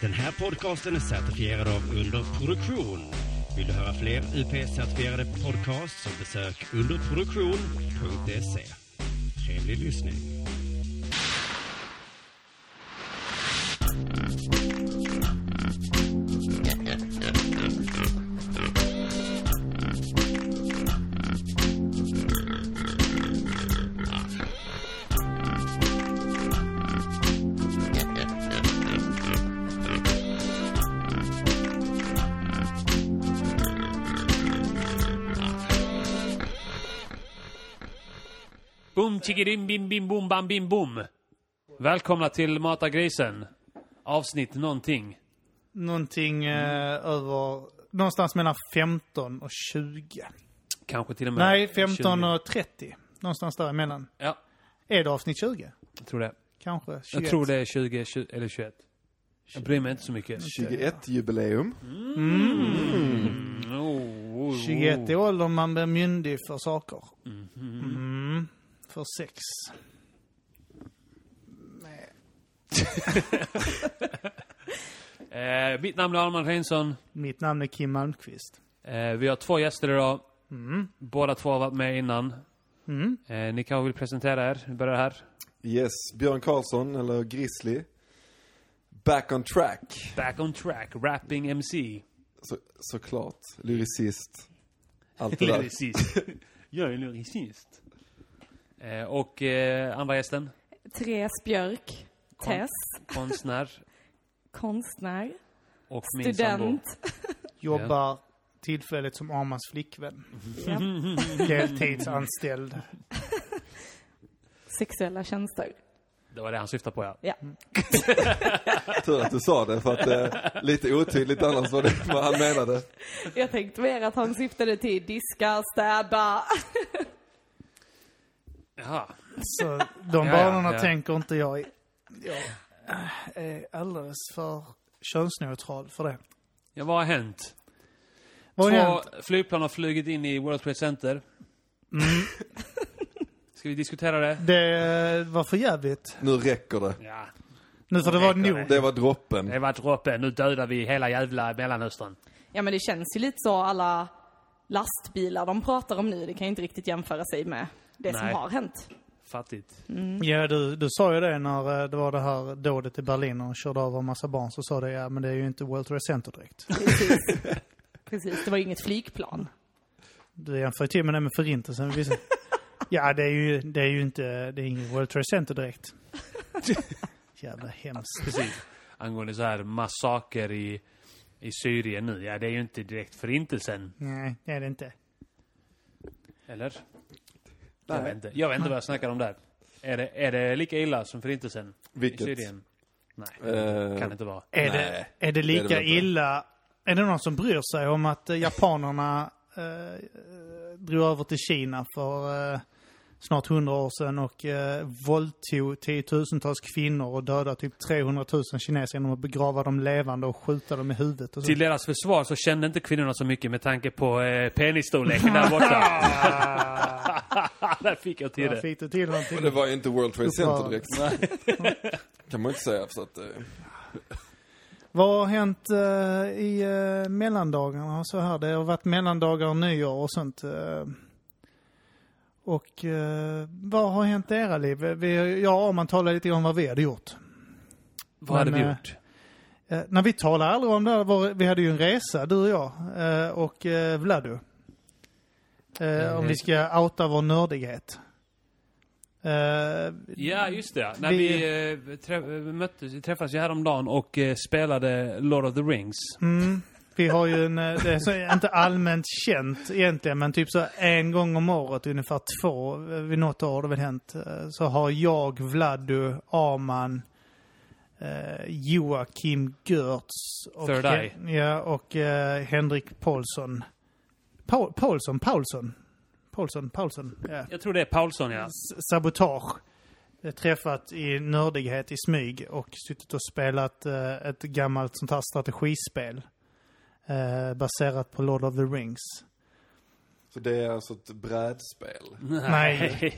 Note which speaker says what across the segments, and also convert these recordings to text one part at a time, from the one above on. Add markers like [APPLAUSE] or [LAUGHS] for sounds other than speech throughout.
Speaker 1: Den här podcasten är certifierad av Underproduktion. Vill du höra fler UP-certifierade podcasts så besök underproduktion.se. Trevlig lyssning.
Speaker 2: Boom chickidim bim bim boom bam bim boom. Välkomna till Mata grisen. Avsnitt någonting.
Speaker 3: Någonting eh,
Speaker 2: Mm.
Speaker 3: över... Någonstans mellan 15 och 20.
Speaker 2: Kanske till och med
Speaker 3: Nej, 15
Speaker 2: 20.
Speaker 3: och 30. Någonstans däremellan.
Speaker 2: Ja,
Speaker 3: Är det avsnitt 20?
Speaker 2: jag tror det.
Speaker 3: Kanske 21?
Speaker 2: Jag tror det är 20, 20 eller 21. Jag bryr mig inte så mycket.
Speaker 4: 21-jubileum.
Speaker 2: Mm, oh, oh, oh.
Speaker 3: 21 är åldern man blir myndig för saker. Mm.
Speaker 2: Mhm.
Speaker 3: För sex.
Speaker 2: Eh, mitt namn är Arman Reinsson.
Speaker 3: Mitt namn är Kim Malmqvist.
Speaker 2: Eh, vi har två gäster idag. Båda två har varit med innan.
Speaker 3: Mm.
Speaker 2: Eh, ni kanske vill presentera er? Vi börjar här.
Speaker 4: Yes, Björn Karlsson, eller Grizzly. Back on track.
Speaker 2: Back on track, rapping MC.
Speaker 4: Så, såklart. Lyricist. Allt det där.
Speaker 2: Lyricist. Jag är lyricist. Eh, och eh, andra gästen?
Speaker 5: Therese Björk,
Speaker 2: Kon-
Speaker 5: Tess,
Speaker 2: Konstnär.
Speaker 5: konstnär,
Speaker 2: Och min sambo. [LAUGHS]
Speaker 5: student.
Speaker 3: Jobbar tillfälligt som Armans flickvän.
Speaker 2: Mm.
Speaker 5: Ja.
Speaker 3: Deltidsanställd.
Speaker 5: Sexuella tjänster.
Speaker 2: Det var det han syftade på, ja.
Speaker 5: Ja.
Speaker 4: Tur att du sa det, för att eh, lite otydligt annars var det vad han menade.
Speaker 5: Jag tänkte mer att han syftade till diska, städa.
Speaker 2: Jaha.
Speaker 3: Så de
Speaker 2: Ja, ja,
Speaker 3: banorna
Speaker 2: ja.
Speaker 3: tänker inte jag i. Jag är alldeles för könsneutral för det.
Speaker 2: Ja, vad har hänt?
Speaker 3: Vad har
Speaker 2: Två
Speaker 3: hänt? Mm.
Speaker 2: flygplan har flugit in i World Trade Center. [LAUGHS] Ska vi diskutera det?
Speaker 3: Det var för jävligt.
Speaker 4: Nu räcker det.
Speaker 2: Ja.
Speaker 3: Nu får det vara
Speaker 2: Räcker
Speaker 3: nog.
Speaker 4: Det var droppen.
Speaker 2: Det var droppen. Nu dödar vi hela jävla Mellanöstern.
Speaker 5: Ja men det känns ju lite så alla lastbilar de pratar om nu, det kan ju inte riktigt jämföra sig med det som
Speaker 2: Nej.
Speaker 5: har hänt.
Speaker 2: Fattigt.
Speaker 3: Ja, du, du sa ju det när eh, det var det här dådet i Berlin och de körde över en massa barn. Så sa du ja, men det är ju inte World Trade Center direkt.
Speaker 5: Precis. Precis, det var ju inget flygplan.
Speaker 3: Du jämför ju till och med det med förintelsen. Vi ser- Ja, det är ju, det är ju inte, det är ingen World Trade Center direkt. Jävla hemskt.
Speaker 2: Precis. Angående så här massaker i, i Syrien nu. Ja, det är ju inte direkt förintelsen.
Speaker 3: Nej, det är det inte.
Speaker 2: Eller? Jag vet inte. Jag vet inte vad jag snackar om där. Är det, är det lika illa som förintelsen?
Speaker 4: Vilket?
Speaker 2: I Syrien? Nej,
Speaker 4: Eh,
Speaker 2: kan det inte vara.
Speaker 3: Är,
Speaker 4: Nej,
Speaker 3: det, är det lika
Speaker 4: det väl inte.
Speaker 3: illa? Är det någon som bryr sig om att eh, japanerna eh, eh, drog över till Kina för eh, snart 100 år sedan och eh, våldtog tiotusentals kvinnor och dödade typ 300 000 kineser genom att begrava dem levande och skjuta dem i huvudet? Och så.
Speaker 2: Till deras försvar så kände inte kvinnorna så mycket med tanke på eh, penisstorleken där borta. där fick jag till
Speaker 3: Jag
Speaker 2: det.
Speaker 3: fick det till någonting.
Speaker 4: det var ju inte World Trade Center direkt.
Speaker 2: Nej.
Speaker 4: Kan man ju inte säga. Så att, eh,
Speaker 3: Vad har hänt eh, i eh, mellandagarna och så här? Det har varit mellandagar och nyår och sånt. eh. och eh, vad har hänt i era liv? Vi, ja, om man talar lite om vad vi hade gjort.
Speaker 2: Vad hade
Speaker 3: Men,
Speaker 2: vi
Speaker 3: eh,
Speaker 2: gjort?
Speaker 3: Eh, när vi talar aldrig om det här, var, vi hade ju en resa, du och jag eh, och eh, Vladu. Eh, om vi ska outa vår nördighet. Eh,
Speaker 2: Ja, just det. När
Speaker 3: vi-
Speaker 2: vi, eh, trä, eh, möttes, träffades ju häromdagen och eh, spelade Lord of the Rings.
Speaker 3: Mm. Vi har ju en, eh, det är så, inte allmänt känt egentligen, men typ så en gång om året, ungefär två, eh, vid något år har det väl hänt, eh, så har jag, Vladdu, Arman, eh, Joakim Görtz och,
Speaker 2: Third Eye.
Speaker 3: ja, och eh, Henrik Paulsson. Paul, Paulsson, Paulsson? Paulsson, Paulsson, ja.
Speaker 2: Jag tror det är Paulsson,
Speaker 3: [LAUGHS]
Speaker 2: ja.
Speaker 3: S- sabotage eh, träffat i nördighet i smyg och suttit och spelat eh, ett gammalt sånt här strategispel eh, baserat på Lord of the Rings.
Speaker 4: Så det är alltså ett brädspel.
Speaker 3: Nej.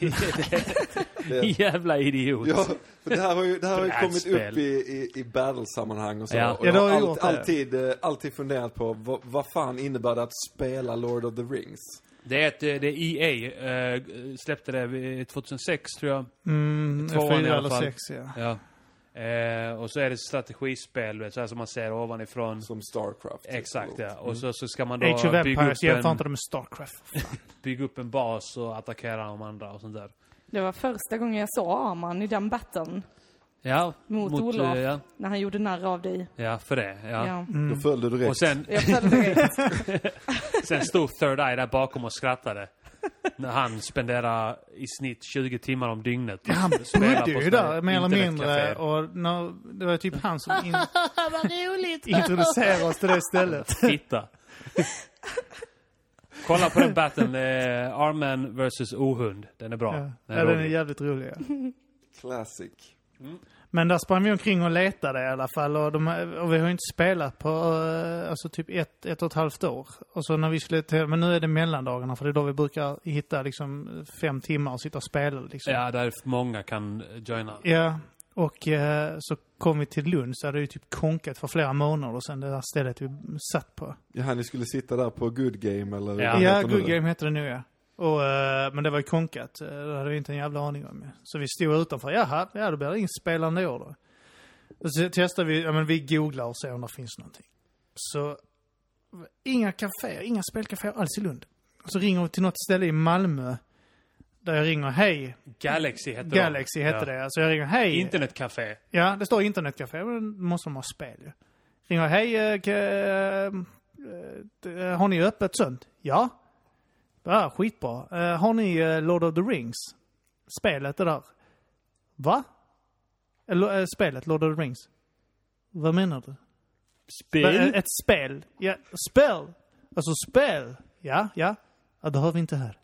Speaker 4: Det-
Speaker 2: [LAUGHS] Jävla idiot.
Speaker 4: Ja, för det här har ju, det här har ju kommit
Speaker 2: Brädspel.
Speaker 4: upp i, i, i battle-sammanhang och så.
Speaker 2: Ja.
Speaker 3: Ja,
Speaker 4: Och jag
Speaker 3: det
Speaker 4: har
Speaker 3: har ju
Speaker 4: allt,
Speaker 3: gjort det.
Speaker 4: alltid, eh, alltid funderat på vad, vad fan innebär det att spela Lord of the Rings?
Speaker 2: Det är ett, eh, det är EA eh, släppte det vid eh, 2006 tror jag.
Speaker 3: Mm,
Speaker 2: [LAUGHS] Tvåan i alla
Speaker 3: fyra eller
Speaker 2: fall.
Speaker 3: sex, ja.
Speaker 2: Ja. Eh, och så är det strategispel, du vet, så här som man ser ovanifrån.
Speaker 4: Som Starcraft. Liksom.
Speaker 2: Exakt
Speaker 4: Eller
Speaker 2: ja.
Speaker 4: något.
Speaker 2: Och så, så ska man då
Speaker 3: Mm. Age of
Speaker 2: bygga upp,
Speaker 3: Empires, jämför
Speaker 2: en,
Speaker 3: inte det med Starcraft.
Speaker 2: bygga upp en bas och attackera de andra och sånt där.
Speaker 5: Det var första gången jag såg Arman i den batten.
Speaker 2: Ja.
Speaker 5: Mot
Speaker 2: eh,
Speaker 5: Olof.
Speaker 2: ja,
Speaker 5: När han gjorde narr av dig.
Speaker 2: ja, för det. Ja.
Speaker 5: Ja.
Speaker 3: Mm.
Speaker 4: Då följde du direkt.
Speaker 2: Och sen,
Speaker 5: Jag följde direkt.
Speaker 2: sen stod Third Eye där bakom och skrattade. När han spenderar i snitt 20 timmar om dygnet.
Speaker 3: Ja, han [LAUGHS]
Speaker 2: spelar
Speaker 3: bodde
Speaker 2: på
Speaker 3: ju
Speaker 2: sådana
Speaker 3: där mer eller mindre
Speaker 2: internetcaféer.
Speaker 3: och när, det var typ
Speaker 2: [LAUGHS]
Speaker 3: han som in, introducerade oss till det stället.
Speaker 2: Fitta. Kolla på den batten, eh, Arman vs Ohund. Den är bra.
Speaker 3: Ja,
Speaker 2: Den är
Speaker 3: den är
Speaker 2: rolig.
Speaker 3: jävligt rolig. Ja.
Speaker 4: Classic.
Speaker 3: Men där sprang vi omkring och letade i alla fall och, de, och vi har ju inte spelat på eh, alltså typ ett, ett och ett halvt år. Och så när vi skulle till, men nu är det mellandagarna för det är då vi brukar hitta liksom fem timmar och sitta och spela liksom.
Speaker 2: Ja, där många kan eh, joina.
Speaker 3: Ja, och eh, så kom vi till Lund så hade det ju typ konkat för flera månader sedan det där stället vi satt på.
Speaker 4: Ja, ni skulle sitta där på Good Game eller
Speaker 2: Ja.
Speaker 4: vad
Speaker 3: Ja,
Speaker 4: heter
Speaker 3: Good
Speaker 4: det?
Speaker 3: Game heter det nu ja. Och, eh, men det var ju konkat. Eh, Det hade vi inte en jävla aning om. ja. Så vi stod utanför. Jaha, ja, då blir det inget spelande i år då. Och så testade vi. Ja, men vi googlar och ser om det finns någonting. Så inga kaféer, inga spelkaféer alls i Lund. Och så ringer vi till något ställe i Malmö. Där jag ringer, hej,
Speaker 2: Galaxy hette de.
Speaker 3: Galaxy hette
Speaker 2: Ja.
Speaker 3: det. Alltså jag ringer, hej.
Speaker 2: Internetcafé.
Speaker 3: Ja, det står internetcafé, men då måste de ha spel ju. Ringer, hej, eh, k- eh, eh, har ni öppet sånt? Ja. Ja, skitbra. Eh, Har ni eh, Lord of the Rings? Spelet det där. Va? Eller eh, spelet Lord of the Rings? Vad menar du?
Speaker 2: Spel.
Speaker 3: Eh, Ett spel? Ja, spel! Alltså spel! Ja, ja. Ja, det har vi inte här.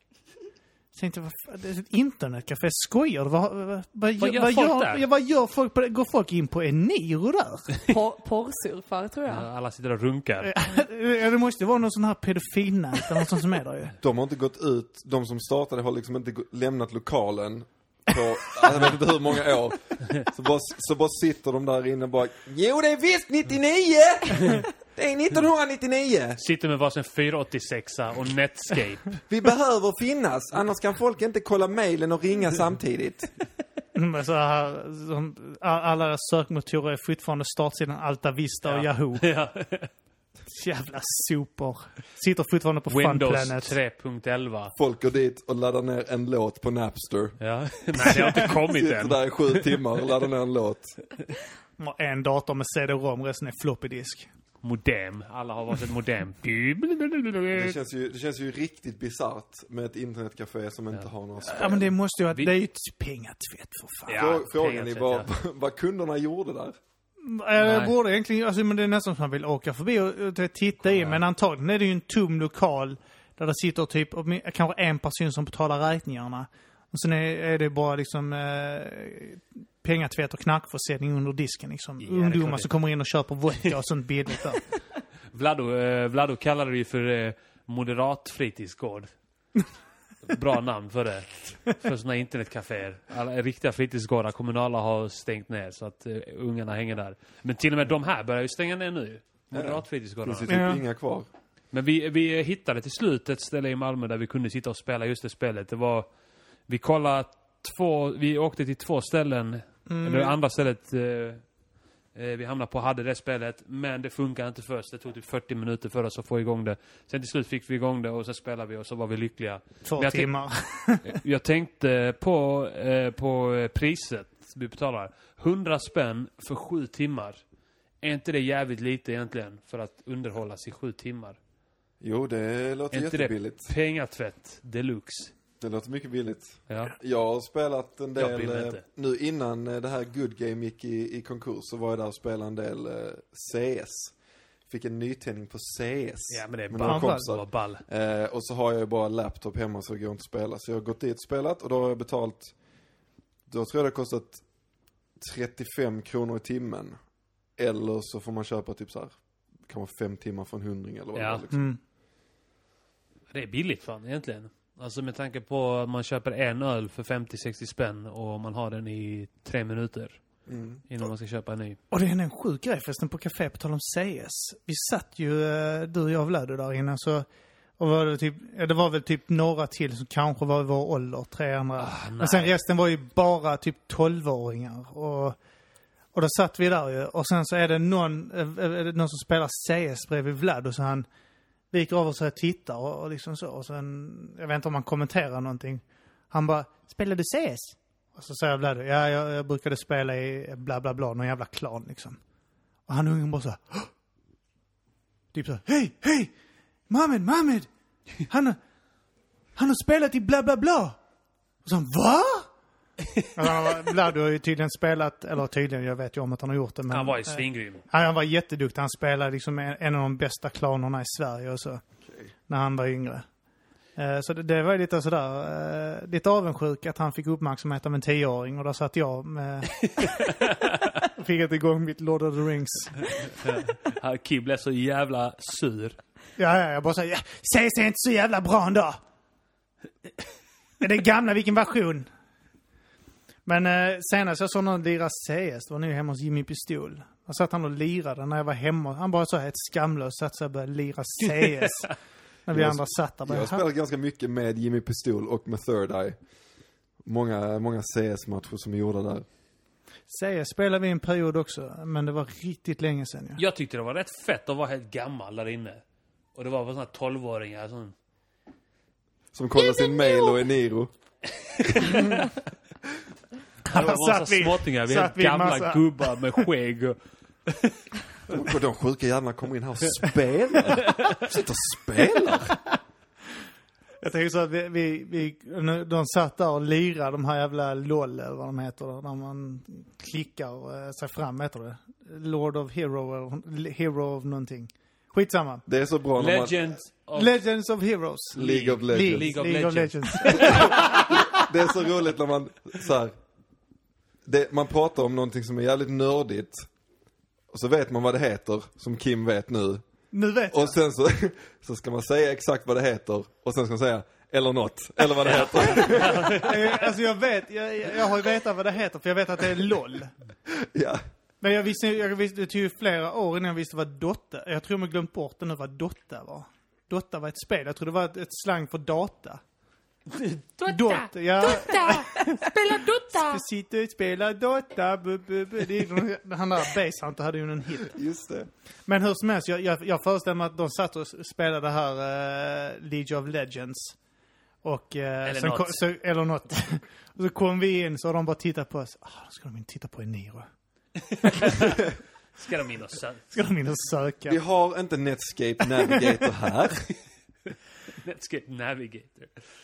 Speaker 3: Jag tänkte, vad fan, det är ett internetcafé. Skojar du? Vad, vad, vad,
Speaker 2: Vad gör
Speaker 3: vad,
Speaker 2: folk
Speaker 3: gör,
Speaker 2: där?
Speaker 3: ja, vad gör folk på det? Går folk in på
Speaker 2: [LAUGHS]
Speaker 3: Eniro där?
Speaker 5: Por- Porrsurfare tror jag.
Speaker 3: eh,
Speaker 2: Alla sitter och runkar.
Speaker 3: ja, det måste ju vara någon sån här pedofilnät eller något sånt som är där ju.
Speaker 4: De har inte gått ut, de som startade har liksom inte gå- lämnat lokalen på, [LAUGHS] jag vet inte hur många år. Så bara, så bara sitter de där inne och bara, jo det är visst 99! Det är 1999!
Speaker 2: Sitter med varsin 486 och
Speaker 3: [LAUGHS]
Speaker 2: Netscape.
Speaker 4: Vi behöver finnas, annars kan folk inte kolla mejlen och ringa samtidigt.
Speaker 3: Men så Mm, alltså, här, som, a- alla sökmotorer är fortfarande startsidan Alta Vista och Yahoo.
Speaker 2: [LAUGHS] Ja.
Speaker 3: Jävla sopor. Sitter fortfarande på Fun
Speaker 2: Windows
Speaker 3: Planet.
Speaker 2: 3.11.
Speaker 4: Folk går dit och laddar ner en låt på Napster.
Speaker 2: Ja. [LAUGHS] Nej, det har inte
Speaker 4: [LAUGHS]
Speaker 2: kommit
Speaker 4: Sitter
Speaker 2: än.
Speaker 4: där i sju timmar och laddar ner en låt.
Speaker 3: Och En dator med CD-ROM, resten är floppy-disk.
Speaker 2: Modem. Alla har varsitt
Speaker 3: [LAUGHS]
Speaker 2: modem.
Speaker 4: Det känns ju, det känns ju riktigt bisarrt med ett internetcafé som inte har några spel.
Speaker 3: Ja men det måste ju vara,
Speaker 2: Vi-
Speaker 3: det är ju ett pengatvätt för fan.
Speaker 2: Ja.
Speaker 4: Frå- Frågan
Speaker 2: pengar,
Speaker 4: är vad, [LAUGHS] vad kunderna gjorde där.
Speaker 3: Eh,
Speaker 2: Nej.
Speaker 3: Jag borde egentligen, alltså, men det är nästan som man vill åka förbi och, och titta in, men antagligen är det ju en tom lokal där det sitter typ och min- kanske en person som betalar räkningarna. Och sen är, är det bara liksom eh, pengatvätt och knarkförsäljning under disken
Speaker 2: Ja,
Speaker 3: liksom.
Speaker 2: det är klart
Speaker 3: Ungdomar
Speaker 2: det.
Speaker 3: som kommer in och köper vodka och sånt
Speaker 2: [LAUGHS]
Speaker 3: billigt där.
Speaker 2: Vlado, eh, Vlado kallade det ju för eh, moderat fritidsgård. Bra namn för det. För såna internetcaféer. Alla riktiga fritidsgårdar, kommunala har stängt ner så att eh, ungarna hänger där. Men till och med de här börjar ju stänga ner nu. Moderat
Speaker 4: Det
Speaker 2: fritidsgårdarna.
Speaker 4: sitter
Speaker 3: Ja.
Speaker 4: inga kvar.
Speaker 2: Men vi, vi hittade till slut ett ställe i Malmö där vi kunde sitta och spela just det spelet. Det var... Vi kollade två... Vi åkte till två ställen.
Speaker 3: Mm.
Speaker 2: Eller det andra stället eh, eh, vi hamnade på hade det spelet. Men det funkade inte först. Det tog typ 40 minuter för oss att få igång det. Sen till slut fick vi igång det och så spelade vi och så var vi lyckliga. Men
Speaker 3: Två
Speaker 2: jag tänk-
Speaker 3: timmar.
Speaker 2: [LAUGHS] Jag tänkte på, eh, på eh, priset vi betalar. 100 spänn för sju timmar. Är inte det jävligt lite egentligen? För att underhållas i sju timmar.
Speaker 4: Jo, det låter
Speaker 2: Är inte
Speaker 4: jättebilligt.
Speaker 2: det pengatvätt deluxe?
Speaker 4: Det låter mycket billigt.
Speaker 2: Ja.
Speaker 4: Jag har spelat
Speaker 2: Jag
Speaker 4: en del,
Speaker 2: blir
Speaker 4: eh,
Speaker 2: inte.
Speaker 4: nu innan eh, det här Good Game gick i, i konkurs så var jag där och spelade en del eh, CS. Fick en nytändning på CS.
Speaker 2: ja, men det är
Speaker 4: Med några
Speaker 2: ball.
Speaker 4: kompisar.
Speaker 2: Det var ball.
Speaker 4: Eh, och så har jag ju bara laptop hemma så det går inte att spela. Så jag har gått dit och spelat och då har jag betalt, då tror jag det har kostat 35 kronor i timmen. Eller så får man köpa typ så här, kan vara fem timmar för en hundring eller vad det
Speaker 2: Ja.
Speaker 4: är liksom.
Speaker 3: Mm.
Speaker 2: Det är billigt fan egentligen. Alltså med tanke på att man köper en öl för 50-60 spänn och man har den i tre minuter.
Speaker 4: Mm.
Speaker 2: Innan man ska köpa en ny.
Speaker 3: Och det är en sjuk grej förresten på café på tal om CS. Vi satt ju, eh, du och jag Vlado där inne så och var det, typ, ja, det var väl typ några till som kanske var i vår ålder, tre andra. Men sen resten var ju bara typ 12-åringar. Och, och då satt vi där ju. Och sen så är det någon, eh, eh, någon som spelar CS bredvid Vlad och så han viker över sig och tittar och, och liksom så. Och sen, jag vet inte om han kommenterar någonting. Han bara, spelar du CS? Och så säger Vlad, ja jag, jag brukade spela i bla bla bla, någon jävla klan liksom. Och han ungen bara så här, "Hå!" Typ så, här, hej, hej! Mohammed, Mohammed! Han har, han har spelat i bla bla bla! Och så han, va? Alltså, han var- Vlad har ju tydligen spelat, eller tydligen, jag vet ju om att han har gjort det men...
Speaker 2: Han var ju
Speaker 3: eh,
Speaker 2: svingrym.
Speaker 3: han, han var jätteduktig, han spelade liksom en, en av de bästa klanerna i Sverige och så. När han var yngre. Eh, Så det, det var ju lite sådär, eh, lite avundsjuk att han fick uppmärksamhet av en tioåring och där satt jag med... [LAUGHS] fick inte igång mitt Lord of the Rings.
Speaker 2: Han- Kim blev så jävla sur.
Speaker 3: Ja, ja, jag bara säger, ja, CS är inte så jävla bra ändå. Är det gamla, vilken version? Men eh, senast jag såg någon lira CS, det var nu hemma hos Jimmy Pistol. Där satt han och lirade när jag var hemma. Han bara så helt skamlös satt sig och började lira CS. när vi
Speaker 4: Jag-
Speaker 3: andra satt där.
Speaker 4: Jag
Speaker 3: Bara,
Speaker 4: har spelat ganska mycket med Jimmy Pistol och med Third Eye. Många, många CS-matcher som är gjorda där.
Speaker 3: CS spelade vi en period också, men det var riktigt länge sedan ju.
Speaker 2: Jag tyckte det var rätt fett att vara helt gammal där inne. Och det var bara såna här 12-åringar [LAUGHS] som...
Speaker 4: Som kollar sin mail och Eniro.
Speaker 2: Det var bara så småttingar. Vi är helt
Speaker 3: satt vi
Speaker 2: gamla
Speaker 3: massa-
Speaker 2: gubbar med skägg och...
Speaker 4: Och de sjuka jävlarna kommer in här och spelar. Sitter och spelar.
Speaker 3: Jag tänker så att vi, vi, vi, nu- de satt där och lirade de här jävla LOL, eller vad de heter, när man klickar eh, sig fram, heter det. Lord of Hero, eller Hero of någonting. Skitsamma.
Speaker 4: Det är så bra när man...
Speaker 2: Legend of...
Speaker 3: Legends of Heroes.
Speaker 4: League of Legends.
Speaker 2: League of Legends.
Speaker 4: Det är så roligt när man så här, det, Man pratar om någonting som är jävligt nördigt. Och så vet man vad det heter, som Kim vet nu.
Speaker 3: Nu vet jag.
Speaker 4: Och sen så, [LAUGHS] så ska man säga exakt vad det heter. Och sen ska man säga, eller något. Eller vad
Speaker 2: [LAUGHS]
Speaker 4: det heter.
Speaker 3: Eh, Alltså jag vet, jag, jag jag har ju vetat vad det heter, för jag vet att det är LOL.
Speaker 4: Ja.
Speaker 3: Men jag visste, jag visste, det tog ju flera år innan jag visste vad Dotta, jag tror jag har glömt bort det nu vad Dotta var. Dotta var ett spel, jag tror det var ett, ett slang för data.
Speaker 6: Dotta!
Speaker 3: Dotta, ja.
Speaker 6: Dotta! Spela Dotta!
Speaker 3: Jag sitter och spelar Dota, bu, bu, bu. Det är, han där Basehunter hade ju en hit.
Speaker 4: Just det.
Speaker 3: Men hur som helst, jag, jag, jag föreställer mig att de satt och spelade det här eh, League of Legends. Och, eh, eller,
Speaker 2: något.
Speaker 3: Kom, så, eller något. [LAUGHS] och så kom vi in så har de bara tittat på oss. Ah, då ska de inte titta på Eniro.
Speaker 2: Ska de in och sö-
Speaker 3: Ska de in och söka?
Speaker 4: Vi har inte Netscape
Speaker 2: [LAUGHS]
Speaker 4: Navigator här.
Speaker 2: Let's get navigator.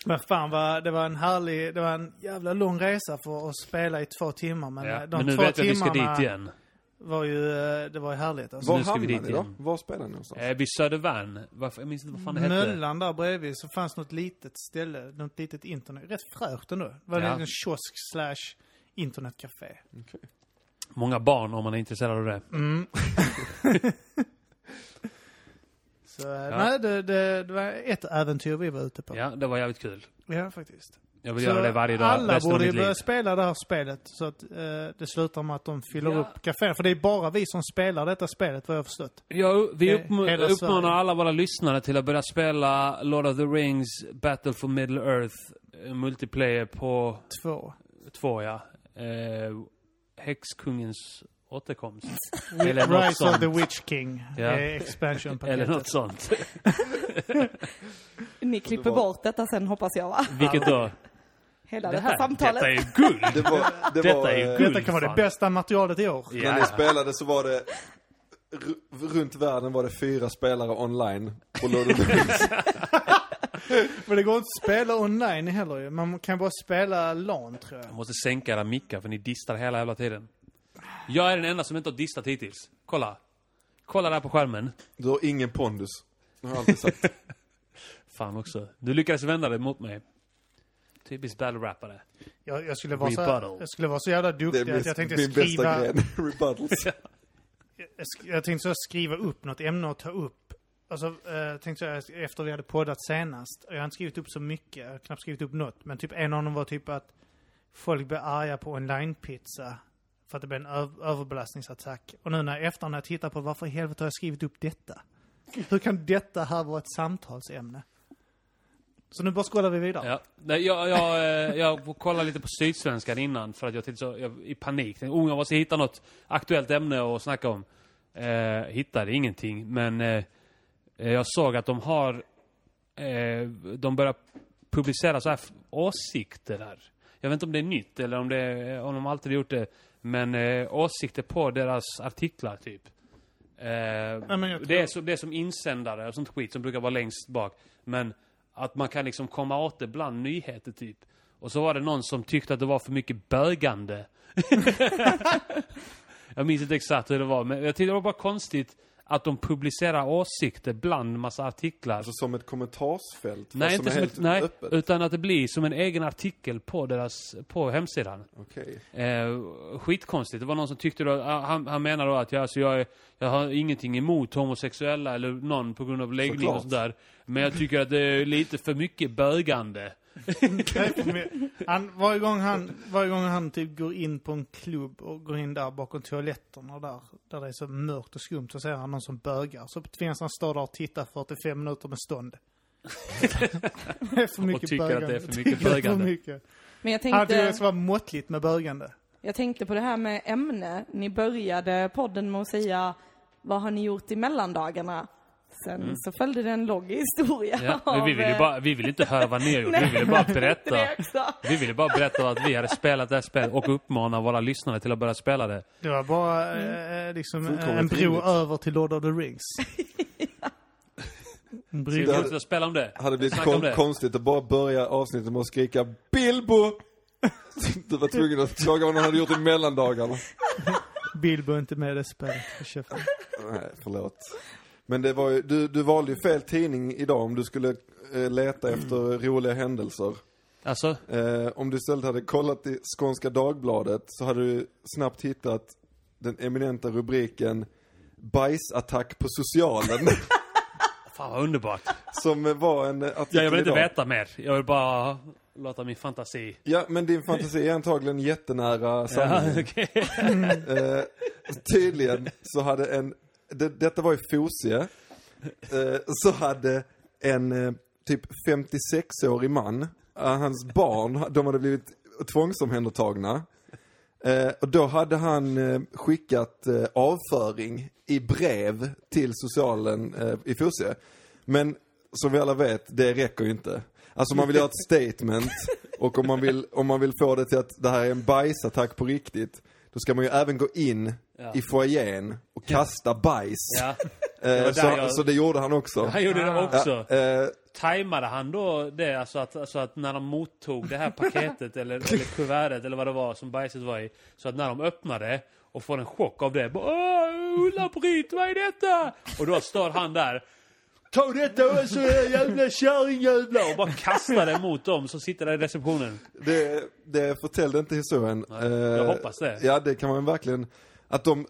Speaker 3: Men fan, vad, det var en härlig, det var en jävla lång resa för att spela i två timmar. Men eh,
Speaker 2: Ja.
Speaker 3: de
Speaker 2: Men nu
Speaker 3: två
Speaker 2: vet jag att vi ska
Speaker 3: timmarna
Speaker 2: dit igen.
Speaker 3: var ju, eh, det var ju härligt alltså.
Speaker 4: Var
Speaker 2: nu ska vi
Speaker 4: hamnar
Speaker 2: dit
Speaker 4: ni då?
Speaker 2: igen.
Speaker 4: Var spelar ni någonstans?
Speaker 2: Eh, vid Södervärn. Varför, jag minns inte vad fan det hette.
Speaker 3: Möllan där bredvid så fanns något litet ställe, något litet internet. Rätt fräscht ändå. Det var
Speaker 2: Ja.
Speaker 3: en liten kiosk slash internetcafé.
Speaker 2: Många barn om man är intresserad av det.
Speaker 3: Mm. Så eh, nej, det, det, det var ett äventyr vi var ute på.
Speaker 2: Ja, det var jävligt kul.
Speaker 3: Ja, faktiskt.
Speaker 2: Jag vill
Speaker 3: Så
Speaker 2: göra det varje dag
Speaker 3: alla
Speaker 2: resten av
Speaker 3: borde ju
Speaker 2: mitt liv.
Speaker 3: börja spela det här spelet så att eh, det slutar med att de fyller
Speaker 2: Ja.
Speaker 3: upp kaféer. För det är bara vi som spelar detta spelet vad jag har förstått.
Speaker 2: Ja, vi
Speaker 3: Eh,
Speaker 2: uppm-
Speaker 3: hela
Speaker 2: uppmanar
Speaker 3: Sverige.
Speaker 2: alla våra lyssnare till att börja spela Lord of the Rings Battle for Middle Earth eh, multiplayer på
Speaker 3: Två.
Speaker 2: två, ja. Eh, Häxkungens återkomst. Eller något
Speaker 3: Rise of
Speaker 2: sånt.
Speaker 3: the Witch King.
Speaker 2: Ja.
Speaker 3: Det är
Speaker 2: [LAUGHS]
Speaker 3: expansion-paketet.
Speaker 2: Eller något sånt.
Speaker 5: Ni klipper bort detta sen hoppas jag va?
Speaker 2: Vilket då?
Speaker 5: Hela
Speaker 2: Det
Speaker 5: detta
Speaker 2: här,
Speaker 5: samtalet.
Speaker 2: detta är ju guld!
Speaker 4: Det var, det
Speaker 2: Detta
Speaker 4: var,
Speaker 2: är ju
Speaker 4: eh,
Speaker 2: guld.
Speaker 3: Detta kan vara det
Speaker 2: Fan.
Speaker 3: bästa materialet i år.
Speaker 4: När
Speaker 2: Ja,
Speaker 4: ni spelade så var det, r- runt världen var det fyra spelare online. Och Lord of the
Speaker 2: [LAUGHS]
Speaker 4: Rings.
Speaker 3: Men det går inte att spela online heller ju. Man kan bara spela LAN tror jag.
Speaker 2: Jag måste sänka era mickar för ni distar hela jävla tiden. Jag är den enda som inte har distat hittills. Kolla. Kolla där på skärmen.
Speaker 4: Du har ingen pondus. Det har jag alltid sagt.
Speaker 2: Fan också. Du lyckades vända det mot mig. Typiskt battle-rappare.
Speaker 3: Jag, jag, skulle, vara så,
Speaker 2: Rebuttal.
Speaker 3: jag skulle vara så jävla
Speaker 4: Det är
Speaker 3: duktig att jag
Speaker 4: min,
Speaker 3: tänkte
Speaker 4: min bästa
Speaker 2: [LAUGHS]
Speaker 3: skriva,
Speaker 4: gren. Rebuttals.
Speaker 3: jag, sk- jag tänkte så skriva upp något ämne och ta upp Alltså, eh, tänkte jag efter vi hade poddat senast. Och jag har inte skrivit upp så mycket. Jag har knappt skrivit upp något. Men typ en av dem var typ att folk blev arga på online-pizza. För att det blev en ö- överbelastningsattack. Och nu när efter när jag tittar på varför i helvete har jag skrivit upp detta? Hur kan detta här vara ett samtalsämne? Så nu bara skålar vi vidare.
Speaker 2: Ja. Nej, jag, jag, eh, jag kollade lite på Sydsvenskan innan för att jag tänkte så, jag, i panik. Tänkte, oh, jag måste hitta något aktuellt ämne att snacka om. Eh, hittade ingenting, men eh, jag såg att de har... Eh, de börjar publicera så här f- åsikter där. Jag vet inte om det är nytt eller om, det är, om de alltid har gjort det. Men eh, åsikter på deras artiklar, typ. Eh,
Speaker 3: men jag
Speaker 2: det,
Speaker 3: tror-
Speaker 2: är som, det är som insändare och sånt skit som brukar vara längst bak. Men att man kan liksom komma åt det bland nyheter, typ. Och så var det någon som tyckte att det var för mycket bögande. [LAUGHS] jag minns inte exakt hur det var, men jag tyckte det var bara konstigt att de publicerar åsikter bland massa artiklar.
Speaker 4: Alltså som ett kommentarsfält? vad
Speaker 2: nej,
Speaker 4: som
Speaker 2: inte
Speaker 4: är
Speaker 2: som
Speaker 4: helt
Speaker 2: ett, nej,
Speaker 4: öppet?
Speaker 2: utan att det blir som en egen artikel på deras, på hemsidan.
Speaker 4: Okej.
Speaker 2: Eh, skitkonstigt. Det var någon som tyckte då, ah, han, han menar då att jag, alltså jag, är, jag har ingenting emot homosexuella eller någon på grund av läggning och
Speaker 4: Såklart.
Speaker 2: sådär. Men jag tycker att det är lite för mycket bögande.
Speaker 3: Jag är på med- Han, varje, gång han, varje gång han typ går in på en klubb och går in där bakom toaletterna och där, där det är så mörkt och skumt så ser han någon som bögar. Så tvingas han stå där och titta 45 minuter med
Speaker 2: [LAUGHS]
Speaker 3: stånd. det är för mycket
Speaker 2: tycker att det är
Speaker 3: bögande.
Speaker 2: för mycket
Speaker 3: Tycker att [LAUGHS] det är för
Speaker 2: bögande.
Speaker 3: mycket.
Speaker 5: Men
Speaker 3: Han
Speaker 5: jag
Speaker 3: tycker det
Speaker 5: tänkte,
Speaker 3: ska vara måttligt med bögande.
Speaker 5: jag tänkte på det här med ämne. Ni började podden med att säga vad har ni gjort i mellandagarna? Sen så följde det en lång historia
Speaker 2: Mm.
Speaker 4: [LAUGHS]
Speaker 2: Ja,
Speaker 5: av,
Speaker 2: men vi vill ju
Speaker 5: eh,
Speaker 2: bara, vi vill inte höra vad ni har gjort, vi
Speaker 5: Nej.
Speaker 2: vill ju bara berätta.
Speaker 5: det också.
Speaker 2: Vi ville bara berätta att vi hade spelat det här spelet och uppmana våra lyssnare till att börja spela det.
Speaker 3: Det var bara eh, liksom
Speaker 4: Fullkomligt
Speaker 3: en bro
Speaker 4: rimligt.
Speaker 3: över till Lord of the Rings. En
Speaker 2: Vi
Speaker 3: brygga.
Speaker 2: vill fortsätta spela om det.
Speaker 4: hade blivit
Speaker 2: Snacka om
Speaker 4: kon-
Speaker 2: det.
Speaker 4: konstigt att bara börja avsnittet med att skrika Bilbo! [LAUGHS] Du var tvungen att fråga vad någon hade gjort i mellandagarna.
Speaker 3: Bilbo är inte med i det spelet. För käften.
Speaker 4: Nej, förlåt. Men det var ju, du, du valde ju fel tidning idag om du skulle eh, leta efter roliga händelser.
Speaker 2: Alltså,
Speaker 4: Eh, om du istället hade kollat i Skånska Dagbladet så hade du snabbt hittat den eminenta rubriken Bajsattack på socialen. [LAUGHS]
Speaker 2: fan vad underbart.
Speaker 4: som eh, var en eh, artikel
Speaker 2: Ja, jag vill inte
Speaker 4: idag.
Speaker 2: veta mer. Jag vill bara låta min fantasi...
Speaker 4: Ja, men din fantasi är antagligen jättenära
Speaker 2: Ja, [LAUGHS]
Speaker 4: sanningen.
Speaker 2: Ah, okej.
Speaker 4: Eh, tydligen så hade en, det, detta var i Fosie, eh, [LAUGHS] så hade en eh, typ 56-årig man, eh, hans barn, de hade blivit tvångsomhändertagna. Eh, och då hade han eh, skickat eh, avföring i brev till socialen eh, i Fosie. Men som vi alla vet, det räcker ju inte. Alltså man vill göra ett
Speaker 2: [LAUGHS]
Speaker 4: statement och om man, vill, om man vill få det till att det här är en bajsattack på riktigt, då ska man ju även gå in
Speaker 2: Ja.
Speaker 4: i foajén och kasta bajs.
Speaker 2: Ja.
Speaker 4: Eh,
Speaker 2: var där
Speaker 4: så,
Speaker 2: jag-
Speaker 4: så det gjorde han också.
Speaker 2: Han gjorde det också.
Speaker 4: Ja, eh,
Speaker 2: Tajmade han då det, alltså att, alltså att när de mottog det här paketet eller, eller kuvertet eller vad det var som bajset var i. Så att när de öppnade och får en chock av det. bara, Åh, Ulla-Britt, vad är detta? Och då står han där. Ta detta och så är jag jävla kärringjävla! Och bara kastar det mot dem som sitter där i receptionen.
Speaker 4: det, det förtällde inte historien. Eh,
Speaker 2: jag hoppas det.
Speaker 4: Ja, det kan man verkligen. Att de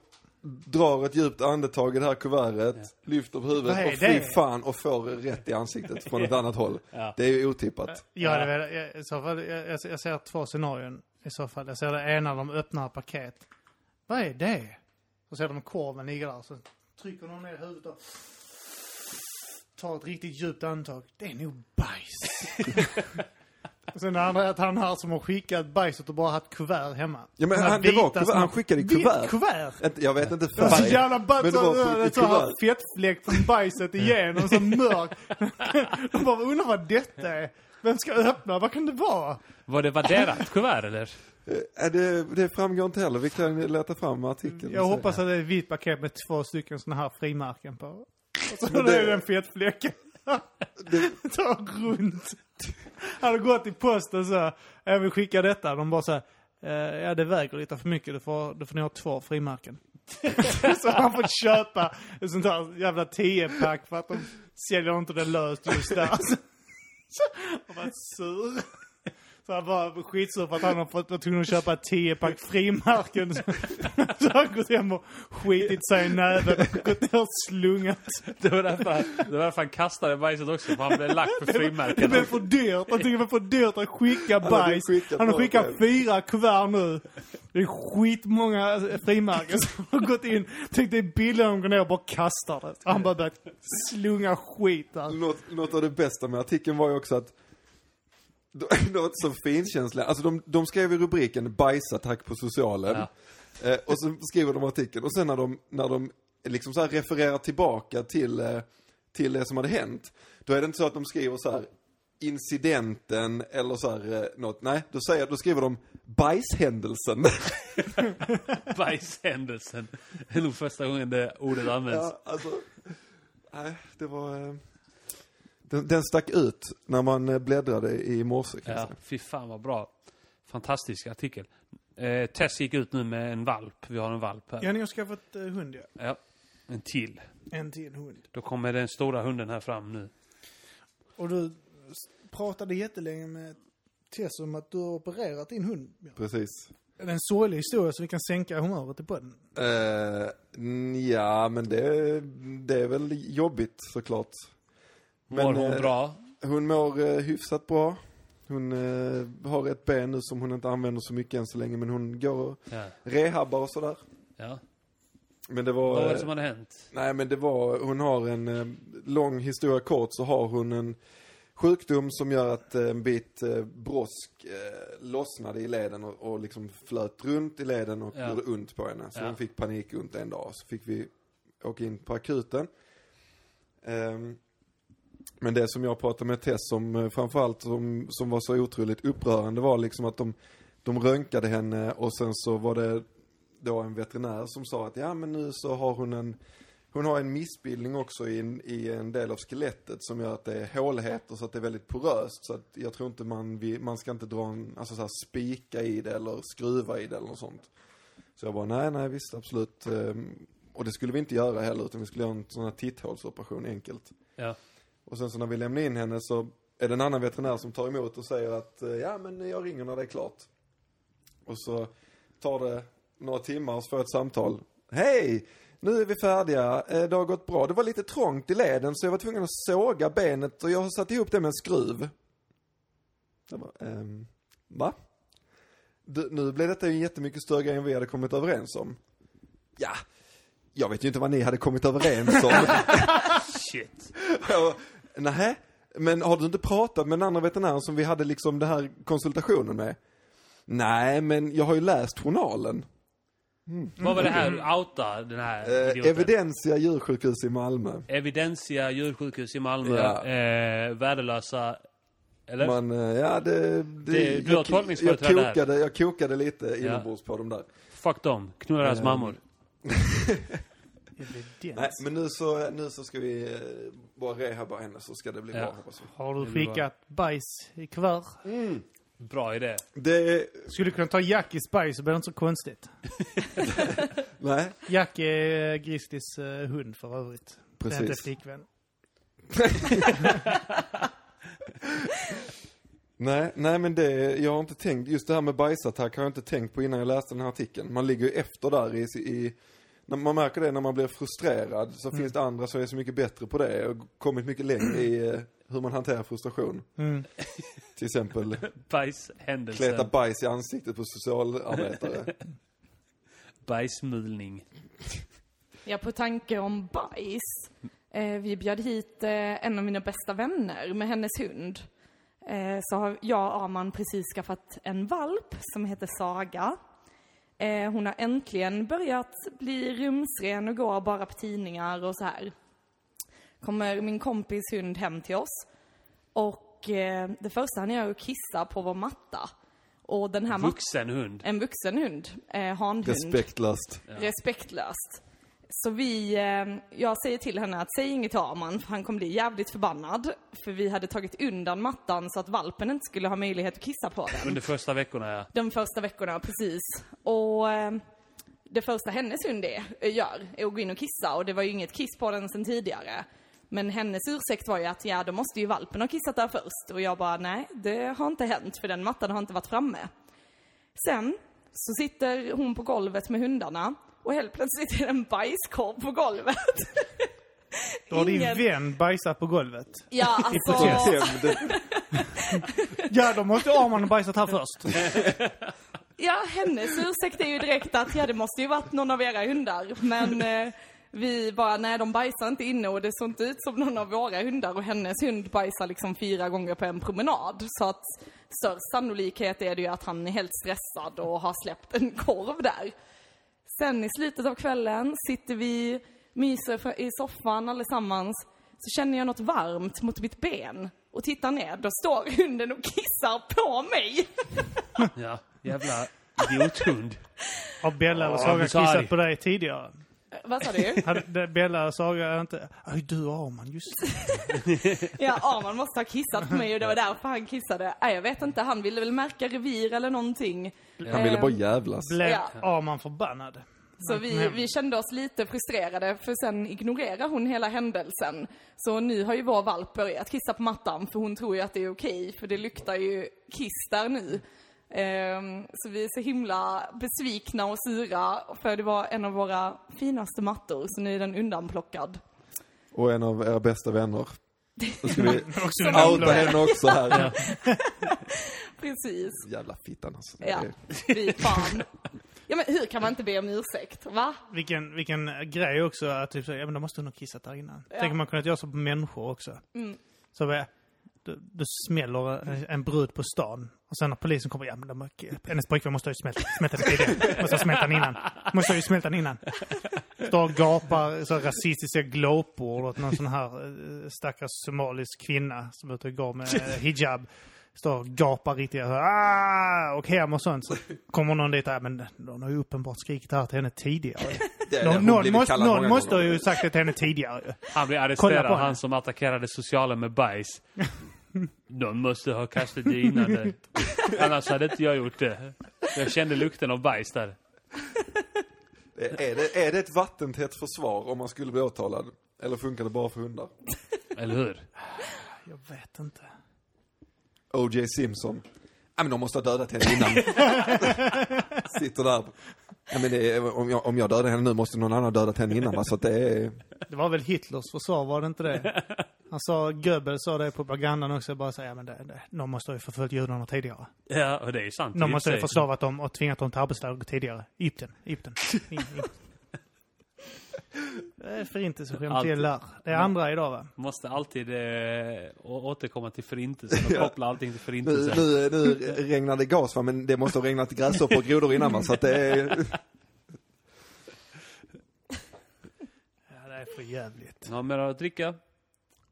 Speaker 4: drar ett djupt andetag i det här kuvertet, lyfter på huvudet
Speaker 3: Vad är
Speaker 4: och fy
Speaker 3: det?
Speaker 4: fan och får rätt i ansiktet från ett annat håll.
Speaker 2: [LAUGHS] Ja.
Speaker 4: Det är ju otippat.
Speaker 3: Jag, hade velat, jag, i så fall, jag, jag, jag ser två scenarion i så fall. Jag ser det ena de öppnar paket. Vad är det? Så ser de korven ligga där. Så trycker de ner huvudet och tar ett riktigt djupt andetag. Det är nog bajs. och sen det andra är att han här som har skickat bajset och bara haft kuvert hemma.
Speaker 4: Ja, men
Speaker 3: De här
Speaker 4: han- det var
Speaker 3: vita
Speaker 4: kuvert.
Speaker 3: små-
Speaker 4: Han skickade i
Speaker 3: Vitt
Speaker 4: kuvert.
Speaker 3: kuvert.
Speaker 4: Inte- Jag vet inte
Speaker 3: Det var Så
Speaker 4: färg,
Speaker 3: Alltså, jävla
Speaker 4: men
Speaker 3: bajs,
Speaker 4: det
Speaker 3: så,
Speaker 4: var på
Speaker 3: så,
Speaker 4: ett
Speaker 3: så här
Speaker 4: kuvert.
Speaker 3: fettfläck från bajset igenom, så
Speaker 4: [LAUGHS]
Speaker 3: mörk. De bara undrar vad detta är. Vem ska öppna? Vad kan det vara?
Speaker 2: Var det värderat kuvert eller?
Speaker 4: Eh, Det, det framgår inte heller, vi kan leta fram artikeln.
Speaker 3: Jag
Speaker 4: och se.
Speaker 3: hoppas att det är ett vitt paket med två stycken sådana här frimärken på. Och så
Speaker 4: Men
Speaker 3: det
Speaker 4: det-
Speaker 3: är den fettfläcken. [LAUGHS] Tar runt. Han har gått till posten så här, jag vill skicka detta. De bara så här, eh, ja det väger lite för mycket, du får, du får ni ha två frimärken. [LAUGHS] så han får köpa ett sånt här jävla 10-pack för att de [LAUGHS] säljer inte det löst just där. Så han var sur. Så han var skitsur för att han har fått, var tvungen att köpa ett 10-pack frimärken. [LAUGHS] Så han gått hem och skitit sig i näven och gått ner och slungat.
Speaker 2: Det var därför han, det var därför han kastade bajset också, för han blev lack på
Speaker 3: Det blev
Speaker 2: frimärkena.
Speaker 3: för dyrt. Han tycker det var för dyrt att skicka
Speaker 4: hade
Speaker 3: bajs.
Speaker 4: skickat
Speaker 3: Han har
Speaker 4: några
Speaker 3: skickat
Speaker 4: själv.
Speaker 3: fyra kuvert nu. Det är skitmånga eh, frimärken som [LAUGHS] har gått in. Tänkte det är billigare om de går ner och bara kastar det. Han bara börjat slunga skit där.
Speaker 4: Något, något av det bästa med artikeln var ju också att de- [LAUGHS] något så finkänsligt, alltså de, de skrev i rubriken bajsattack på socialen eh, och så skriver de artikeln och sen när de, när de liksom så här refererar tillbaka till, eh, till det som hade hänt, då är det inte så att de skriver så här incidenten eller så här eh, något, nej, då, säger, då skriver de bajshändelsen.
Speaker 2: Bajshändelsen. Det är nog första gången det ordet används.
Speaker 4: Ja, [LAUGHS] alltså, nej, det var... eh, Den, den stack ut när man eh, bläddrade i morse. kan jag
Speaker 2: Ja,
Speaker 4: säga.
Speaker 2: Alltså, fy fan vad bra. Fantastisk artikel. Eh, Tess gick ut nu med en valp. Vi har en valp här.
Speaker 3: Ja, ni har skaffat eh, hund ja.
Speaker 2: Ja, en till.
Speaker 3: En till hund.
Speaker 2: Då kommer den stora hunden här fram nu.
Speaker 3: Och du s- pratade jättelänge med Tess om att du har opererat din hund. Ja.
Speaker 4: Precis.
Speaker 3: Det är en sorglig historia så vi kan sänka humöret i podden.
Speaker 4: Eh, n- ja, men det, det är väl jobbigt såklart.
Speaker 2: Mår hon
Speaker 4: eh,
Speaker 2: bra?
Speaker 4: Hon mår eh, hyfsat bra. Hon eh, har ett ben nu som hon inte använder så mycket än så länge, men hon går och
Speaker 2: Ja.
Speaker 4: rehabbar och sådär.
Speaker 2: ja.
Speaker 4: Men det var...
Speaker 2: Vad var det
Speaker 4: eh,
Speaker 2: som hade hänt?
Speaker 4: Nej men det var, hon har en eh, lång historia kort så har hon en sjukdom som gör att eh, en bit eh, brosk eh, lossnade i leden och, och liksom flöt runt i leden och
Speaker 2: Ja.
Speaker 4: gjorde ont på henne. Så
Speaker 2: Ja.
Speaker 4: hon fick panikont en dag så fick vi åka in på akuten. Ehm, men det som jag pratade med Tess om eh, framförallt som, som var så otroligt upprörande var liksom att de, de röntgade henne och sen så var det då en veterinär som sa att ja men nu så har hon en hon har en missbildning också i en, i en del av skelettet som gör att det är håligheter så att det är väldigt poröst. Så att jag tror inte man, vill- man ska inte dra en, alltså så här spika i det eller skruva i det eller något sånt. Så jag bara, nej, nej, visst, absolut. Ehm, Och det skulle vi inte göra heller, utan vi skulle göra en sån här titthålsoperation enkelt.
Speaker 2: Ja.
Speaker 4: Och sen så när vi lämnar in henne så är det en annan veterinär som tar emot och säger att eh, ja men jag ringer när det är klart. Och så tar det några timmar och så får jag ett samtal. Hej! Nu är vi färdiga, Eh, det har gått bra. Det var lite trångt i leden så jag var tvungen att såga benet och jag har satt ihop det med en skruv. Jag bara, ehm, va? Du, nu blev detta ju en jättemycket större grej än vi hade kommit överens om. Ja, jag vet ju inte vad ni hade kommit överens om.
Speaker 2: Shit.
Speaker 4: Och, Nähä, men har du inte pratat med den andra veterinären som vi hade liksom den här konsultationen med? Nej, men jag har ju läst journalen.
Speaker 2: Vad var det här? Outa den här
Speaker 4: Mm. Eh,
Speaker 2: idioten.
Speaker 4: Evidensia djursjukhus i Malmö.
Speaker 2: Evidensia djursjukhus i Malmö.
Speaker 4: Ja.
Speaker 2: Eh, värdelösa. Eller?
Speaker 4: Man, eh, ja det... det,
Speaker 2: Det- du har
Speaker 4: jag,
Speaker 2: tolkningsföreträde här.
Speaker 4: kokade, jag kokade lite inombords på dem där.
Speaker 2: Fuck dem. Knulla
Speaker 4: Eh.
Speaker 2: deras mammor.
Speaker 4: Nej, men nu så, nu så ska vi eh, bara rehabba henne så ska det bli
Speaker 2: Ja.
Speaker 4: bra hoppas vi.
Speaker 3: Har du skickat bajs i kuvert?
Speaker 2: Bra idé.
Speaker 4: Det,
Speaker 3: Skulle du kunna ta Jackis bajs så blir det inte så konstigt.
Speaker 4: nej,
Speaker 3: Jack är eh, Gristis eh, hund för övrigt. Det är inte
Speaker 4: precis.
Speaker 3: flickvän.
Speaker 4: Nej, nej men det, jag har inte tänkt, just det här med bajsattack har jag inte tänkt på innan jag läste den här artikeln. Man ligger ju efter där i, i när man märker det när man blir frustrerad så
Speaker 3: Mm.
Speaker 4: finns det andra som är så mycket bättre på det och kommit mycket längre i eh, hur man hanterar frustration.
Speaker 3: Mm. [LAUGHS]
Speaker 4: Till exempel kleta
Speaker 2: Bajshändelsen.
Speaker 4: bajs i ansiktet på
Speaker 3: [LAUGHS]
Speaker 4: socialarbetare.
Speaker 2: Bajsmulning.
Speaker 5: Ja, på tanke om bajs. Eh, vi bjöd hit eh, en av mina bästa vänner med hennes hund. Eh, så har jag och Arman precis skaffat en valp som heter Saga. Eh, hon har äntligen börjat bli rumsren och går bara på tidningar och så här. Kommer min kompis hund hem till oss och eh, det första han gör är att kissa på vår matta. Och den här mattan,
Speaker 2: Vuxen hund.
Speaker 5: en vuxen hund, eh, hanhund
Speaker 4: Respektlöst. [LAUGHS]
Speaker 5: respektlöst. Så vi, eh, jag säger till henne att säg inget till Arman för han kommer bli jävligt förbannad. För vi hade tagit undan mattan så att valpen inte skulle ha möjlighet att kissa på den.
Speaker 2: Under första veckorna, ja.
Speaker 5: De första veckorna, precis. Och eh, det första hennes hund är, gör är att gå in och kissa och det var ju inget kiss på den sedan tidigare. Men hennes ursäkt var ju att ja, då måste ju valpen ha kissat där först. Och jag bara, nej, det har inte hänt för den mattan har inte varit framme. Sen så sitter hon på golvet med hundarna och helt plötsligt är det en bajskorv på golvet.
Speaker 3: Då har din
Speaker 5: Ingen-
Speaker 3: vän bajsat på golvet.
Speaker 5: Ja, alltså.
Speaker 4: Hämnd.
Speaker 3: Ja, då måste Arman ha bajsat här först.
Speaker 5: Ja, hennes ursäkt är ju direkt att ja, det måste ju varit någon av era hundar. Men eh, vi bara, nej de bajsar inte inne och det såg inte ut som någon av våra hundar och hennes hund bajsar liksom fyra gånger på en promenad. Så att störst sannolikhet är det ju att han är helt stressad och har släppt en korv där. Sen i slutet av kvällen sitter vi, myser för- i soffan allesammans. Så känner jag något varmt mot mitt ben och tittar ner. Då står hunden och kissar på mig.
Speaker 2: Ja, jävla idiothund.
Speaker 3: Har Bella eller
Speaker 2: Åh,
Speaker 3: Saga
Speaker 2: jag blir så arg.
Speaker 3: kissat på dig tidigare?
Speaker 5: Eh, Vad sa du?
Speaker 3: Hade det- Bella och Saga inte... Aj, du Arman, just det.
Speaker 5: Ja, Arman måste ha kissat på mig och det var därför han kissade. Nej, jag vet inte, han ville väl märka revir eller någonting.
Speaker 4: Han ville bara jävlas.
Speaker 3: Blev
Speaker 5: Ja.
Speaker 3: Arman förbannad?
Speaker 5: Så vi, vi kände oss lite frustrerade för sen ignorerar hon hela händelsen. Så nu har ju vår valp börjat kissa på mattan för hon tror ju att det är okej för det luktar ju kiss där nu. Ehm, så vi är så himla besvikna och sura för det var en av våra finaste mattor så nu är den undanplockad.
Speaker 4: Och en av era bästa vänner.
Speaker 3: [LAUGHS]
Speaker 4: Nu ska vi
Speaker 3: Också
Speaker 4: outa henne också här.
Speaker 5: Precis.
Speaker 4: Jävla fittan alltså.
Speaker 5: Ja, fy fan. Ja men hur kan man inte be om ursäkt? Va?
Speaker 3: Vilken, vilken grej också att typ så, ja men då måste hon ha kissat där innan. Tänk om man kunnat göra så på människor också. Så bara, du, du smäller en- en brud på stan och sen när polisen kommer, ja men de, har- hennes pojkvän måste ha ju smält, smältat tidigare. Måste ha smält den innan. Måste ha ju smält den innan. Står och gapar så här rasistiska glåpord åt någon sån här eh, stackars somalisk kvinna som är ute och går med eh, hijab. Står och gapar riktigt så här, "Ah!" och hem och sånt. Så kommer någon dit, ja men de har ju uppenbart skrikit här till henne tidigare.
Speaker 4: Det är det.
Speaker 3: Nå-
Speaker 4: Hon
Speaker 3: någon
Speaker 4: blivit
Speaker 3: måste,
Speaker 4: kallad
Speaker 3: någon
Speaker 4: många
Speaker 3: måste
Speaker 4: gånger.
Speaker 3: ju sagt det till henne tidigare ju.
Speaker 2: Han blev
Speaker 3: Kolla på
Speaker 2: arresterad,
Speaker 3: henne.
Speaker 2: han som attackerade socialen med bajs. Någon måste ha kastat det innan det. Annars hade inte jag gjort det. Jag kände lukten av bajs där.
Speaker 4: Eh, Är det, är det ett vattentätt försvar om man skulle bli åtalad? Eller funkar det bara för hundar?
Speaker 2: Eller hur?
Speaker 3: Jag vet inte.
Speaker 4: O.J. Simpson. Ja men de måste ha dödat henne innan. Sitter där. Ja, men det är, om, jag, om jag dödar henne nu måste någon annan ha dödat henne innan va? Så att det är...
Speaker 3: Det var väl Hitlers försvar, var det inte det? Han sa, Goebbels sa det på propagandan också, bara säga, men det, det, någon måste ha ju förföljt judarna tidigare.
Speaker 2: Ja, och det är ju sant.
Speaker 3: Någon
Speaker 2: i och
Speaker 3: måste ha
Speaker 2: för sig.
Speaker 3: förslavat dem och tvingat dem till arbetsläger tidigare. Egypten, Egypten. In- in. Det är förintelseskämt
Speaker 2: Allt.
Speaker 3: gillar. Det är andra idag va?
Speaker 2: Måste alltid eh, å- återkomma till förintelsen och koppla allting till
Speaker 4: Nu,
Speaker 2: förintelsen.
Speaker 4: nu, nu regnar det gas va? Men det måste ha regnat gräshoppor och grodor innan va? Så att det är...
Speaker 3: Ja, det är för jävligt.
Speaker 2: Har mer att dricka?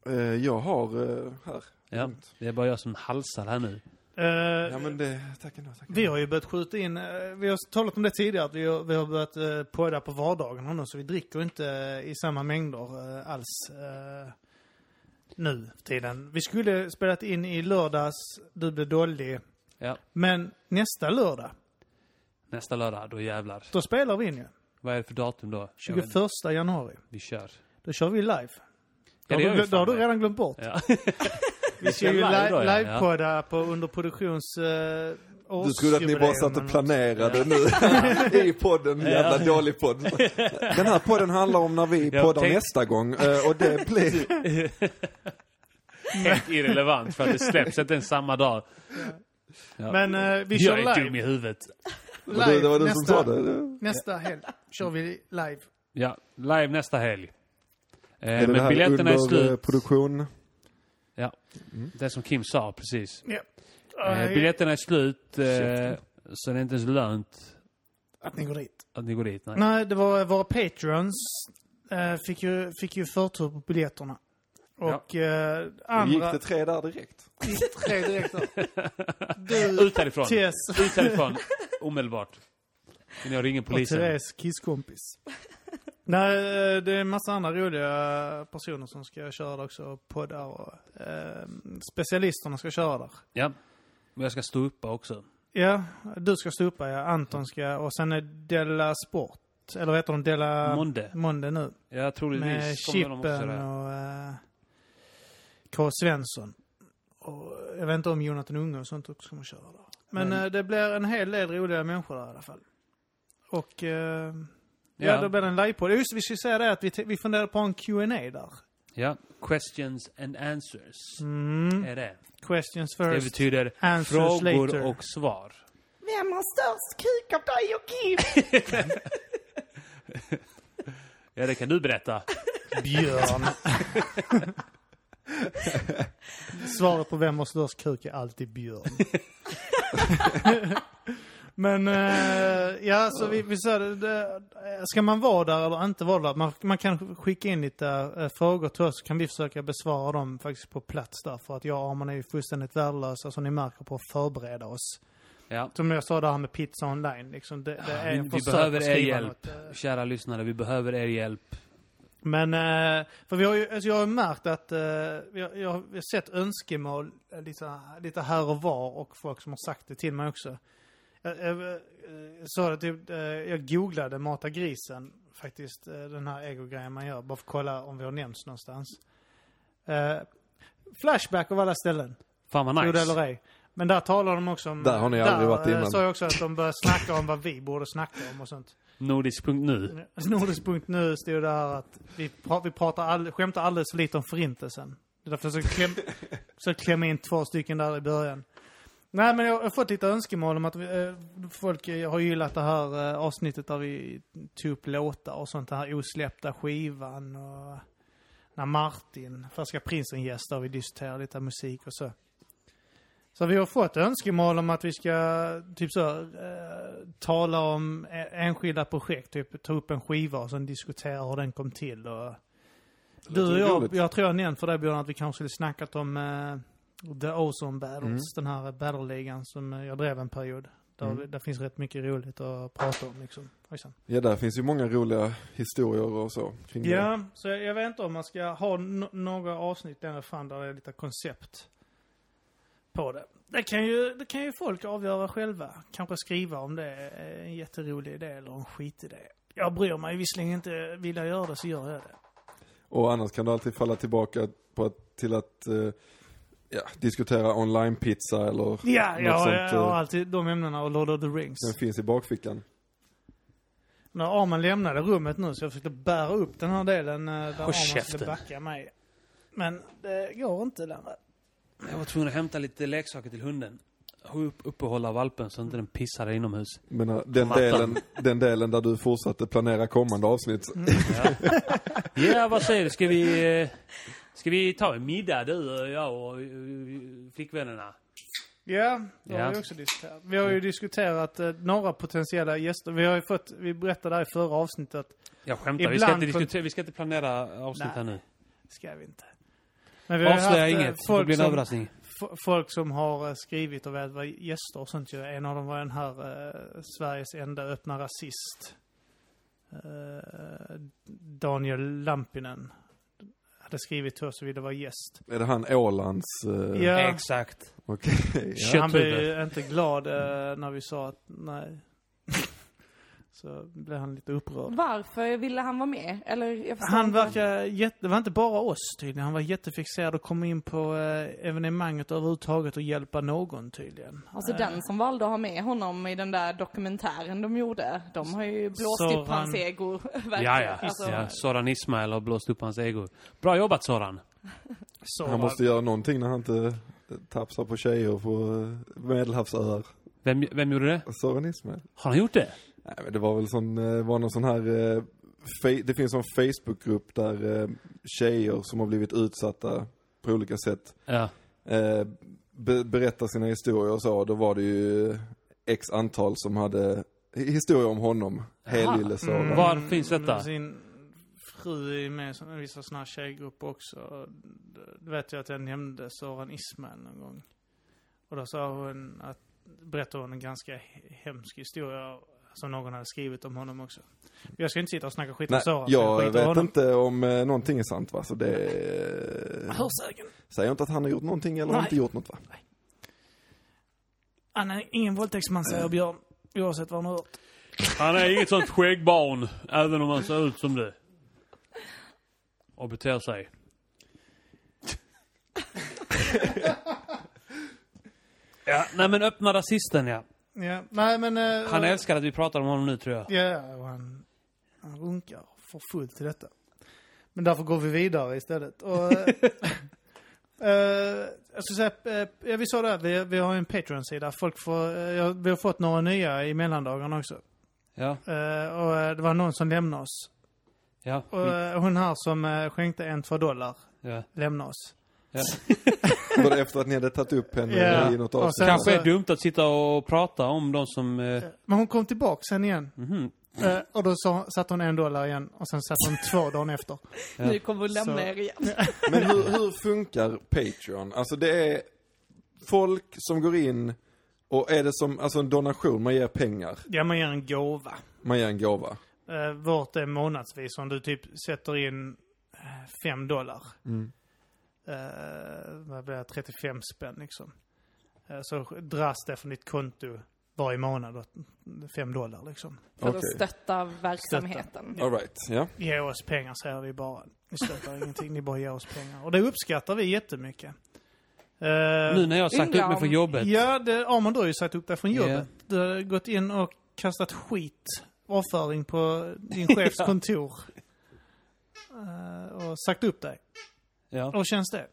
Speaker 4: Eh, Jag har eh, här.
Speaker 2: Ja, det är bara jag som halsar här nu.
Speaker 3: Eh,
Speaker 4: Ja men det, tack ändå. Tack.
Speaker 3: Vi har ju börjat skjuta in, eh, vi har talat om det tidigare, att vi har, vi har börjat eh, podda på vardagarna nu, så vi dricker inte eh, i samma mängder eh, alls eh, nu för tiden. Vi skulle spelat in i lördags, du blev dålig,
Speaker 2: Ja,
Speaker 3: men nästa lördag,
Speaker 2: nästa lördag, då jävlar.
Speaker 3: då spelar vi in ju.
Speaker 2: Vad är det för datum då? Jag vet
Speaker 3: 21
Speaker 2: inte.
Speaker 3: januari.
Speaker 2: Vi kör.
Speaker 3: Då kör vi live.
Speaker 2: Ja,
Speaker 3: Då,
Speaker 2: det
Speaker 3: har
Speaker 2: gör
Speaker 3: du-
Speaker 2: vi
Speaker 3: då har
Speaker 2: fan
Speaker 3: du
Speaker 2: det.
Speaker 3: redan glömt bort.
Speaker 2: Ja.
Speaker 3: Vi ska ju
Speaker 2: kör live
Speaker 3: li-
Speaker 2: då, ja.
Speaker 3: livepodda på underproduktions eh,
Speaker 4: Du trodde att ni bara satt och planerade nu [LAUGHS] i podden, jävla dålig podd. Den här podden handlar om när vi
Speaker 2: Jag
Speaker 4: poddar
Speaker 2: tänkte-
Speaker 4: nästa gång eh, och det blir...
Speaker 2: Helt irrelevant för att det släpps inte ens samma dag. Ja.
Speaker 3: Men eh, vi kör
Speaker 2: jag är
Speaker 3: live.
Speaker 2: dum i huvudet.
Speaker 4: Och det, det var du som
Speaker 3: nästa, Eh,
Speaker 4: sa det. Det-
Speaker 3: Nästa helg kör vi live.
Speaker 2: Ja, live nästa helg. Eh,
Speaker 4: Är det det
Speaker 2: men
Speaker 4: här
Speaker 2: biljetterna är
Speaker 4: under, eh,
Speaker 2: slut.
Speaker 4: produktion?
Speaker 2: Ja, det som Kim sa precis.
Speaker 3: Ja.
Speaker 2: Eh, biljetterna är slut, eh, så det är inte ens lönt
Speaker 3: Att ni går dit.
Speaker 2: att ni går dit. Nej.
Speaker 3: Nej, det var våra patrons. Eh, fick, ju, fick ju förtur på biljetterna. Och eh,
Speaker 4: Gick
Speaker 3: andra...
Speaker 4: det tre där direkt?
Speaker 3: tre direkt där. Du,
Speaker 2: Ut härifrån.
Speaker 3: [LAUGHS] Tess
Speaker 2: Ut härifrån. Omedelbart. Men jag ringer
Speaker 3: och
Speaker 2: polisen.
Speaker 3: Therese kisskompis. Nej, eh, det är en massa andra roliga personer som ska köra där också. Poddar och... Eh, specialisterna ska köra där.
Speaker 2: Ja. Men jag ska stå uppe också.
Speaker 3: Ja, du ska stå uppe, ja. Anton ska... Och sen är Della Sport. ut, eller vad heter de, Dela
Speaker 2: Monde.
Speaker 3: Monde nu.
Speaker 2: Jag tror det
Speaker 3: Med
Speaker 2: visst kommer de också
Speaker 3: Chippen
Speaker 2: där.
Speaker 3: och eh, K. Svensson. Och jag vet inte om Jonathan Unge och sånt också kommer köra där. Men
Speaker 2: Men-
Speaker 3: eh, det blir en hel del roliga människor där i alla fall. Och eh, ja.
Speaker 2: Ja.
Speaker 3: då blir det en livepodd. Just det, vi ska säga det att vi, t- vi funderar på en Q&A där.
Speaker 2: Ja. Questions and answers.
Speaker 3: Mm.
Speaker 2: Är det.
Speaker 3: Questions
Speaker 2: Det
Speaker 3: first.
Speaker 2: betyder
Speaker 3: Answers
Speaker 2: frågor
Speaker 3: later.
Speaker 2: och svar.
Speaker 5: Vem har störst kuk av dig och Kim?
Speaker 2: Ja, det kan du berätta.
Speaker 3: Björn. Svaret på vem har störst kuk är alltid Björn. Men eh, ja, så vi, vi sa det, det, ska man vara där eller inte vara där? Man, man kan skicka in lite eh, frågor till oss så kan vi försöka besvara dem faktiskt på plats där. För att jag och Arman är ju fullständigt värdelösa som ni märker på att förbereda oss. [LAUGHS]
Speaker 2: Ja. Ah,
Speaker 3: Som jag sa det här med pizza online, liksom, det, det är
Speaker 2: Vi,
Speaker 3: en
Speaker 2: vi
Speaker 3: försök
Speaker 2: behöver
Speaker 3: att
Speaker 2: er
Speaker 3: skriva
Speaker 2: hjälp.
Speaker 3: något, eh,
Speaker 2: Kära lyssnare, vi behöver er hjälp.
Speaker 3: men, eh, för vi har ju, alltså jag har ju märkt att, eh, jag, jag har sett önskemål eh, lite, lite här och var och folk som har sagt det till mig också. Jag, jag, eh, sa det typ, eh, jag googlade mata grisen, faktiskt, eh, den här egogrejen man gör, bara för att kolla om vi har nämnts någonstans. Eh, flashback av alla ställen,
Speaker 2: Fan vad
Speaker 3: nice. det
Speaker 2: nice.
Speaker 3: eller ej. Men där talar de också om...
Speaker 4: Där har ni aldrig varit
Speaker 3: eh,
Speaker 4: innan.
Speaker 3: sa jag också att de börjar snacka om vad vi borde snacka om och sånt.
Speaker 2: Nordisk.nu.
Speaker 3: Alltså, Nordisk.nu stod det här att vi, pra- vi pratar all, skämtar alldeles för lite om förintelsen. Det är därför jag försökte kläm, försökte klämma in två stycken där i början. Nej, men jag har fått lite önskemål om att vi, eh, folk eh, har gillat det här eh, avsnittet där vi tog upp låtar och sånt. Den här osläppta skivan och när Martin, Färska Prinsen gästar och vi diskuterar lite musik och så. Så vi har fått önskemål om att vi ska typ så här, eh, tala om e- enskilda projekt, typ ta upp en skiva och sen diskutera hur den kom till. Och... Du och
Speaker 4: låter
Speaker 3: jag,
Speaker 4: roligt.
Speaker 3: jag tror jag nämnt för dig Björn att vi kanske skulle snackat om eh, The Ozone Battles, den här battle-ligan som eh, jag drev en period. Där,
Speaker 4: Mm.
Speaker 3: där finns rätt mycket roligt att prata om liksom. Ojsan.
Speaker 4: Ja, där finns ju många roliga historier och så kring det.
Speaker 3: Ja, så jag, jag vet inte om man ska ha no- några avsnitt längre fram där det är lite koncept på det. Det kan, ju, det kan ju folk avgöra själva. Kanske skriva om det är en jätterolig idé eller en skitidé. Jag bryr mig visserligen inte. Vill jag göra det så gör jag det.
Speaker 4: Och annars kan du alltid falla tillbaka på att, till att eh, ja, diskutera online-pizza eller
Speaker 3: Ja,
Speaker 4: Något
Speaker 3: jag,
Speaker 4: sånt,
Speaker 3: jag har
Speaker 4: eh.
Speaker 3: alltid de ämnena och Lord of the Rings.
Speaker 4: den finns i bakfickan.
Speaker 3: När Arman lämnade rummet nu så jag försökte bära upp den här delen eh, där Arman skulle
Speaker 2: käften.
Speaker 3: backa mig. Men det går inte längre.
Speaker 2: Jag var tvungen att hämta lite leksaker till hunden. Upp, uppehålla valpen så inte den pissar inomhus.
Speaker 4: Men eh, den
Speaker 2: Vatten.
Speaker 4: delen, den delen där du fortsatte planera kommande avsnitt.
Speaker 2: Ja,
Speaker 3: [LAUGHS]
Speaker 2: vad säger du? Ska vi, eh, ska vi ta en middag du och jag och eh, flickvännerna?
Speaker 3: Ja, det har
Speaker 2: Ja.
Speaker 3: vi också diskuterat. Vi har ju diskuterat eh, några potentiella gäster. Vi har ju fått, vi berättade här i förra avsnittet att,
Speaker 2: Jag skämtar. Vi ska,
Speaker 3: Ibland
Speaker 2: inte diskutera, vi ska inte planera avsnitt här nu.
Speaker 3: ska vi inte. Men vi har ju
Speaker 2: Avslöja
Speaker 3: haft, eh,
Speaker 2: inget. Det
Speaker 3: Folk
Speaker 2: blir en
Speaker 3: som,
Speaker 2: överraskning.
Speaker 3: f- folk som har eh, skrivit och velat vara gäster och sånt ju. En av dem var den här eh, Sveriges enda öppna rasist. Eh, Daniel Lampinen. Hade skrivit till oss och ville vara gäst.
Speaker 4: Är det han Ålands? Eh,
Speaker 3: Ja.
Speaker 2: Exakt.
Speaker 4: Okej. ja.
Speaker 2: Kött
Speaker 3: Han blev
Speaker 2: huvud.
Speaker 3: ju inte glad eh, när vi sa att nej. [LAUGHS] Så blev han lite upprörd.
Speaker 5: [LAUGHS] Varför ville han vara med? Eller jag förstår
Speaker 3: Han
Speaker 5: inte.
Speaker 3: verkar jätte, det var inte bara oss tydligen. Han var jättefixerad att komma in på eh, evenemanget överhuvudtaget och hjälpa någon tydligen.
Speaker 5: Alltså den som valde att ha med honom i den där dokumentären de gjorde, de har ju blåst
Speaker 3: Soran.
Speaker 5: upp hans ego. [LAUGHS] verkligen.
Speaker 2: Ja, ja.
Speaker 5: Alltså,
Speaker 2: ja. Soran Ismail har blåst upp hans ego. Bra jobbat Soran.
Speaker 3: Så,
Speaker 4: Han måste göra någonting när han inte eh, tafsar på tjejer på eh, medelhavsöar.
Speaker 2: Vem, vem gjorde det?
Speaker 4: Soran Ismail.
Speaker 2: Har han gjort det?
Speaker 4: Nej men det var väl sån, eh, var någon sån här, eh, fe- det finns en Facebookgrupp där eh, tjejer som har blivit utsatta på olika sätt
Speaker 2: Ja.
Speaker 4: eh, be- berättar sina historier och så. Då var det ju eh, x antal som hade hi- historier om honom, helylle Soran.
Speaker 2: Mm. Var finns detta?
Speaker 3: med Sin fru är med i vissa sådana här tjejgrupper också. Och Det vet jag att jag nämnde Soran Ismail någon gång. Och då sa hon att, berättade hon en ganska he- hemsk historia som någon hade skrivit om honom också. Jag ska inte sitta och snacka skit om
Speaker 4: Nej,
Speaker 3: Soran. så
Speaker 4: jag
Speaker 3: skiter i
Speaker 4: vet
Speaker 3: honom.
Speaker 4: inte om eh, någonting är sant va, så det... eh,
Speaker 3: Hörsägen.
Speaker 4: Säger inte att han har gjort någonting eller
Speaker 3: Nej.
Speaker 4: inte gjort något va? Eh.
Speaker 3: Han är ingen våldtäktsman säger Björn. Oavsett vad han har hört.
Speaker 2: Han är inget sånt skäggbarn, även om han ser ut som det. Och beter sig. ja, nej men öppna rasisten ja.
Speaker 3: Ja, nej men... eh,
Speaker 2: Han älskar att vi pratar om honom nu tror jag.
Speaker 3: Ja, och han, han runkar för fullt till detta. Men därför går vi vidare istället. Och, [LAUGHS] eh, jag ska säga, eh, ja, vi sa det, här, vi, vi har ju en Patreon-sida. Folk får, eh, ja, vi har fått några nya i mellandagarna också.
Speaker 2: Ja,
Speaker 3: Eh, och eh, det var någon som lämnade oss.
Speaker 2: ja.
Speaker 3: Och, eh, hon här som eh, skänkte en, två dollar,
Speaker 2: ja.
Speaker 3: lämnade oss.
Speaker 4: Var det efter att ni hade tagit upp henne
Speaker 3: Ja.
Speaker 4: i något
Speaker 3: Och
Speaker 4: avsnitt?
Speaker 3: sen-
Speaker 2: Kanske är
Speaker 3: alltså-
Speaker 2: dumt att sitta och prata om de som... Eh,
Speaker 3: Men hon kom tillbaka sen igen.
Speaker 2: mhm.
Speaker 3: Eh, och då sa, satte hon en dollar igen. Och sen satte hon två dagen efter.
Speaker 2: Ja.
Speaker 5: Nu kommer vi lämna
Speaker 3: Så-
Speaker 5: er igen.
Speaker 4: Men hur, hur funkar Patreon? Alltså det är folk som går in och är det som, alltså en donation, man ger pengar,
Speaker 3: Ja, man ger en gåva.
Speaker 4: man ger en gåva.
Speaker 3: Eh, vart är månadsvis om du typ sätter in 5 dollar.
Speaker 4: Mm.
Speaker 3: Eh, vad blir det? 35 spänn liksom. Eh, så dras det från ditt konto varje månad åt 5 dollar liksom.
Speaker 5: För
Speaker 4: Okej.
Speaker 5: att stötta verksamheten.
Speaker 4: All right, ja.
Speaker 3: Ge oss pengar säger vi bara. Ni stöttar ingenting, ni bara ger oss pengar. Och det uppskattar vi jättemycket. Eh,
Speaker 2: Nu när jag har sagt upp mig från jobbet.
Speaker 3: Ja, det, Armand, du har ju sagt upp dig från
Speaker 2: Ja.
Speaker 3: jobbet. Du har gått in och kastat skit, avföring på din chefs
Speaker 2: [LAUGHS] Ja.
Speaker 3: kontor. Eh, och sagt upp dig.
Speaker 2: Ja.
Speaker 3: Och känns det?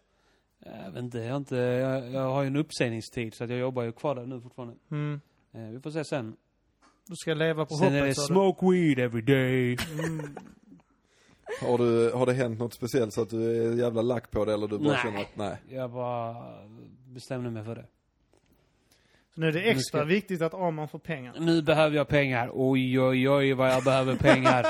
Speaker 2: Eh, Jag vet inte, jag, har inte jag, jag har ju en uppsägningstid så att jag jobbar ju kvar där nu fortfarande.
Speaker 3: Mm.
Speaker 2: Eh, vi får se sen.
Speaker 3: Du ska leva på
Speaker 2: Sen är det
Speaker 3: hoppet, sa du.
Speaker 2: smoke weed every day.
Speaker 3: Mm.
Speaker 4: Har, du, har det hänt något speciellt så att du är jävla lack på det eller du bara
Speaker 2: Nej.
Speaker 4: känner att nej?
Speaker 2: Jag bara bestämde mig för det.
Speaker 3: Så nu är det extra
Speaker 2: Nu ska-
Speaker 3: viktigt att Arman får pengar.
Speaker 2: Nu behöver jag pengar. Oj, oj, oj vad jag behöver
Speaker 3: [LAUGHS]
Speaker 2: pengar.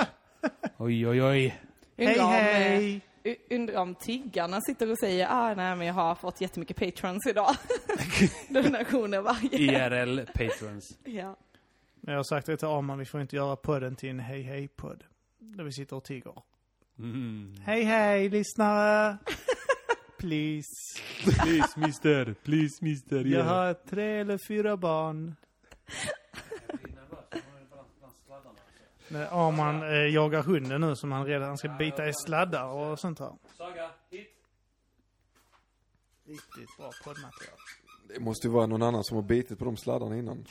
Speaker 2: Oj, oj, oj.
Speaker 3: Hej,
Speaker 5: Undrar om,
Speaker 3: hej!
Speaker 5: eh, u- Undrar om tiggarna sitter och säger ah, nej men jag har fått jättemycket patrons idag. [LAUGHS] Donationer varje.
Speaker 2: IRL patrons.
Speaker 5: [LAUGHS] Ja.
Speaker 3: Men jag har sagt det till Arman, vi får inte göra podden till en hej hej-podd. Där vi sitter och tigger.
Speaker 2: Mm.
Speaker 3: Hej hej, lyssnare! [LAUGHS] Please.
Speaker 2: Please mister, please mister.
Speaker 3: Jag har tre eller fyra barn. När Arman eh, jagar hunden nu som han redan han ska bita i sladdar och sånt här.
Speaker 2: Saga, hit.
Speaker 3: Riktigt bra poddmaterial.
Speaker 4: Det måste ju vara någon annan som har bitit på de sladdarna innan.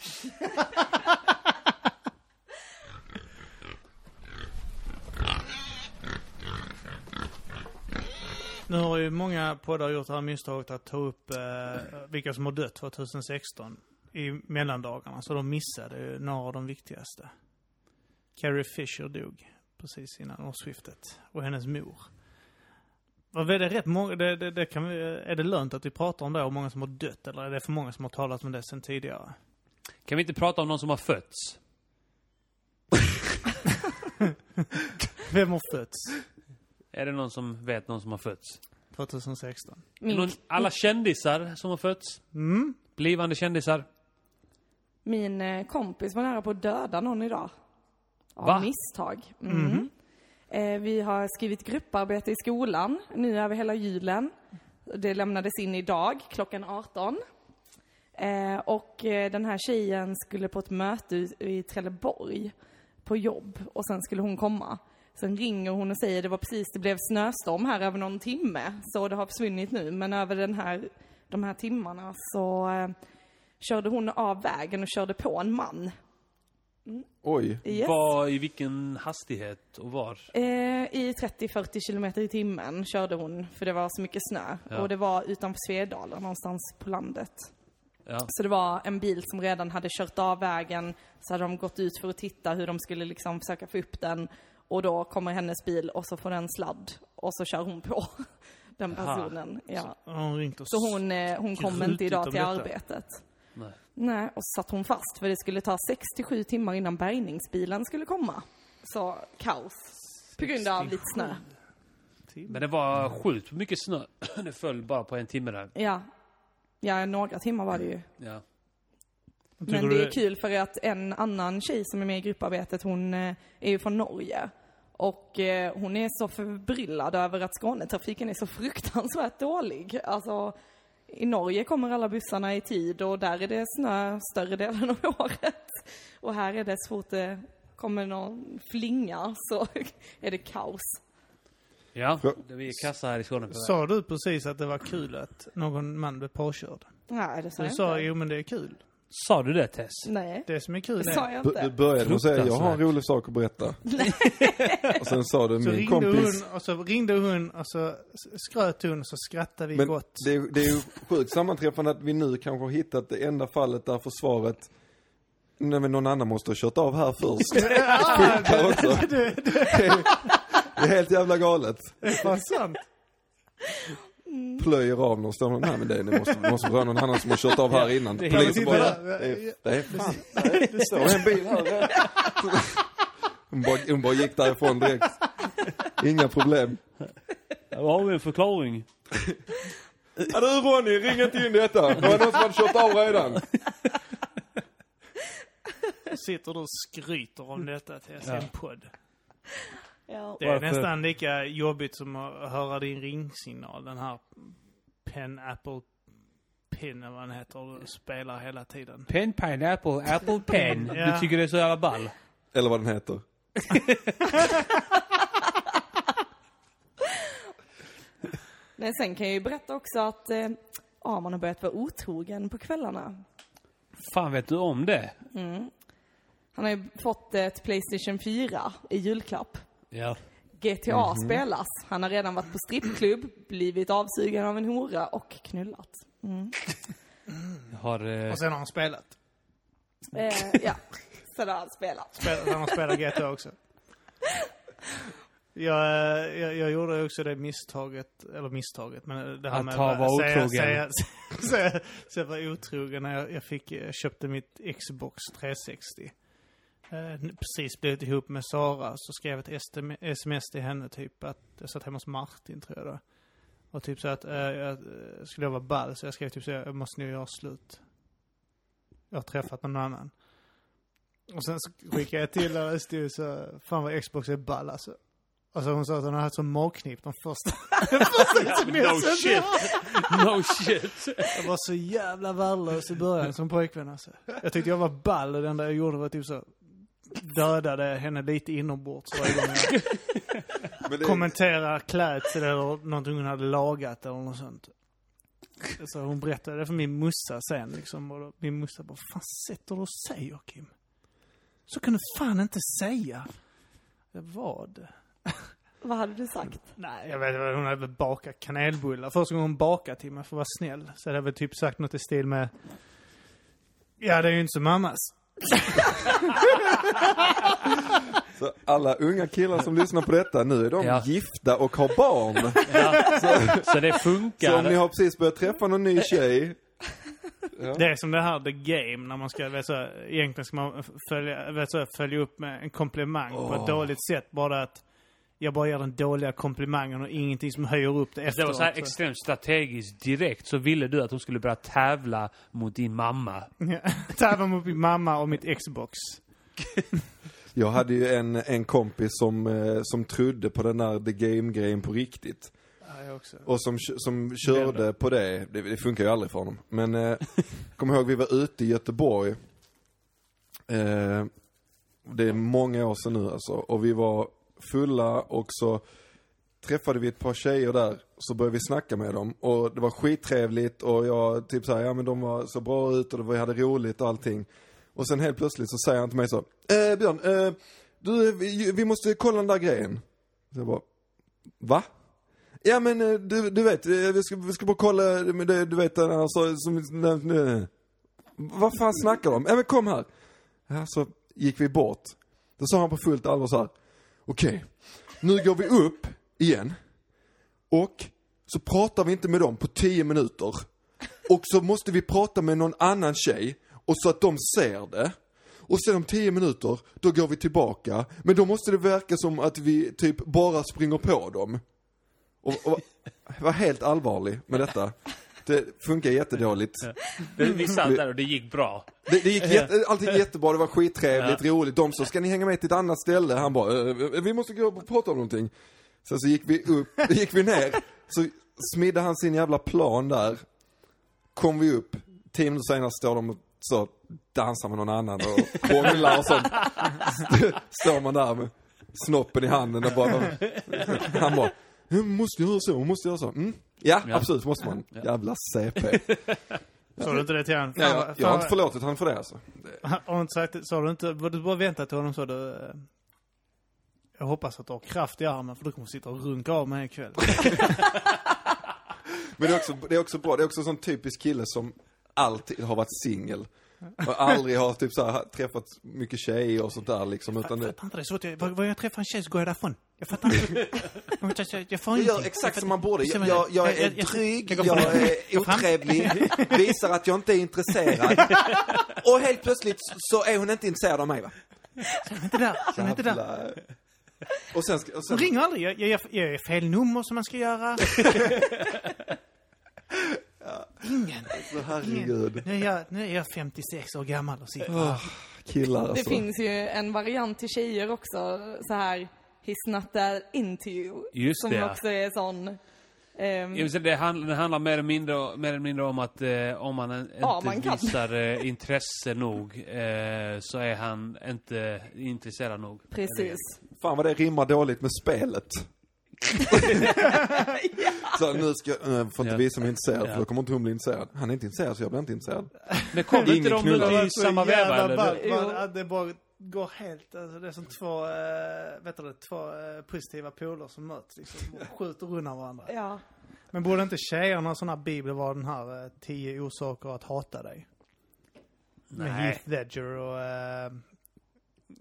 Speaker 3: Nu har ju många poddar gjort det här misstaget att ta upp eh, vilka som har dött 2016 i mellandagarna. Så de missade ju några av de viktigaste. Carrie Fisher dog precis innan årsskiftet. Och hennes mor. Vad är det rätt många, det, det, det kan vi, är det lönt att vi pratar om det och många som har dött? Eller är det för många som har talat om det sen tidigare?
Speaker 2: Kan vi inte prata om någon som har fötts?
Speaker 3: Vem har fötts
Speaker 2: Är det någon som vet någon som har fötts?
Speaker 3: 2016?
Speaker 5: Min,
Speaker 2: Någon, alla kändisar som har fötts?
Speaker 3: Mm.
Speaker 2: Blivande kändisar?
Speaker 5: min eh, kompis var nära på att döda någon idag. Av
Speaker 2: Va?
Speaker 5: misstag. Mm. Eh, vi har skrivit grupparbete i skolan nu över hela julen. Det lämnades in idag klockan 18. Eh, och eh, den här tjejen skulle på ett möte i- i Trelleborg på jobb och sen skulle hon komma. Sen ringer hon och säger det var precis, det blev snöstorm här över någon timme så det har försvunnit nu men över den här, de här timmarna så eh, körde hon av vägen och körde på en man.
Speaker 4: Oj,
Speaker 5: Yes.
Speaker 2: Var, I vilken hastighet och var?
Speaker 5: Eh, I 30-40 kilometer i timmen körde hon för det var så mycket snö
Speaker 2: Ja.
Speaker 5: och det var utanför Svedala någonstans på landet.
Speaker 2: Ja.
Speaker 5: Så det var en bil som redan hade kört av vägen, så hade de gått ut för att titta hur de skulle liksom försöka få upp den. Och då kommer hennes bil och så får den sladd och så kör hon på [LAUGHS] den
Speaker 2: Aha.
Speaker 5: personen. Ja.
Speaker 3: Har hon ringt och
Speaker 5: Så hon, eh, hon kom inte
Speaker 3: Rutigt om
Speaker 5: idag till
Speaker 3: detta.
Speaker 5: arbetet.
Speaker 2: Nej.
Speaker 5: Nej, och så satt hon fast för det skulle ta 67 timmar innan bärgningsbilen skulle komma. Så kaos. På grund av lite snö.
Speaker 2: Men det var sjukt mycket snö. [CLEARS THROAT] Det föll bara på en timme där.
Speaker 5: Ja. Ja, några timmar var det ju.
Speaker 2: Ja.
Speaker 3: Tycker
Speaker 5: Men
Speaker 3: du
Speaker 5: det är
Speaker 3: det-
Speaker 5: kul för att en annan tjej som är med i grupparbetet, hon eh, är ju från Norge. Och eh, hon är så förbryllad över att Skånetrafiken är så fruktansvärt dålig. Alltså, i Norge kommer alla bussarna i tid och där är det snö större delen av året. Och här är det så fort det kommer någon flinga så [LAUGHS] är det kaos.
Speaker 2: Ja,
Speaker 4: Ja.
Speaker 2: vi är kassa här i Skåne på det.
Speaker 3: Sa du precis att det var kul att någon man blev påkörd?
Speaker 5: Nej, det sa
Speaker 3: Du
Speaker 5: jag
Speaker 3: sa
Speaker 5: inte.
Speaker 3: jo men det är kul.
Speaker 2: Sa du det Tess?
Speaker 5: Nej,
Speaker 3: Det som är kul
Speaker 5: det
Speaker 3: är...
Speaker 5: sa jag
Speaker 4: B- Du
Speaker 5: inte.
Speaker 4: började med att säga jag har en
Speaker 2: Fruktansvärt.
Speaker 4: rolig sak att berätta. och sen sa du
Speaker 3: Så
Speaker 4: min
Speaker 3: ringde
Speaker 4: kompis.
Speaker 3: hon och så ringde hon och så skröt hon och så skrattade vi
Speaker 4: Men
Speaker 3: gott.
Speaker 4: det är, det är ju sjukt sammanträffande att vi nu kanske har hittat det enda fallet där försvaret Nej men någon annan måste ha kört av här [LAUGHS] först.
Speaker 3: Ah,
Speaker 4: Där också.
Speaker 3: det, det
Speaker 4: Det är helt jävla galet. [LAUGHS]
Speaker 3: var sant.
Speaker 4: Plöjer av någonstans. Nej men det, är- det måste, det måste vara någon annan som har kört av här innan.
Speaker 2: Det är
Speaker 3: helt
Speaker 4: Polisen bara,
Speaker 3: inte-
Speaker 4: det är, det är fan, nej, det står en bil här. Hon bara, hon bara gick därifrån direkt. Inga problem.
Speaker 2: Där har vi en förklaring.
Speaker 4: Ja du Ronny, ring inte in detta. Det var någon som hade kört av redan.
Speaker 3: Sitter du och skryter om detta till en podd.
Speaker 5: Ja.
Speaker 3: Det är
Speaker 2: Varför?
Speaker 3: nästan lika jobbigt som att höra din ringsignal. Den här Pen Apple Pin, eller vad den heter, du spelar hela tiden.
Speaker 2: Pen, pineapple, [LAUGHS] apple, pen.
Speaker 3: Ja.
Speaker 2: Du tycker det är så jävla ball?
Speaker 4: Eller vad den heter.
Speaker 5: Nej, sen kan jag ju berätta också att eh, Arman har börjat vara otrogen på kvällarna.
Speaker 2: Fan vet du om det?
Speaker 5: Han har ju fått ett Playstation 4 i julklapp.
Speaker 2: Ja.
Speaker 5: GTA
Speaker 4: Mhm.
Speaker 5: spelas. Han har redan varit på strippklubb, blivit avsugen av en hora och knullat.
Speaker 2: Jag har... Eh,
Speaker 3: Och sen har han spelat.
Speaker 4: Mm.
Speaker 5: Eh, ja, så det har han spelat.
Speaker 3: spelat han har spelat
Speaker 2: [LAUGHS]
Speaker 3: GTA också. Jag, eh, jag, jag gjorde också det misstaget, eller misstaget, men det här
Speaker 2: Att
Speaker 3: med
Speaker 2: ta
Speaker 3: att
Speaker 2: vara
Speaker 3: säga-
Speaker 2: otrogen.
Speaker 3: Säga, [LAUGHS] säga, säga vara otrogen när jag, jag, fick, jag köpte mitt Xbox 360. Eh, precis blivit ihop med Sara, så skrev jag ett STM sms till henne typ att, jag satt hemma hos Martin tror jag då. Och typ så att, eh, jag eh, skulle jag vara ball så jag skrev typ så jag måste nu göra slut. Jag har träffat någon annan. Och sen så skickade jag till henne, det stod så, fan vad Xbox är ball alltså. Och så hon sa att hon hade haft som magknip de första, den första
Speaker 2: Oh,
Speaker 3: smsen.
Speaker 5: Alltså,
Speaker 2: no [LAUGHS] shit!
Speaker 3: Jag var så jävla värdelös i början som pojkvän alltså. Jag tyckte jag var ball och det enda jag gjorde var typ så, dödade henne lite inombords varje gång jag
Speaker 4: Men [LAUGHS] det,
Speaker 3: kommenterade klädsel eller någonting hon hade lagat eller något sånt. Så hon berättade det för min mussa sen liksom och då, min mussa bara, fan sätter du och säger Kim? Så kan du fan inte säga. Jag, Vad?
Speaker 5: Vad hade du sagt?
Speaker 3: Nej, jag vet inte. Hon hade väl bakat kanelbullar. Första gången hon bakade till mig för att vara snäll. Så hade jag väl typ sagt något i stil med... Ja, det är ju inte som mammas.
Speaker 4: så alla unga killar som lyssnar på detta, nu är de
Speaker 2: Ja.
Speaker 4: gifta och har barn.
Speaker 2: Så det
Speaker 4: Så om
Speaker 2: funkar.
Speaker 4: ni har precis börjat träffa någon ny tjej.
Speaker 3: Det är som det här the game när man ska, vet så, egentligen ska man följa, vet så, följa upp med en komplimang på ett dåligt sätt. Bara att jag bara ger den dåliga komplimangen och ingenting som höjer upp det
Speaker 2: Det var
Speaker 3: efteråt.
Speaker 2: så här extremt strategiskt direkt så ville du att hon skulle börja tävla mot din [LAUGHS] mamma.
Speaker 3: Ja. [LAUGHS] Tävla mot min mamma och mitt Xbox.
Speaker 4: Jag hade ju en, en kompis som, eh, som trodde på den där the game-grejen på riktigt.
Speaker 3: Ja, jag också.
Speaker 4: Och som, som körde på det. det, det funkar ju aldrig för honom. Men eh, kom ihåg vi var ute i Göteborg. Eh, det är många år sedan nu alltså. Och vi var fulla och så träffade vi ett par tjejer där. Så började vi snacka med dem och det var skittrevligt och jag typ såhär, ja men de var så bra ut och det var- vi hade roligt och allting. Och sen helt plötsligt så säger han till mig så, eh, Björn, eh, du, vi, vi måste kolla den där grejen. Så jag bara, va? Ja men eh, du, du vet, eh, vi ska, vi ska bara kolla, men det, du vet den här så, som, nej, nej, nej. vad fan snackar de om? Ja men kom här. Ja, så gick vi bort. Då sa han på fullt allvar så här, okej, nu går vi upp igen och så pratar vi inte med dem på 10 minuter. Och så måste vi prata med någon annan tjej och så att de ser det. Och sen om 10 minuter, då går vi tillbaka. Men då måste det verka som att vi typ bara springer på dem. Och, och var helt allvarlig med detta. Det funkar jättedåligt.
Speaker 2: Det- Vi satt där och det gick bra.
Speaker 4: Det, det gick jätte, allting jättebra, det var skittrevligt, roligt. De sa, ska ni hänga med till ett annat ställe? Han bara, "Eh, eh, vi måste gå upp och prata om någonting. Sen så gick vi upp, [LAUGHS] gick vi ner, så smidde han sin jävla plan där. Kom vi upp, tio minuter senare står de och så dansar med någon annan och hånglar och sånt. St- Står man där med snoppen i handen och bara, han bara, "Eh, måste jag göra så, måste jag göra så? Mm. Ja,
Speaker 2: Ja.
Speaker 4: absolut måste man. Jävla CP.
Speaker 3: Sa du inte det till honom?
Speaker 4: Ja, jag, jag har inte förlåtit han för det alltså.
Speaker 3: [LAUGHS] Har du inte sagt det? Sa du inte, var du bara väntat till honom så du... eh, Jag hoppas att du har kraft i armen för du kommer sitta och runka av mig ikväll.
Speaker 4: Men det är också, det är också bra, det är också en sån typisk kille som alltid har varit singel. Och aldrig har typ så här, träffat mycket tjejer och sånt där liksom, utan
Speaker 3: Jag
Speaker 4: det,
Speaker 3: fattar inte det. Så att jag, var, var jag träffar en tjej så går jag därifrån. Jag
Speaker 4: [LAUGHS]
Speaker 3: fattar inte. Jag, jag, jag, jag får
Speaker 4: Jag gör
Speaker 3: ingenting.
Speaker 4: exakt
Speaker 3: Jag
Speaker 4: som man borde.
Speaker 3: fattar-
Speaker 4: Jag, jag, jag är
Speaker 3: jag- jag-
Speaker 4: dryg,
Speaker 3: jag
Speaker 4: jag,
Speaker 3: går fram.
Speaker 4: är
Speaker 3: går fram.
Speaker 4: otrevlig, visar att jag inte är intresserad. Och helt plötsligt så är hon inte intresserad av mig va?
Speaker 3: Inte där. Sen är inte där.
Speaker 4: Jävla- Och sen, ska- och sen
Speaker 3: De ringer aldrig. Jag, jag, jag, jag är fel nummer som man ska
Speaker 4: [LAUGHS]
Speaker 3: göra. Ingen.
Speaker 4: så herregud.
Speaker 3: Nu är, jag, nu är jag 56 år gammal och sitter
Speaker 4: Åh, killar
Speaker 5: Det
Speaker 4: alltså.
Speaker 5: finns ju en variant till tjejer också, så här He's not that into you.
Speaker 2: Just
Speaker 5: som
Speaker 2: det, ja.
Speaker 5: också är sån... ehm,
Speaker 2: Jag vill säga, det, handlar, det handlar mer eller mindre, mer eller mindre om att eh, om man en- inte
Speaker 5: Ja, man kan.
Speaker 2: visar eh, intresse nog eh, så är han inte intresserad nog.
Speaker 5: precis.
Speaker 4: Fan vad det rimmar dåligt med spelet.
Speaker 5: [LAUGHS]
Speaker 4: så nu ska jag, eh, får inte
Speaker 2: Ja.
Speaker 4: visa mig intresserad för
Speaker 2: Ja.
Speaker 4: då kommer inte hon bli intresserad. Han är inte intresserad så jag blir inte intresserad.
Speaker 2: Men kom
Speaker 4: Ingen
Speaker 2: inte de nu
Speaker 4: knullar.
Speaker 2: i samma veva eller?
Speaker 5: Jo. man- att
Speaker 3: det bara går helt, alltså, det är som två, eh, vet du två eh, positiva poler som möts liksom och skjuter undan varandra.
Speaker 5: Ja.
Speaker 3: Men borde inte tjejerna ha sådana här bibler vara den här eh, 10 orsaker att hata dig? Med
Speaker 2: Nej.
Speaker 3: Heath Ledger och, eh,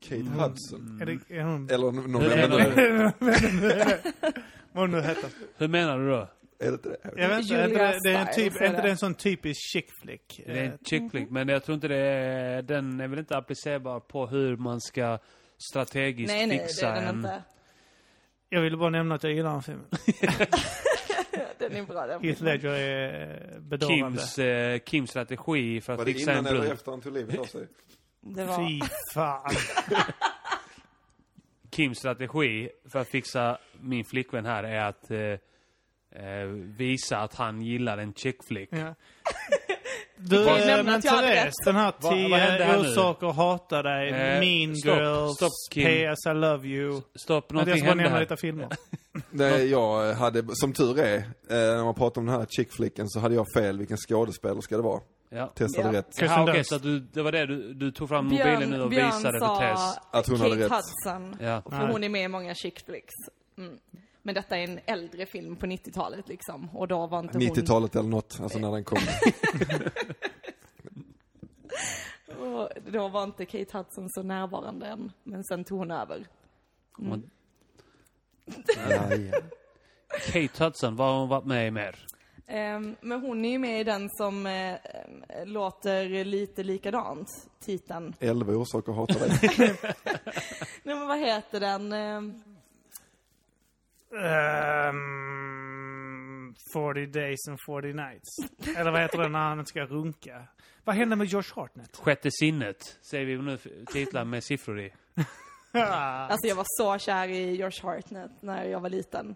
Speaker 4: Kate
Speaker 2: Mm.
Speaker 4: Hudson.
Speaker 3: är det, är hon,
Speaker 4: Eller någon
Speaker 2: Hur
Speaker 4: men-
Speaker 2: menar du?
Speaker 3: vad hon nu heter?
Speaker 2: Hur menar du då?
Speaker 4: Är det inte det?
Speaker 2: Mm.
Speaker 3: Jag vet inte, är
Speaker 5: Julia
Speaker 3: det, det är en typ,
Speaker 5: Stiles är
Speaker 3: är inte
Speaker 5: det.
Speaker 3: det en sån typisk chick flick?
Speaker 2: Det är
Speaker 3: Eh,
Speaker 2: en chick flick, men jag tror inte det är, den är väl inte applicerbar på hur man ska strategiskt
Speaker 5: Nej, nej, det
Speaker 2: fixa
Speaker 5: är den
Speaker 2: en...
Speaker 5: inte.
Speaker 3: Jag ville bara nämna att jag gillar den filmen.
Speaker 5: Den är bra den.
Speaker 3: Heath Ledger är eh, bedårande.
Speaker 2: Kims, eh, Kims strategi för
Speaker 4: Var
Speaker 2: att
Speaker 4: det
Speaker 2: fixa en
Speaker 4: innan eller
Speaker 2: brud.
Speaker 4: efter han tog livet
Speaker 2: [LAUGHS]
Speaker 4: av sig?
Speaker 3: Fy
Speaker 5: Det var...
Speaker 3: fan.
Speaker 2: Kims strategi för att fixa min flickvän här är att eh, eh, visa att han gillar en chick flick.
Speaker 3: Ja. Du,
Speaker 5: kan ju nämna
Speaker 3: eh, men
Speaker 5: att jag hade
Speaker 3: Therese, den här
Speaker 2: Vad- vad hände här
Speaker 3: 10
Speaker 2: nu?
Speaker 3: orsaker att hata dig,
Speaker 2: Eh,
Speaker 3: Mean
Speaker 2: stopp,
Speaker 3: Girls,
Speaker 2: stopp, Kim.
Speaker 3: PS I Love You.
Speaker 2: Stopp,
Speaker 3: Men jag
Speaker 2: någonting
Speaker 3: ska bara
Speaker 2: hände
Speaker 3: nämna
Speaker 2: här.
Speaker 3: lite filmer.
Speaker 4: Nej, jag hade, som tur är, eh, när man pratar om den här chickflicken så hade jag fel vilken skådespelerska det var.
Speaker 2: Ja.
Speaker 4: Testade
Speaker 5: Ja.
Speaker 4: rätt.
Speaker 2: Jaha,
Speaker 3: Kirsten
Speaker 2: okej,
Speaker 3: Dunst.
Speaker 2: så att du, det var det du, du tog fram mobilen nu
Speaker 5: Björn,
Speaker 2: och
Speaker 5: Björn
Speaker 2: visade för
Speaker 5: sa
Speaker 2: Tess.
Speaker 4: Att hon
Speaker 5: Kate
Speaker 4: hade rätt.
Speaker 5: Hudson.
Speaker 2: Ja.
Speaker 5: För
Speaker 3: Nej.
Speaker 5: hon är med i många chick flicks. Mm. Men detta är en äldre film på 90-talet liksom. Och då var inte hon...
Speaker 4: 90-talet eller något, alltså när den
Speaker 5: [LAUGHS]
Speaker 4: kom.
Speaker 5: Och då var inte Kate Hudson så närvarande än. Men sen tog hon över.
Speaker 2: Hon-
Speaker 4: ja, ja.
Speaker 2: Kate Hudson, vad har hon varit med i mer?
Speaker 5: Ehm, men hon är ju med i den som eh, ehm, låter lite likadant, titeln.
Speaker 4: 11 orsaker att hata dig.
Speaker 5: Nej men vad heter den? Ehm,
Speaker 3: Ehm, 40 days and 40 nights. Eller vad heter den när han inte ska runka? Vad hände med
Speaker 2: [LAUGHS]
Speaker 3: Josh Hartnett?
Speaker 2: Sjätte sinnet, säger vi nu f- titlar med siffror i.
Speaker 3: Ah,
Speaker 5: Alltså jag var så kär i George Hartnett när jag var liten.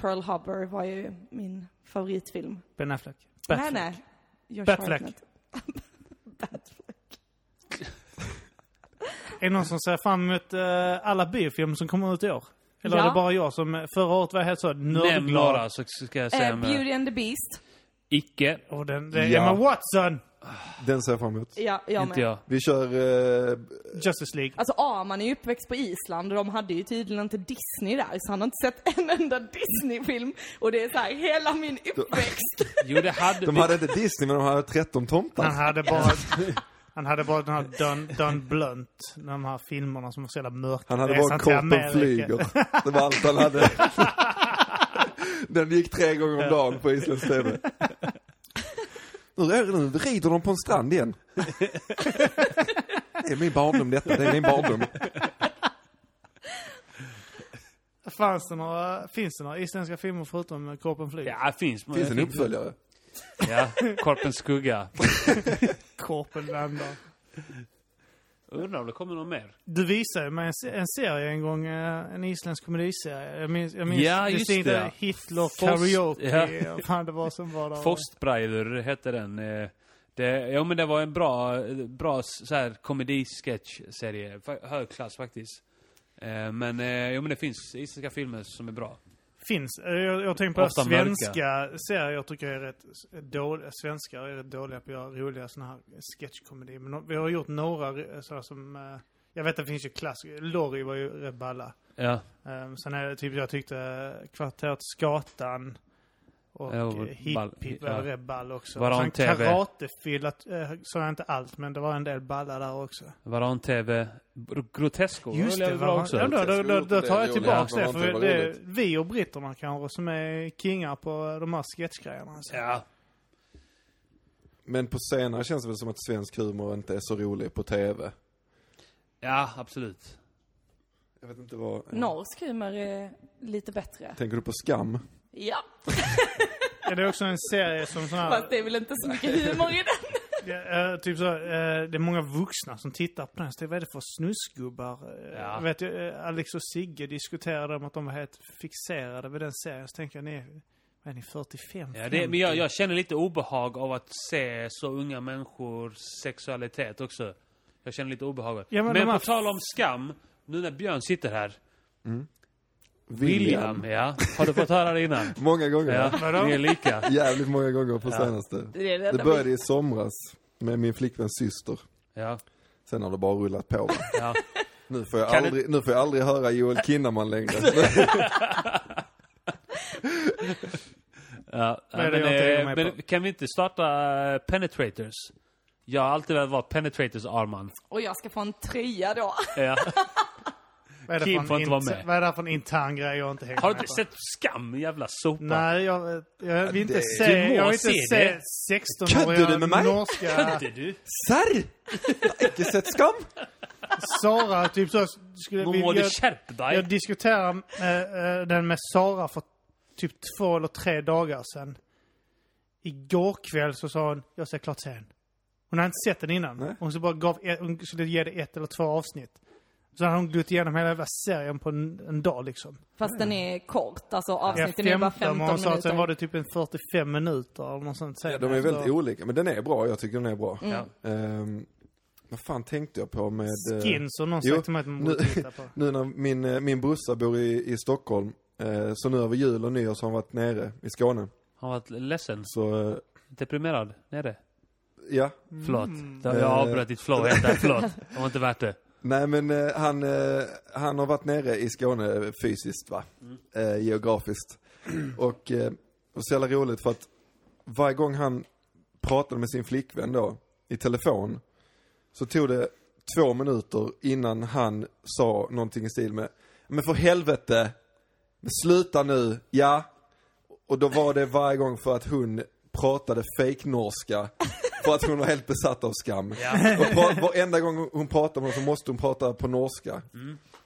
Speaker 5: Pearl Harbor var ju min favoritfilm.
Speaker 3: ben Affleck.
Speaker 5: Nej,
Speaker 3: Batfleck.
Speaker 5: nej. George
Speaker 3: Batfleck.
Speaker 5: Hartnett. [LAUGHS]
Speaker 3: Är det någon som ser fram emot eh, alla biofilmer som kommer ut i år? Eller är
Speaker 5: Ja.
Speaker 3: det bara jag som eh, förra året var helt så
Speaker 2: Nämn några
Speaker 3: nördglad?
Speaker 2: så ska jag säga
Speaker 5: Eh,
Speaker 2: om jag-
Speaker 5: Beauty and the Beast.
Speaker 2: Icke.
Speaker 3: Och den, det är
Speaker 4: Ja.
Speaker 3: Emma Watson!
Speaker 4: Den ser jag fram emot.
Speaker 5: Ja, jag
Speaker 2: Inte
Speaker 5: med.
Speaker 2: jag.
Speaker 4: Vi kör, eh,
Speaker 3: Justice League.
Speaker 5: Alltså Arman är ju uppväxt på Island och de hade ju tydligen inte Disney där så han har inte sett [LAUGHS] en enda Disney-film och det är så här hela min uppväxt.
Speaker 2: Jo, det hade
Speaker 4: de
Speaker 2: vi.
Speaker 4: hade inte Disney men de hade 13
Speaker 3: Han
Speaker 4: tomtar.
Speaker 3: hade bara...
Speaker 2: [LAUGHS]
Speaker 3: Han hade bara den här Don, Don Blunt, de här filmerna som var så jävla mörka.
Speaker 4: Han hade
Speaker 3: Resan
Speaker 4: bara
Speaker 3: till
Speaker 4: korpen
Speaker 3: Amerika.
Speaker 4: flyger. Det var allt han
Speaker 2: [LAUGHS]
Speaker 4: hade. Den gick tre gånger om dagen på Islands TV. Nu, är, nu rider de på en strand igen. Det är min barndom detta, det är min barndom.
Speaker 3: [LAUGHS] Fanns det några, finns det några isländska filmer förutom Korpen flyger?
Speaker 2: Ja, finns.
Speaker 4: Finns en uppföljare?
Speaker 2: Ja, Korpens [LAUGHS] skugga.
Speaker 3: Korpen landar.
Speaker 2: Undrar om det kommer någon mer?
Speaker 3: Du visade mig en, se- en serie en gång, eh, en isländsk komediserie. Jag minns, jag minns
Speaker 2: Ja, just
Speaker 3: distinkt
Speaker 2: det.
Speaker 3: där Hitler,
Speaker 2: Fost-
Speaker 3: karaoke,
Speaker 2: ja. [LAUGHS]
Speaker 3: och fan det var som var där.
Speaker 2: Forstbreider hette den. eh, Det, ja men det var en bra, bra s- så här, komedisketchserie. Fa- Hög klass faktiskt. Eh, men, eh, ja, men det finns isländska filmer som är bra.
Speaker 3: Finns. Eh, Jag, jag tänker på
Speaker 2: Ofta
Speaker 3: att
Speaker 2: mörka.
Speaker 3: svenska serier jag tycker jag är rätt dåliga. Svenskar är rätt dåliga på att göra roliga såna här sketchkomedier. Men no- vi har gjort några eh, sådana som... eh, Jag vet att det finns ju klassiker. Lorry var ju rätt balla.
Speaker 2: Ja.
Speaker 3: Um, sen är det typ, jag tyckte Kvarteret Skatan och
Speaker 2: Ja,
Speaker 3: eh,
Speaker 2: och
Speaker 3: Hipp
Speaker 2: ball-
Speaker 3: Hipp var
Speaker 2: ja.
Speaker 3: rätt ball också.
Speaker 2: Varann
Speaker 3: Sen
Speaker 2: TV.
Speaker 3: Karatefylla eh, sa jag inte allt, men det var en del ballar där också.
Speaker 2: Varan-TV. Gr- Grotesco
Speaker 3: Just
Speaker 2: var
Speaker 3: det,
Speaker 2: väl bra också?
Speaker 3: Ja, då, då, då, då tar jag
Speaker 4: Ja,
Speaker 3: tillbaks
Speaker 4: det
Speaker 3: det.
Speaker 4: var
Speaker 3: För
Speaker 4: inte
Speaker 3: det är
Speaker 4: roligt.
Speaker 3: vi och britterna kanske som är kingar på eh, de här sketchgrejerna. Alltså.
Speaker 2: Ja.
Speaker 4: Men på senare känns det väl som att svensk humor inte är så rolig på tv.
Speaker 2: ja, absolut.
Speaker 4: Jag vet inte vad...
Speaker 5: [LAUGHS] Norsk humor är lite bättre.
Speaker 4: Tänker du på Skam?
Speaker 5: Ja,
Speaker 3: Är det också en serie som sån här,
Speaker 5: fast det är väl inte så mycket humor i
Speaker 3: [LAUGHS]
Speaker 5: den.
Speaker 3: eh, typ så, här, eh, det är många vuxna som tittar på den. Så det, vad är det för snusgubbar? Eh,
Speaker 2: Ja.
Speaker 3: Jag vet, eh, Alex och Sigge diskuterade om att de var helt fixerade vid den serien. Så tänker jag, ni är, vad är ni, 45?
Speaker 2: Ja, det, men jag, jag känner lite obehag av att se så unga människors sexualitet också. Jag känner lite obehag.
Speaker 3: Ja, men
Speaker 2: men
Speaker 3: de här-
Speaker 2: på tal om skam, nu när Björn sitter här.
Speaker 4: William.
Speaker 2: William, ja. Har du fått höra det innan?
Speaker 4: Många gånger.
Speaker 2: Ja, ni är lika.
Speaker 4: Jävligt många gånger på senaste.
Speaker 5: Det är det
Speaker 4: Det
Speaker 5: enda
Speaker 4: började i somras med min flickväns syster.
Speaker 2: Ja,
Speaker 4: Sen har det bara rullat på.
Speaker 2: ja.
Speaker 4: Nu får jag,
Speaker 2: Kan
Speaker 4: aldrig, nu får jag aldrig höra Joel Kinnaman längre.
Speaker 2: Ja,
Speaker 3: Vad är
Speaker 2: men,
Speaker 3: det jag inte hänger
Speaker 2: eh,
Speaker 3: med
Speaker 2: men kan vi inte starta eh, penetrators? Jag har alltid velat vara penetrators Arman.
Speaker 5: Och jag ska få en tröja då.
Speaker 2: Ja.
Speaker 3: Vad är det
Speaker 2: Kim
Speaker 3: för en
Speaker 2: får inte
Speaker 3: int-
Speaker 2: vara med.
Speaker 3: Vad är det här för en intern grej jag inte hänger
Speaker 2: Har du
Speaker 3: med
Speaker 2: inte
Speaker 3: på?
Speaker 2: sett Skam, jävla sopa?
Speaker 3: Nej, jag, jag vill inte
Speaker 4: det-
Speaker 2: Du
Speaker 3: se,
Speaker 2: må
Speaker 3: jag vill inte
Speaker 2: se
Speaker 3: se
Speaker 2: det.
Speaker 3: 16-åriga
Speaker 4: Kunde du med mig?
Speaker 3: norska
Speaker 2: Inte du?
Speaker 4: Serr! Icke sett Skam?
Speaker 3: Sara, typ så skulle
Speaker 2: Då
Speaker 3: vi,
Speaker 2: må du
Speaker 3: jag,
Speaker 2: skärp dig.
Speaker 3: jag diskuterade eh, eh, den med Sara för typ två eller tre dagar sedan. Igår kväll så sa hon, jag ser klart sen. Hon hade inte sett den innan.
Speaker 4: Nej.
Speaker 3: Hon, så bara gav ett, hon skulle ge det ett eller två avsnitt. Så hade hon glott igenom hela jävla serien på en, en dag liksom.
Speaker 5: Fast den är kort, alltså
Speaker 3: Ja,
Speaker 5: avsnitten är bara 15
Speaker 3: men hon sa att sen var det
Speaker 5: minuter.
Speaker 3: typ en 45 minuter eller något sånt. Alltså,
Speaker 4: Ja, de är väldigt olika, men den är bra. Jag tycker den är bra.
Speaker 2: Ja.
Speaker 4: Ehm, vad fan tänkte jag på med... eh,
Speaker 3: Skin som någon
Speaker 4: Jo,
Speaker 3: sagt till mig att man
Speaker 4: nu-
Speaker 3: borde titta på.
Speaker 4: [LAUGHS] Nu när min, eh, min brorsa bor i, i Stockholm, eh, så nu över jul och nyår så har han varit nere i Skåne.
Speaker 2: Han var ledsen,
Speaker 4: Så, eh,
Speaker 2: deprimerad, nere.
Speaker 4: ja.
Speaker 3: Mm.
Speaker 2: Förlåt. Jag har
Speaker 4: Eh.
Speaker 2: avbröt ditt flow helt där, förlåt. Det var inte värt det.
Speaker 4: Nej men eh, han, eh, han har varit nere i Skåne fysiskt va? Eh, geografiskt. Och, eh, och så jävla roligt för att varje gång han pratade med sin flickvän då, i telefon, så tog det två minuter innan han sa någonting i stil med Men för helvete, men sluta nu, ja. Och då var det varje gång för att hon pratade fake-norska för att hon var helt besatt av skam. Och pra- varenda gång hon pratar med honom så måste hon prata på norska.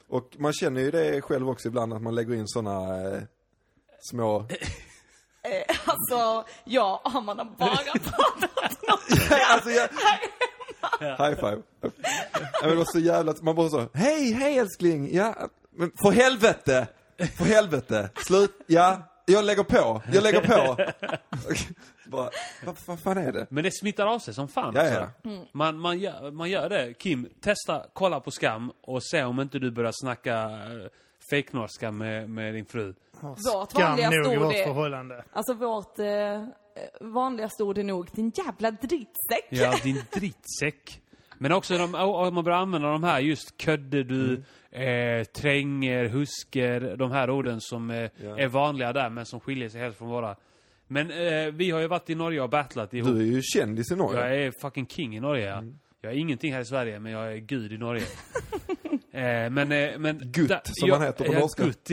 Speaker 4: Och man känner ju det själv också ibland att man lägger in såna eh, små...
Speaker 5: Eh, Alltså, jag och Arman har
Speaker 3: [LAUGHS]
Speaker 5: bara pratat norska.
Speaker 4: Alltså jag... High five. Ja, Men det var så jävla... Man bara så, hej, hej älskling, ja, men för helvete, för helvete, slut, ja, jag lägger på, jag lägger på. Och bara, vad, vad fan är det?
Speaker 2: Men det smittar av sig som fan.
Speaker 4: Ja,
Speaker 2: alltså.
Speaker 3: Mm.
Speaker 2: Man, man, gör, man gör det. Kim, testa, kolla på Skam och se om inte du börjar snacka eh, fejknorska med, med din fru.
Speaker 5: Vårt
Speaker 3: Skam
Speaker 5: vanligaste
Speaker 3: nog i
Speaker 5: ord
Speaker 3: vårt
Speaker 5: är...
Speaker 3: förhållande.
Speaker 5: Alltså vårt eh, vanligaste ord är nog din jävla drittsäck.
Speaker 2: Ja, din drittsäck. Men också de, om man börjar använda de här just ködde du, eh, tränger, husker, de här orden som eh,
Speaker 4: Ja.
Speaker 2: är vanliga där men som skiljer sig helt från våra. Men eh, vi har ju varit i Norge och battlat ihop.
Speaker 4: Du är ju kändis i Norge. Mm.
Speaker 2: Jag är fucking king i Norge. ja. Jag är ingenting här i Sverige, men jag är gud i
Speaker 4: [LAUGHS]
Speaker 2: Norge. eh, men, eh, men...
Speaker 4: Gutt, som man heter på
Speaker 2: ja, [LAUGHS]
Speaker 4: norska.
Speaker 2: Gutt.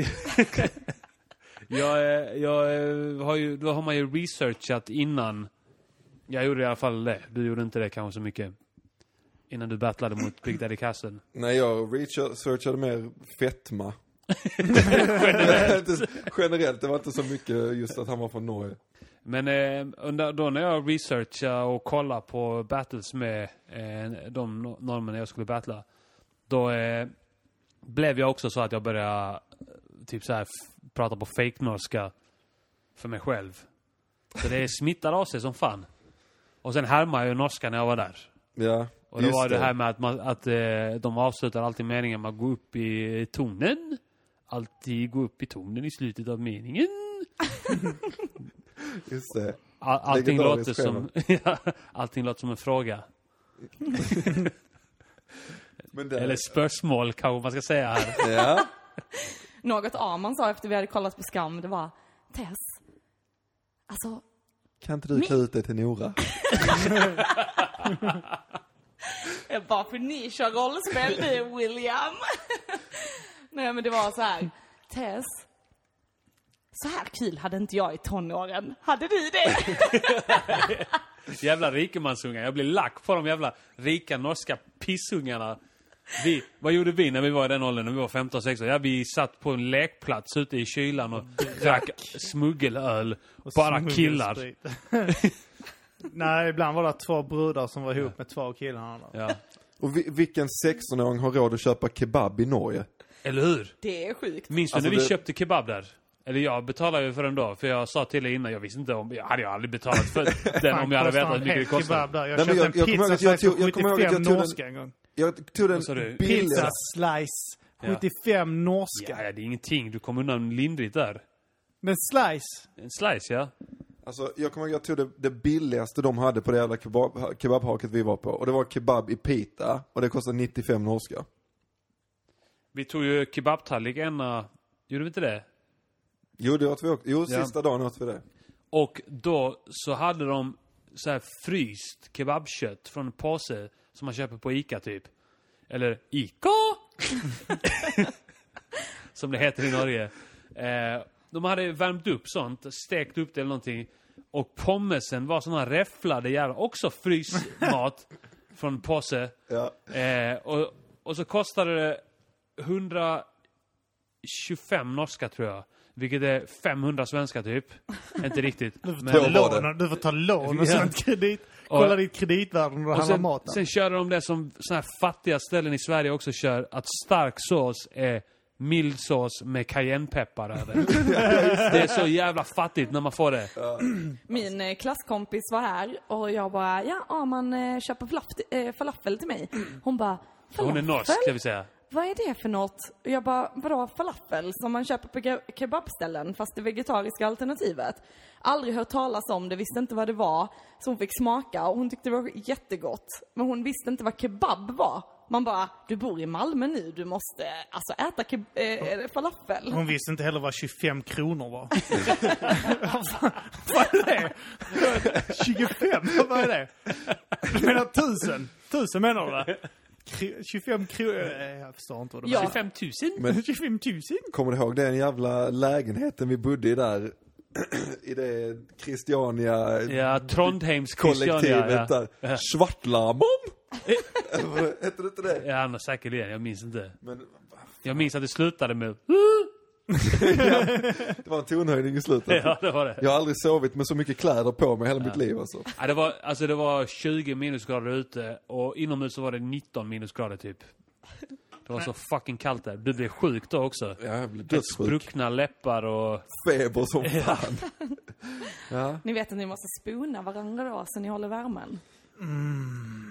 Speaker 2: jag, eh, jag eh, har ju, då har man ju researchat innan. Jag gjorde i alla fall det. Du gjorde inte det kanske så mycket. Innan du battlade mot Big Daddy Kassen.
Speaker 4: Nej, jag researchade mer fetma. generellt. [LAUGHS] generellt, det var inte så mycket just att han var från Norge.
Speaker 2: Men eh, under, då när jag researchar och kollar på battles med eh, de no- norrmän jag skulle battla. Då eh, blev jag också så att jag började eh, typ så här, f- prata på fake norska för mig själv. Så det smittar av sig som fan. Och sen härmade jag ju norska när jag var där.
Speaker 4: Ja,
Speaker 2: Och det
Speaker 4: just
Speaker 2: var det här med att, man, att eh, de avslutar alltid meningen med att gå upp i tonen. Alltid gå upp i tonen i slutet av meningen.
Speaker 4: Just det.
Speaker 2: All, allting, låter
Speaker 4: Legendariskt
Speaker 2: som, [LAUGHS] Ja, allting låter som en fråga.
Speaker 4: Men det,
Speaker 2: Eller spörsmål kanske man ska säga här. [LAUGHS]
Speaker 4: ja,
Speaker 5: Något Arman sa efter vi hade kollat på Skam, det var Tess, alltså
Speaker 4: kan inte du klä ut dig till Nora?
Speaker 5: Jag bara, för ni kör rollspel du William. [LAUGHS] Nej men det var så här. Tess. Så här kul hade inte jag i tonåren. Hade du det?
Speaker 2: Jävla rikemansungar. Jag blir lack på de jävla rika norska pissungarna. Vi, vad gjorde vi när vi var i den åldern, när vi var 15, 16? Ja, vi satt på en lekplats ute i kylan och drack smuggelöl. bara killar.
Speaker 3: Smuggelsprit. [LAUGHS] Nej, ibland var det två brudar som var ihop med två killar.
Speaker 2: Ja.
Speaker 4: Och vi, vilken 16-åring har råd att köpa kebab i Norge?
Speaker 2: Eller hur?
Speaker 5: [LAUGHS] Det är sjukt.
Speaker 2: Minns du
Speaker 4: Alltså,
Speaker 2: när vi
Speaker 4: det-
Speaker 2: köpte kebab där? Eller jag betalade ju för den då, för jag sa till er innan, jag visste inte om, jag hade ju aldrig betalat [LAUGHS] för den om jag hade vetat hur mycket det kostade.
Speaker 3: kostade. Jag
Speaker 4: Nej, men
Speaker 3: köpte
Speaker 4: jag-
Speaker 3: en
Speaker 4: jag kommer ihåg
Speaker 3: pizza
Speaker 4: att jag
Speaker 3: slice
Speaker 4: tog- jag kommer
Speaker 3: för
Speaker 4: ihåg att jag
Speaker 3: 75
Speaker 4: tog den-
Speaker 3: norska en gång.
Speaker 4: Jag tog den
Speaker 2: sa du?
Speaker 3: Pizza
Speaker 4: billigaste.
Speaker 3: slice.
Speaker 2: Ja.
Speaker 3: 75 norska.
Speaker 2: Ja, ja, det är ingenting, du kom undan lindrigt där.
Speaker 3: Men slice.
Speaker 2: En slice, ja.
Speaker 4: Alltså, jag kommer ihåg att jag tog det, det billigaste de hade på det jävla kebab, kebabhaket vi var på. Och det var kebab i pita. Och det kostade 95 norska.
Speaker 2: Vi tog ju kebabtallrik ena, gjorde vi inte det?
Speaker 4: Jo, det åt vi också. Jo,
Speaker 2: Ja.
Speaker 4: sista dagen åt vi det.
Speaker 2: Och då så hade de så här fryst kebabkött från en påse som man köper på Ica typ. Eller Ica! [LAUGHS] som det heter i Norge. Eh, de hade värmt upp sånt, stekt upp det eller någonting. Och pommesen var såna här räfflade jävla, också frysmat från en påse.
Speaker 4: Ja.
Speaker 2: Eh, och, och så kostade det 125 norska tror jag. Vilket är 500 svenska typ. Inte riktigt. Men,
Speaker 4: Då var det.
Speaker 3: Lån, du får ta lån
Speaker 2: Ja.
Speaker 3: och sånt kredit.
Speaker 2: Och-
Speaker 3: Kolla ditt kreditvärde när du
Speaker 2: och
Speaker 3: handlar
Speaker 2: sen,
Speaker 3: maten.
Speaker 2: sen körde de det som såna här fattiga ställen i Sverige också kör. Att stark sås är mild sås med cayennepeppar över. det är så jävla fattigt när man får det.
Speaker 5: Min eh, klasskompis var här och jag bara, ja Arman eh, köper falaf- eh, falafel till mig. Hon bara, falafel?
Speaker 2: Hon är norsk ska vi säga.
Speaker 5: Vad är det för något? Och jag bara, vadå falafel som man köper på ke- kebabställen fast det vegetariska alternativet? Aldrig hört talas om det, visste inte vad det var. Så hon fick smaka och hon tyckte det var jättegott. Men hon visste inte vad kebab var. Man bara, du bor i Malmö nu, du måste alltså äta keb- eh, falafel.
Speaker 3: Hon visste inte heller vad 25 kronor var. Vad fan- [LAUGHS] vad är det? 25? [LAUGHS] Vad är det? Du menar tusen? Tusen menar du va? Kr- 25 kronor? eh, Jag förstår inte vad du
Speaker 5: Ja.
Speaker 3: menar.
Speaker 2: 5 000?
Speaker 4: Men
Speaker 3: 25 tusen?
Speaker 4: kommer du ihåg den jävla lägenheten vi bodde i där? I det Christiania
Speaker 2: Ja, Trondheims Christiania.
Speaker 4: kollektivet
Speaker 2: Ja,
Speaker 4: där. Svartlammon? [LAUGHS] Hette det inte det?
Speaker 2: ja han har säkerligen, jag minns inte.
Speaker 4: Men
Speaker 2: Jag minns att det slutade med [LAUGHS]
Speaker 4: det var en tonhöjning i slutet.
Speaker 2: Ja, det var det.
Speaker 4: Jag har aldrig sovit med så mycket kläder på mig hela mitt liv alltså.
Speaker 2: Ja, det, var, alltså, det var 20 minusgrader ute och inomhus så var det 19 minusgrader typ. Det var så fucking kallt där. Du blev sjuk då också.
Speaker 4: Ja, jag blev dödssjuk.
Speaker 2: Spruckna läppar och...
Speaker 4: Feber som fan.
Speaker 5: Ni vet att ni måste spona varandra då så ni håller värmen.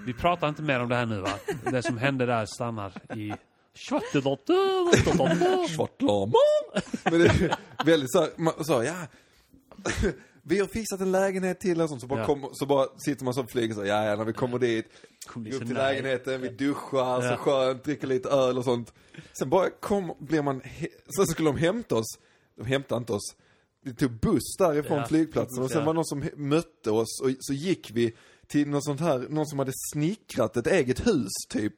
Speaker 2: Vi pratar inte mer om det här nu va? Det som hände där stannar i...
Speaker 4: Svartlammon! Men det är väldigt så här, man sa ja. Vi har fixat en lägenhet till och sånt, så bara,
Speaker 2: Ja.
Speaker 4: kom, så bara sitter man som flyg och så, ja, ja när vi kommer dit,
Speaker 2: Kommer
Speaker 4: går upp till
Speaker 2: så nära.
Speaker 4: lägenheten, vi duschar, så
Speaker 2: Ja.
Speaker 4: skönt, dricker lite öl och sånt. Sen bara kom, blev man, he- sen skulle de hämta oss, de hämtade inte oss, vi tog buss därifrån
Speaker 2: Ja.
Speaker 4: flygplatsen och sen
Speaker 2: Ja.
Speaker 4: var det någon som he- mötte oss och så gick vi till något sånt här, någon som hade snickrat ett eget hus
Speaker 2: [LAUGHS]
Speaker 4: typ.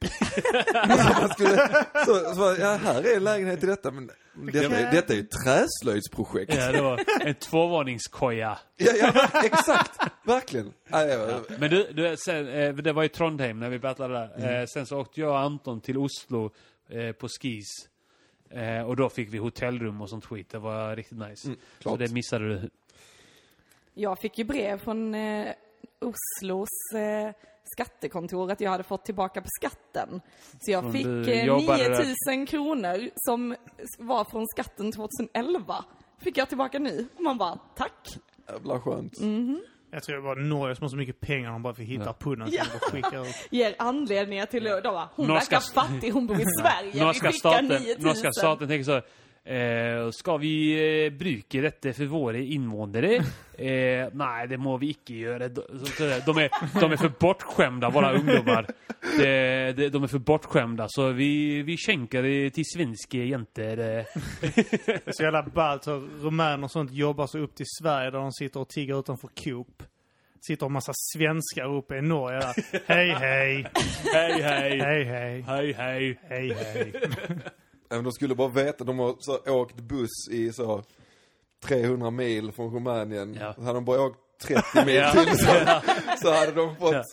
Speaker 4: [LAUGHS] Man skulle, så, så bara, ja, här är en lägenhet i detta, men detta, är- detta är ju ett träslöjdsprojekt.
Speaker 2: Ja, det var en tvåvåningskoja.
Speaker 4: Ja, ja,
Speaker 2: [LAUGHS]
Speaker 4: exakt, verkligen. Ja, ja, ja.
Speaker 2: Men du, du sen, eh, det var i Trondheim när vi battlade där. Eh, sen så åkte jag och Anton till Oslo eh, på skis. Eh, och då fick vi hotellrum och sånt skit. Det var riktigt nice. så
Speaker 4: klart.
Speaker 2: det missade du.
Speaker 5: Jag fick ju brev från eh, Oslos eh, skattekontor att jag hade fått tillbaka på skatten. Så jag
Speaker 2: Från
Speaker 5: fick
Speaker 2: du
Speaker 5: eh,
Speaker 2: jobbade
Speaker 5: 9000 kronor som var från skatten 2011. Fick jag tillbaka nu. Och man bara, tack.
Speaker 4: Jävla skönt.
Speaker 3: Jag tror det var Norge som har så mycket pengar de bara får hitta
Speaker 2: Ja.
Speaker 3: på något
Speaker 5: Ja.
Speaker 3: och skicka ut.
Speaker 5: Ger anledningar till att de bara, hon
Speaker 2: Norska
Speaker 5: verkar fattig,
Speaker 2: [LAUGHS]
Speaker 5: hon bor i Sverige. Vi
Speaker 2: Norska
Speaker 5: skickar
Speaker 2: staten,
Speaker 5: 9000.
Speaker 2: norska staten tänker så här, eh, Ska vi eh, bruke dette for våre innvånere? Eh, nei, det må vi ikke gjøre. De, så det- de, er, de er for bortskjemte, våre ungdommer. De, de, de er for bortskjemte, så vi, vi skjenker det til svenske jenter. eh.
Speaker 3: Så jävla ballt. så Rumäner och sånt jobbar sig upp till Sverige där de sitter och tigger utanför Coop. Sitter en massa svenskar uppe i Norge där. Hej, hej,
Speaker 2: Hei, hei.
Speaker 3: hej, hej,
Speaker 2: Hei, hei.
Speaker 3: hej, hej.
Speaker 4: Även de skulle bara veta, de har så här åkt buss i så 300 mil från Rumänien.
Speaker 2: Ja.
Speaker 4: Så hade de bara åkt 30 mil
Speaker 2: Ja.
Speaker 4: till så, så hade de fått
Speaker 2: Ja.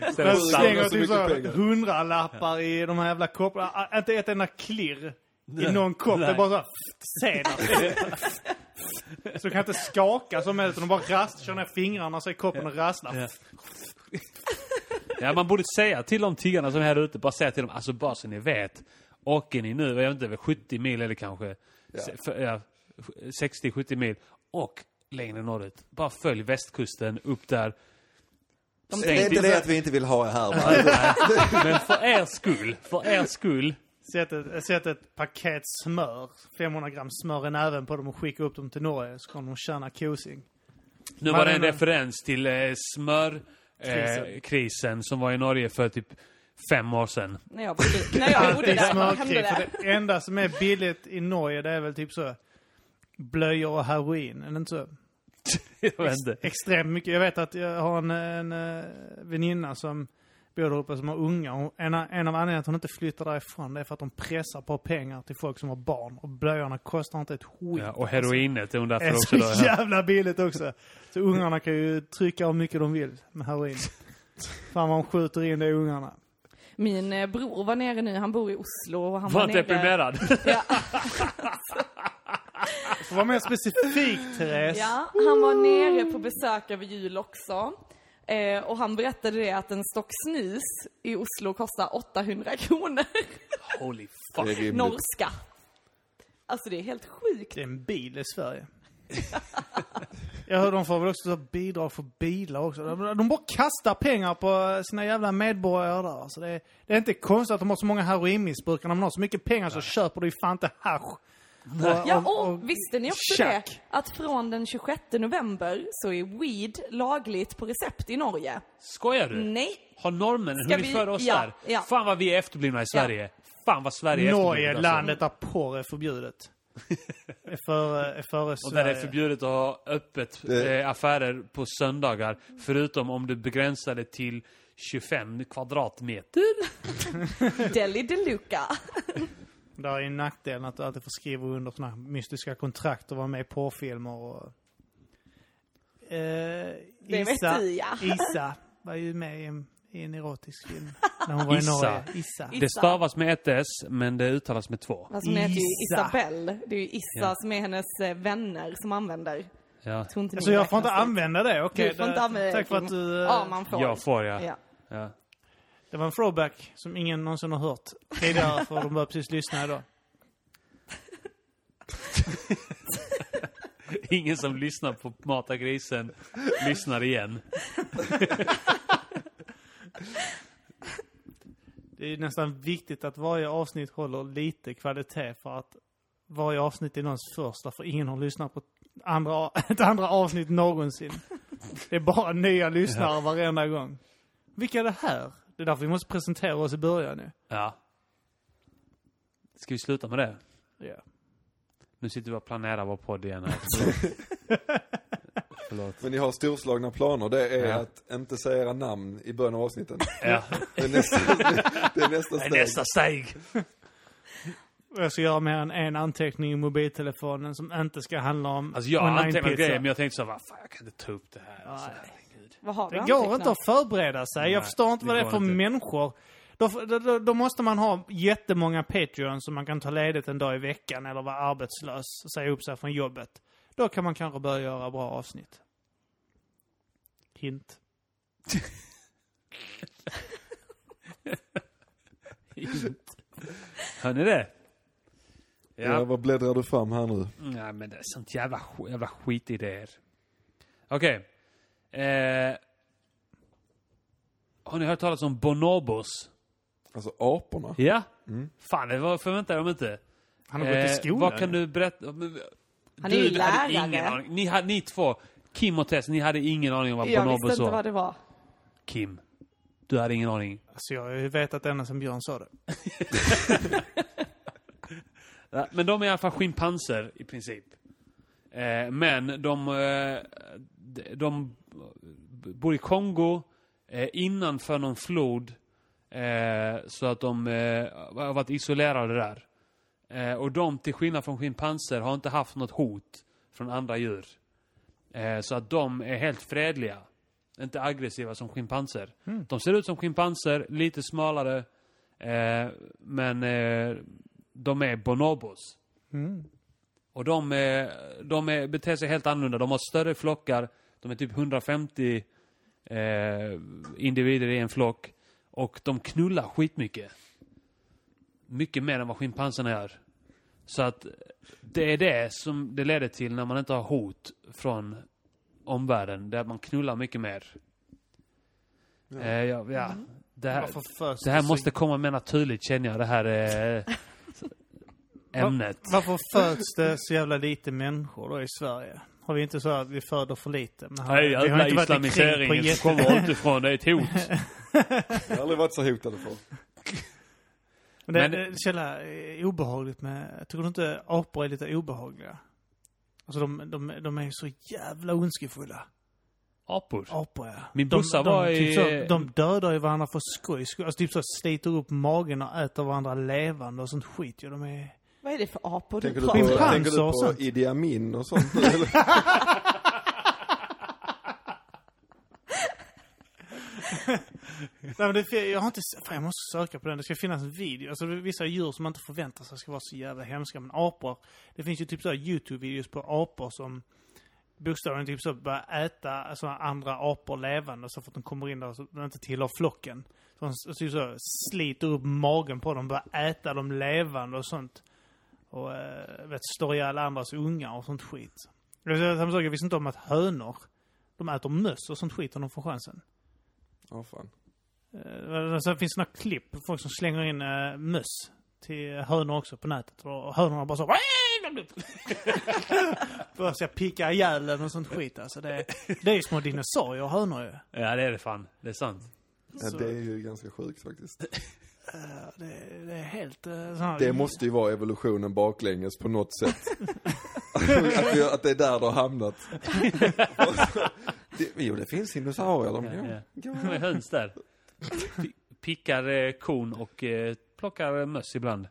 Speaker 3: De
Speaker 4: Sjukt
Speaker 3: slänger
Speaker 4: så
Speaker 3: typ
Speaker 4: mycket
Speaker 3: såhär
Speaker 4: pengar.
Speaker 3: hundralappar i de här jävla kopparna. Ah, Inte ett enda klirr i någon kopp. Det är bara såhär senap. Så du kan inte skaka som helst. utan De bara rast, kör ner fingrarna så är koppen och rasslar.
Speaker 2: Ja. Ja, man borde säga till de tiggarna som är här ute, bara säga till dem, alltså bara så ni vet. Åker ni nu, jag vet inte, över 70 mil eller kanske se- för- ja, 60-70 mil och längre norrut. Bara följ västkusten upp där.
Speaker 4: Det är inte det att vi inte vill ha er här
Speaker 2: [LAUGHS]
Speaker 4: va?
Speaker 2: Men för er skull, för er skull.
Speaker 3: Sätt ett, sätt ett paket smör, 500 gram smör i näven på dem och skicka upp dem till Norge så kommer de tjäna kosing.
Speaker 2: Nu var det en
Speaker 3: Marina.
Speaker 2: referens till eh, smörkrisen eh,
Speaker 3: Krisen.
Speaker 2: krisen som var i Norge för typ fem år sedan.
Speaker 5: När jag bodde,
Speaker 2: [LAUGHS]
Speaker 5: när jag bodde
Speaker 3: Alltid
Speaker 5: där, vad hände
Speaker 3: smörkrig.
Speaker 5: det?
Speaker 3: För det enda som är billigt i Norge det är väl typ så blöjor och heroin. Är det inte så?
Speaker 2: [LAUGHS] Jag vet inte.
Speaker 3: extremt mycket. Jag vet att jag har en, en eh, väninna som bor där uppe som har unga. Hon- En, en av anledningarna att hon inte flyttar därifrån det är för att de pressar på pengar till folk som har barn. Och blöjorna kostar inte ett skit.
Speaker 2: Ja, och heroinet är hon därför
Speaker 3: Det är
Speaker 2: också då.
Speaker 3: så jävla billigt också. Så ungarna kan ju trycka hur mycket de vill
Speaker 2: [LAUGHS]
Speaker 3: med heroin. Fan vad de skjuter in det i ungarna.
Speaker 5: Min eh, bror var nere nu, han bor i Oslo och han var,
Speaker 2: Var
Speaker 5: nere...
Speaker 2: deprimerad.
Speaker 5: Ja,
Speaker 3: För var mer specifik Therese.
Speaker 5: ja, han var nere på besök över jul också. Eh, och han berättade det att en stock snus i Oslo kostar 800 kronor.
Speaker 2: Holy fuck.
Speaker 4: Det är
Speaker 3: Mm.
Speaker 4: rimligt.
Speaker 5: Norska. Alltså det är helt sjukt.
Speaker 3: Det är en bil i Sverige. [LAUGHS] Jag hör de får väl också så bidrag för bilar också. De de bara kastar pengar på sina jävla medborgare där. Alltså det, är, det är inte konstigt att de har så många heroinmissbrukare. När man har så mycket pengar så köper du ju fan inte hasch. Och-
Speaker 5: Ja,
Speaker 3: och- och-
Speaker 5: och visste ni också
Speaker 3: Tjack.
Speaker 5: det? Att från den 26 november så är weed lagligt på recept i Norge.
Speaker 2: Skojar
Speaker 3: Mm.
Speaker 2: du?
Speaker 5: Nej.
Speaker 2: Har norrmännen
Speaker 5: Ska
Speaker 2: hunnit
Speaker 5: vi-
Speaker 2: före oss
Speaker 5: ja,
Speaker 2: där?
Speaker 5: ja.
Speaker 2: Fan vad vi är efterblivna i Sverige. Fan vad Sverige är alltså.
Speaker 3: Norge,
Speaker 2: efterblivet,
Speaker 3: landet där porr är
Speaker 2: [LAUGHS]
Speaker 3: förbjudet. Är före, är före
Speaker 2: Och där det är
Speaker 3: Sverige.
Speaker 2: förbjudet att ha öppet
Speaker 4: Det-
Speaker 2: eh, affärer på söndagar. Förutom om du begränsar det till 25 kvadratmeter.
Speaker 5: Deli Deluca.
Speaker 3: Där är ju nackdelen att du alltid får skriva under såna här mystiska kontrakt och vara med i porrfilmer och... Eh,
Speaker 5: Det vet
Speaker 3: Isa,
Speaker 5: du, ja. [LAUGHS]
Speaker 3: Isa var ju med i en, i en erotisk film. När hon var
Speaker 2: Issa.
Speaker 3: i Norge. Issa.
Speaker 5: Issa.
Speaker 2: Det stavas med ett S, men det uttalas med två.
Speaker 5: Fast hon heter ju
Speaker 3: Issa.
Speaker 5: Isabelle. Det är ju Issa
Speaker 2: Ja.
Speaker 5: som är hennes eh, vänner som använder.
Speaker 2: Ja.
Speaker 5: Tror
Speaker 3: Så
Speaker 5: inte ni
Speaker 3: Alltså, jag får inte
Speaker 5: räknas dit.
Speaker 3: använda det? Okej.
Speaker 5: Du får inte
Speaker 3: det-
Speaker 5: använda
Speaker 3: Tack för
Speaker 5: Kim.
Speaker 3: att du... eh,
Speaker 5: Ja, man får.
Speaker 2: Jag får ja.
Speaker 5: Ja.
Speaker 2: ja.
Speaker 3: Det var en throwback som ingen någonsin har hört tidigare för de bara precis lyssna idag.
Speaker 2: [LAUGHS] Ingen som lyssnar på Mata Grisen lyssnar igen.
Speaker 3: Det är nästan viktigt att varje avsnitt håller lite kvalitet för att varje avsnitt är någons första för ingen har lyssnat på andra, [LAUGHS] ett andra
Speaker 2: [LAUGHS]
Speaker 3: avsnitt någonsin. Det är bara nya lyssnare varenda gång. Vilka är det här? Det är därför vi måste presentera oss i början nu.
Speaker 2: Ja. Ska vi sluta med det?
Speaker 3: Ja.
Speaker 2: Nu sitter vi och planerar vår podd igen [LAUGHS] här. Förlåt.
Speaker 4: Men ni har storslagna planer, det är
Speaker 2: Ja.
Speaker 4: att inte säga era namn i början av
Speaker 2: [LAUGHS]
Speaker 4: avsnitten.
Speaker 2: Ja.
Speaker 4: Det är nästa, det är nästa
Speaker 2: Det är
Speaker 4: steg.
Speaker 2: nästa steg.
Speaker 3: Och Jag ska göra mer än en anteckning i mobiltelefonen som inte ska handla om
Speaker 2: Alltså jag
Speaker 3: online
Speaker 2: antecknade
Speaker 3: pizza.
Speaker 2: grejer men jag tänkte såhär, fan jag kan inte ta upp det här. Alltså,
Speaker 3: Nej.
Speaker 2: herregud.
Speaker 5: Vad har vi
Speaker 3: Det går
Speaker 5: antecknat?
Speaker 3: inte att förbereda sig.
Speaker 2: Nej,
Speaker 3: jag förstår inte
Speaker 2: det
Speaker 3: vad det är
Speaker 2: går
Speaker 3: för
Speaker 2: inte.
Speaker 3: människor. Då, då- då, då måste man ha jättemånga Patreons som man kan ta ledigt en dag i veckan eller vara arbetslös och säga upp sig från jobbet. Då kan man kanske börja göra bra avsnitt. Hint.
Speaker 2: Hör ni det?
Speaker 4: Ja.
Speaker 2: Ja.
Speaker 4: vad bläddrar du fram här nu?
Speaker 2: Nej men det är sånt jävla, sk- jävla skitidéer. Okej. Eh, har ni hört talas om bonobos?
Speaker 4: Alltså aporna.
Speaker 2: Ja. Fan, det var, förväntade jag mig inte.
Speaker 3: Han har gått i skolan.
Speaker 2: Eh, vad kan du berätta? men-
Speaker 5: Han är ju
Speaker 2: du hade
Speaker 5: lärare.
Speaker 2: ingen aning. Ni, hade, ni två, Kim och Tess, ni hade ingen aning om vad
Speaker 5: Jag visste
Speaker 2: bonobos
Speaker 5: inte vad
Speaker 2: var.
Speaker 5: det var.
Speaker 2: Kim, du hade ingen aning.
Speaker 3: Alltså jag har ju vetat ända sedan Björn sa det.
Speaker 2: Ja, Men de är i alla fall schimpanser i princip. Eh, men de, eh, de- de bor i Kongo eh, innanför någon flod. Eh, så att de eh, har varit isolerade där. Eh, och de, till skillnad från schimpanser, har inte haft något hot från andra djur. Eh, så att de är helt fredliga. Inte aggressiva som schimpanser. De ser ut som schimpanser, lite smalare. Eh, men eh, de är bonobos. Och de, eh, de är, beter sig helt annorlunda. De har större flockar. De är typ 150 eh, individer i en flock. Och de knullar skitmycket. Mycket mer än vad schimpanserna gör. Så att det är det som det leder till när man inte har hot från omvärlden. Där man knullar mycket mer. Ja. Eh, ja, ja. Det här,
Speaker 3: Varför föds
Speaker 2: det här
Speaker 3: så-
Speaker 2: måste komma mer naturligt känner jag, det här eh, ämnet.
Speaker 3: Varför föds det så jävla lite människor då i Sverige? Har vi inte så att vi föder för lite? Men har-
Speaker 2: Nej,
Speaker 3: vi har
Speaker 2: jävla
Speaker 3: inte varit i krig på
Speaker 2: islamiseringen
Speaker 3: jätte-
Speaker 2: som kommer utifrån, det är ett
Speaker 3: [LAUGHS]
Speaker 2: hot.
Speaker 4: Jag har aldrig varit så hotade för.
Speaker 3: Men det,
Speaker 2: Men-
Speaker 3: det, så jävla eh, obehagligt med... Tycker du inte apor är lite obehagliga? Alltså de, de, de är så jävla ondskefulla.
Speaker 2: Apor.
Speaker 3: Apor ja.
Speaker 2: Min
Speaker 3: de,
Speaker 2: brorsa
Speaker 3: de,
Speaker 2: var
Speaker 3: typ
Speaker 2: i-
Speaker 3: Så, de dödar ju varandra för skojs skull. Alltså typ så sliter upp magen och äter varandra levande och sånt skit ju. De är...
Speaker 5: Vad är det för apor du
Speaker 4: Tänker du
Speaker 5: pratar
Speaker 4: på,
Speaker 3: Schimpanser
Speaker 5: om?
Speaker 4: tänker du
Speaker 3: och
Speaker 4: på
Speaker 3: sånt.
Speaker 4: Idi Amin och sånt nu, eller?
Speaker 3: Nej, men det, jag har inte... Fan, jag måste söka på den. Det ska finnas en video. Alltså, det är vissa djur som man inte förväntar sig ska vara så jävla hemska. Men apor. Det finns ju typ så här YouTube-videos på apor som bokstavligen typ så börjar äta alltså, andra apor levande. Så fort de kommer in där så de inte tillhör flocken. Så de s- typ så sliter upp magen på dem. Börjar äta dem levande och sånt. Och eh, vet, slår ihjäl andras ungar och sånt skit. Jag vet inte, samma sak, jag visste inte om att hönor, de äter möss och sånt skit om de får chansen.
Speaker 4: Ja, fan.
Speaker 3: Eh, Sen finns det några klipp på folk som slänger in uh, möss till hönor också på nätet. Och hönorna bara så... [LAUGHS] Börjar så här picka ihjäl den och sånt skit alltså. Det, är- det är ju små dinosaurier hönor ju.
Speaker 2: Ja, det är det fan. Det är sant.
Speaker 4: Ja, det är ju ganska sjukt [LAUGHS] faktiskt.
Speaker 3: Eh, Det, det är helt... eh, sån här-
Speaker 4: Det måste ju vara evolutionen baklänges på något sätt. [LAUGHS] att, vi, att det är där det har hamnat. Och så- det, [LAUGHS] jo, det finns dinosaurier. De, ja,
Speaker 2: Ja. Med höns där. P- Pickar eh, kon och eh, plockar eh, möss
Speaker 3: [LAUGHS]
Speaker 2: ibland.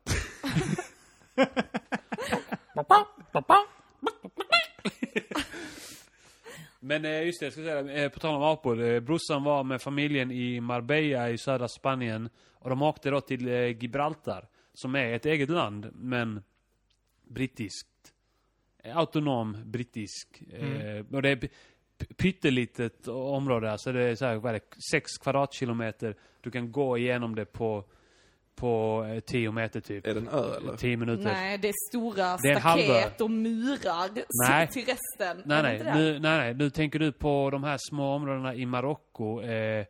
Speaker 2: Men eh, just det, jag ska säga, eh, på tal om apor. eh, Brorsan var med familjen i Marbella i södra Spanien. Och de åkte då till eh, Gibraltar. Som är ett eget land, men brittiskt. Eh, Autonom brittisk. Eh, och det är p- p- pyttelitet område. Alltså det är så här, vad är det, sex kvadratkilometer. Du kan gå igenom det på, på eh, tio meter typ.
Speaker 4: Är det en ö eller?
Speaker 2: Tio minuter.
Speaker 5: Nej, det är stora
Speaker 2: Typ. Det är en
Speaker 5: staket
Speaker 2: halvö.
Speaker 5: och murar
Speaker 2: Nej.
Speaker 5: till resten.
Speaker 2: Nej,
Speaker 5: Är det
Speaker 2: nej,
Speaker 5: inte det?
Speaker 2: nu, nej, nej. Nu tänker du på de här små områdena i Marocko. Eh,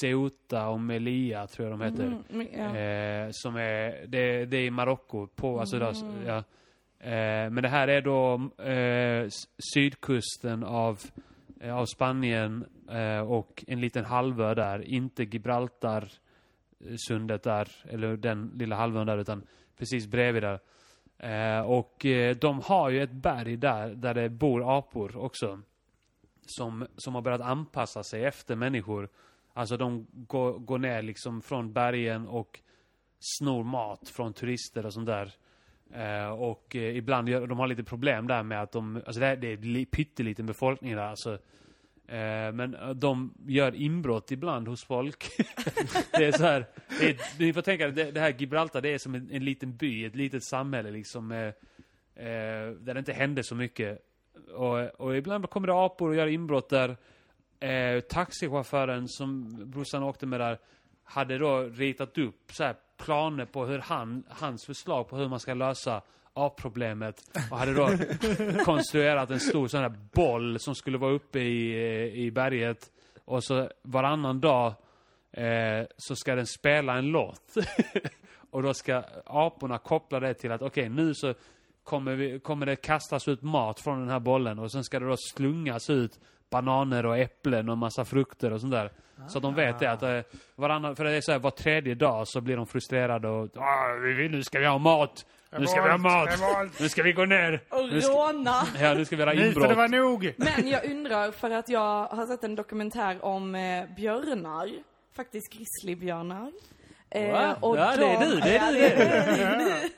Speaker 2: Ceuta och Melilla tror jag de heter.
Speaker 5: Mm, men, ja. Mm.
Speaker 2: Eh, som är, det, det är i Marocko. På, alltså, där, ja. eh, men det här är då eh, s- sydkusten av, eh, av Spanien eh, och en liten halvö där. Inte Gibraltar eh, sundet där, eller den lilla halvön där, utan precis bredvid där. Eh, och eh, de har ju ett berg där, där det bor apor också. Som, som har börjat anpassa sig efter människor. Alltså de går, går ner liksom från bergen och snor mat från turister och sånt där. Eh, och eh, ibland gör, de har lite problem där med att de, alltså det, här, det är li, pytteliten befolkning där alltså. Eh, men eh, de gör inbrott ibland hos folk. det är så här, det är, ni får tänka det, det här Gibraltar, det är som en, en liten by, ett litet samhälle liksom. Eh, eh, där det inte händer så mycket. Och, och ibland kommer det apor och gör inbrott där. Eh, taxichauffören som brorsan åkte med där hade då ritat upp så här planer på hur han, hans förslag på hur man ska lösa A-problemet och hade då konstruerat en stor sån här boll som skulle vara uppe i, eh, i berget. Och så varannan dag eh, så ska den spela en låt. [LAUGHS] och då ska aporna koppla det till att okej, nu så kommer, vi, kommer det kastas ut mat från den här bollen och sen ska det då slungas ut bananer och äpplen och massa frukter och sånt där. Så att de vet det
Speaker 3: Ah.
Speaker 2: att eh, varannan, för det är så här, var tredje dag så blir de frustrerade och "Ah, vi vill- nu ska vi ha mat! Nu ska vi ha mat! Nu ska vi gå ner!
Speaker 5: Och
Speaker 2: Nu ska,
Speaker 5: råna.
Speaker 2: ja, nu ska vi göra
Speaker 3: Nu får det
Speaker 2: inbrott.
Speaker 3: vara nog!
Speaker 5: Men jag undrar, för att jag har sett en dokumentär om eh, björnar, faktiskt grizzlybjörnar. Eh,
Speaker 2: Va? Ja, det är
Speaker 5: de-
Speaker 2: du, det är
Speaker 5: Ja,
Speaker 2: du,
Speaker 5: det
Speaker 2: det
Speaker 5: är du.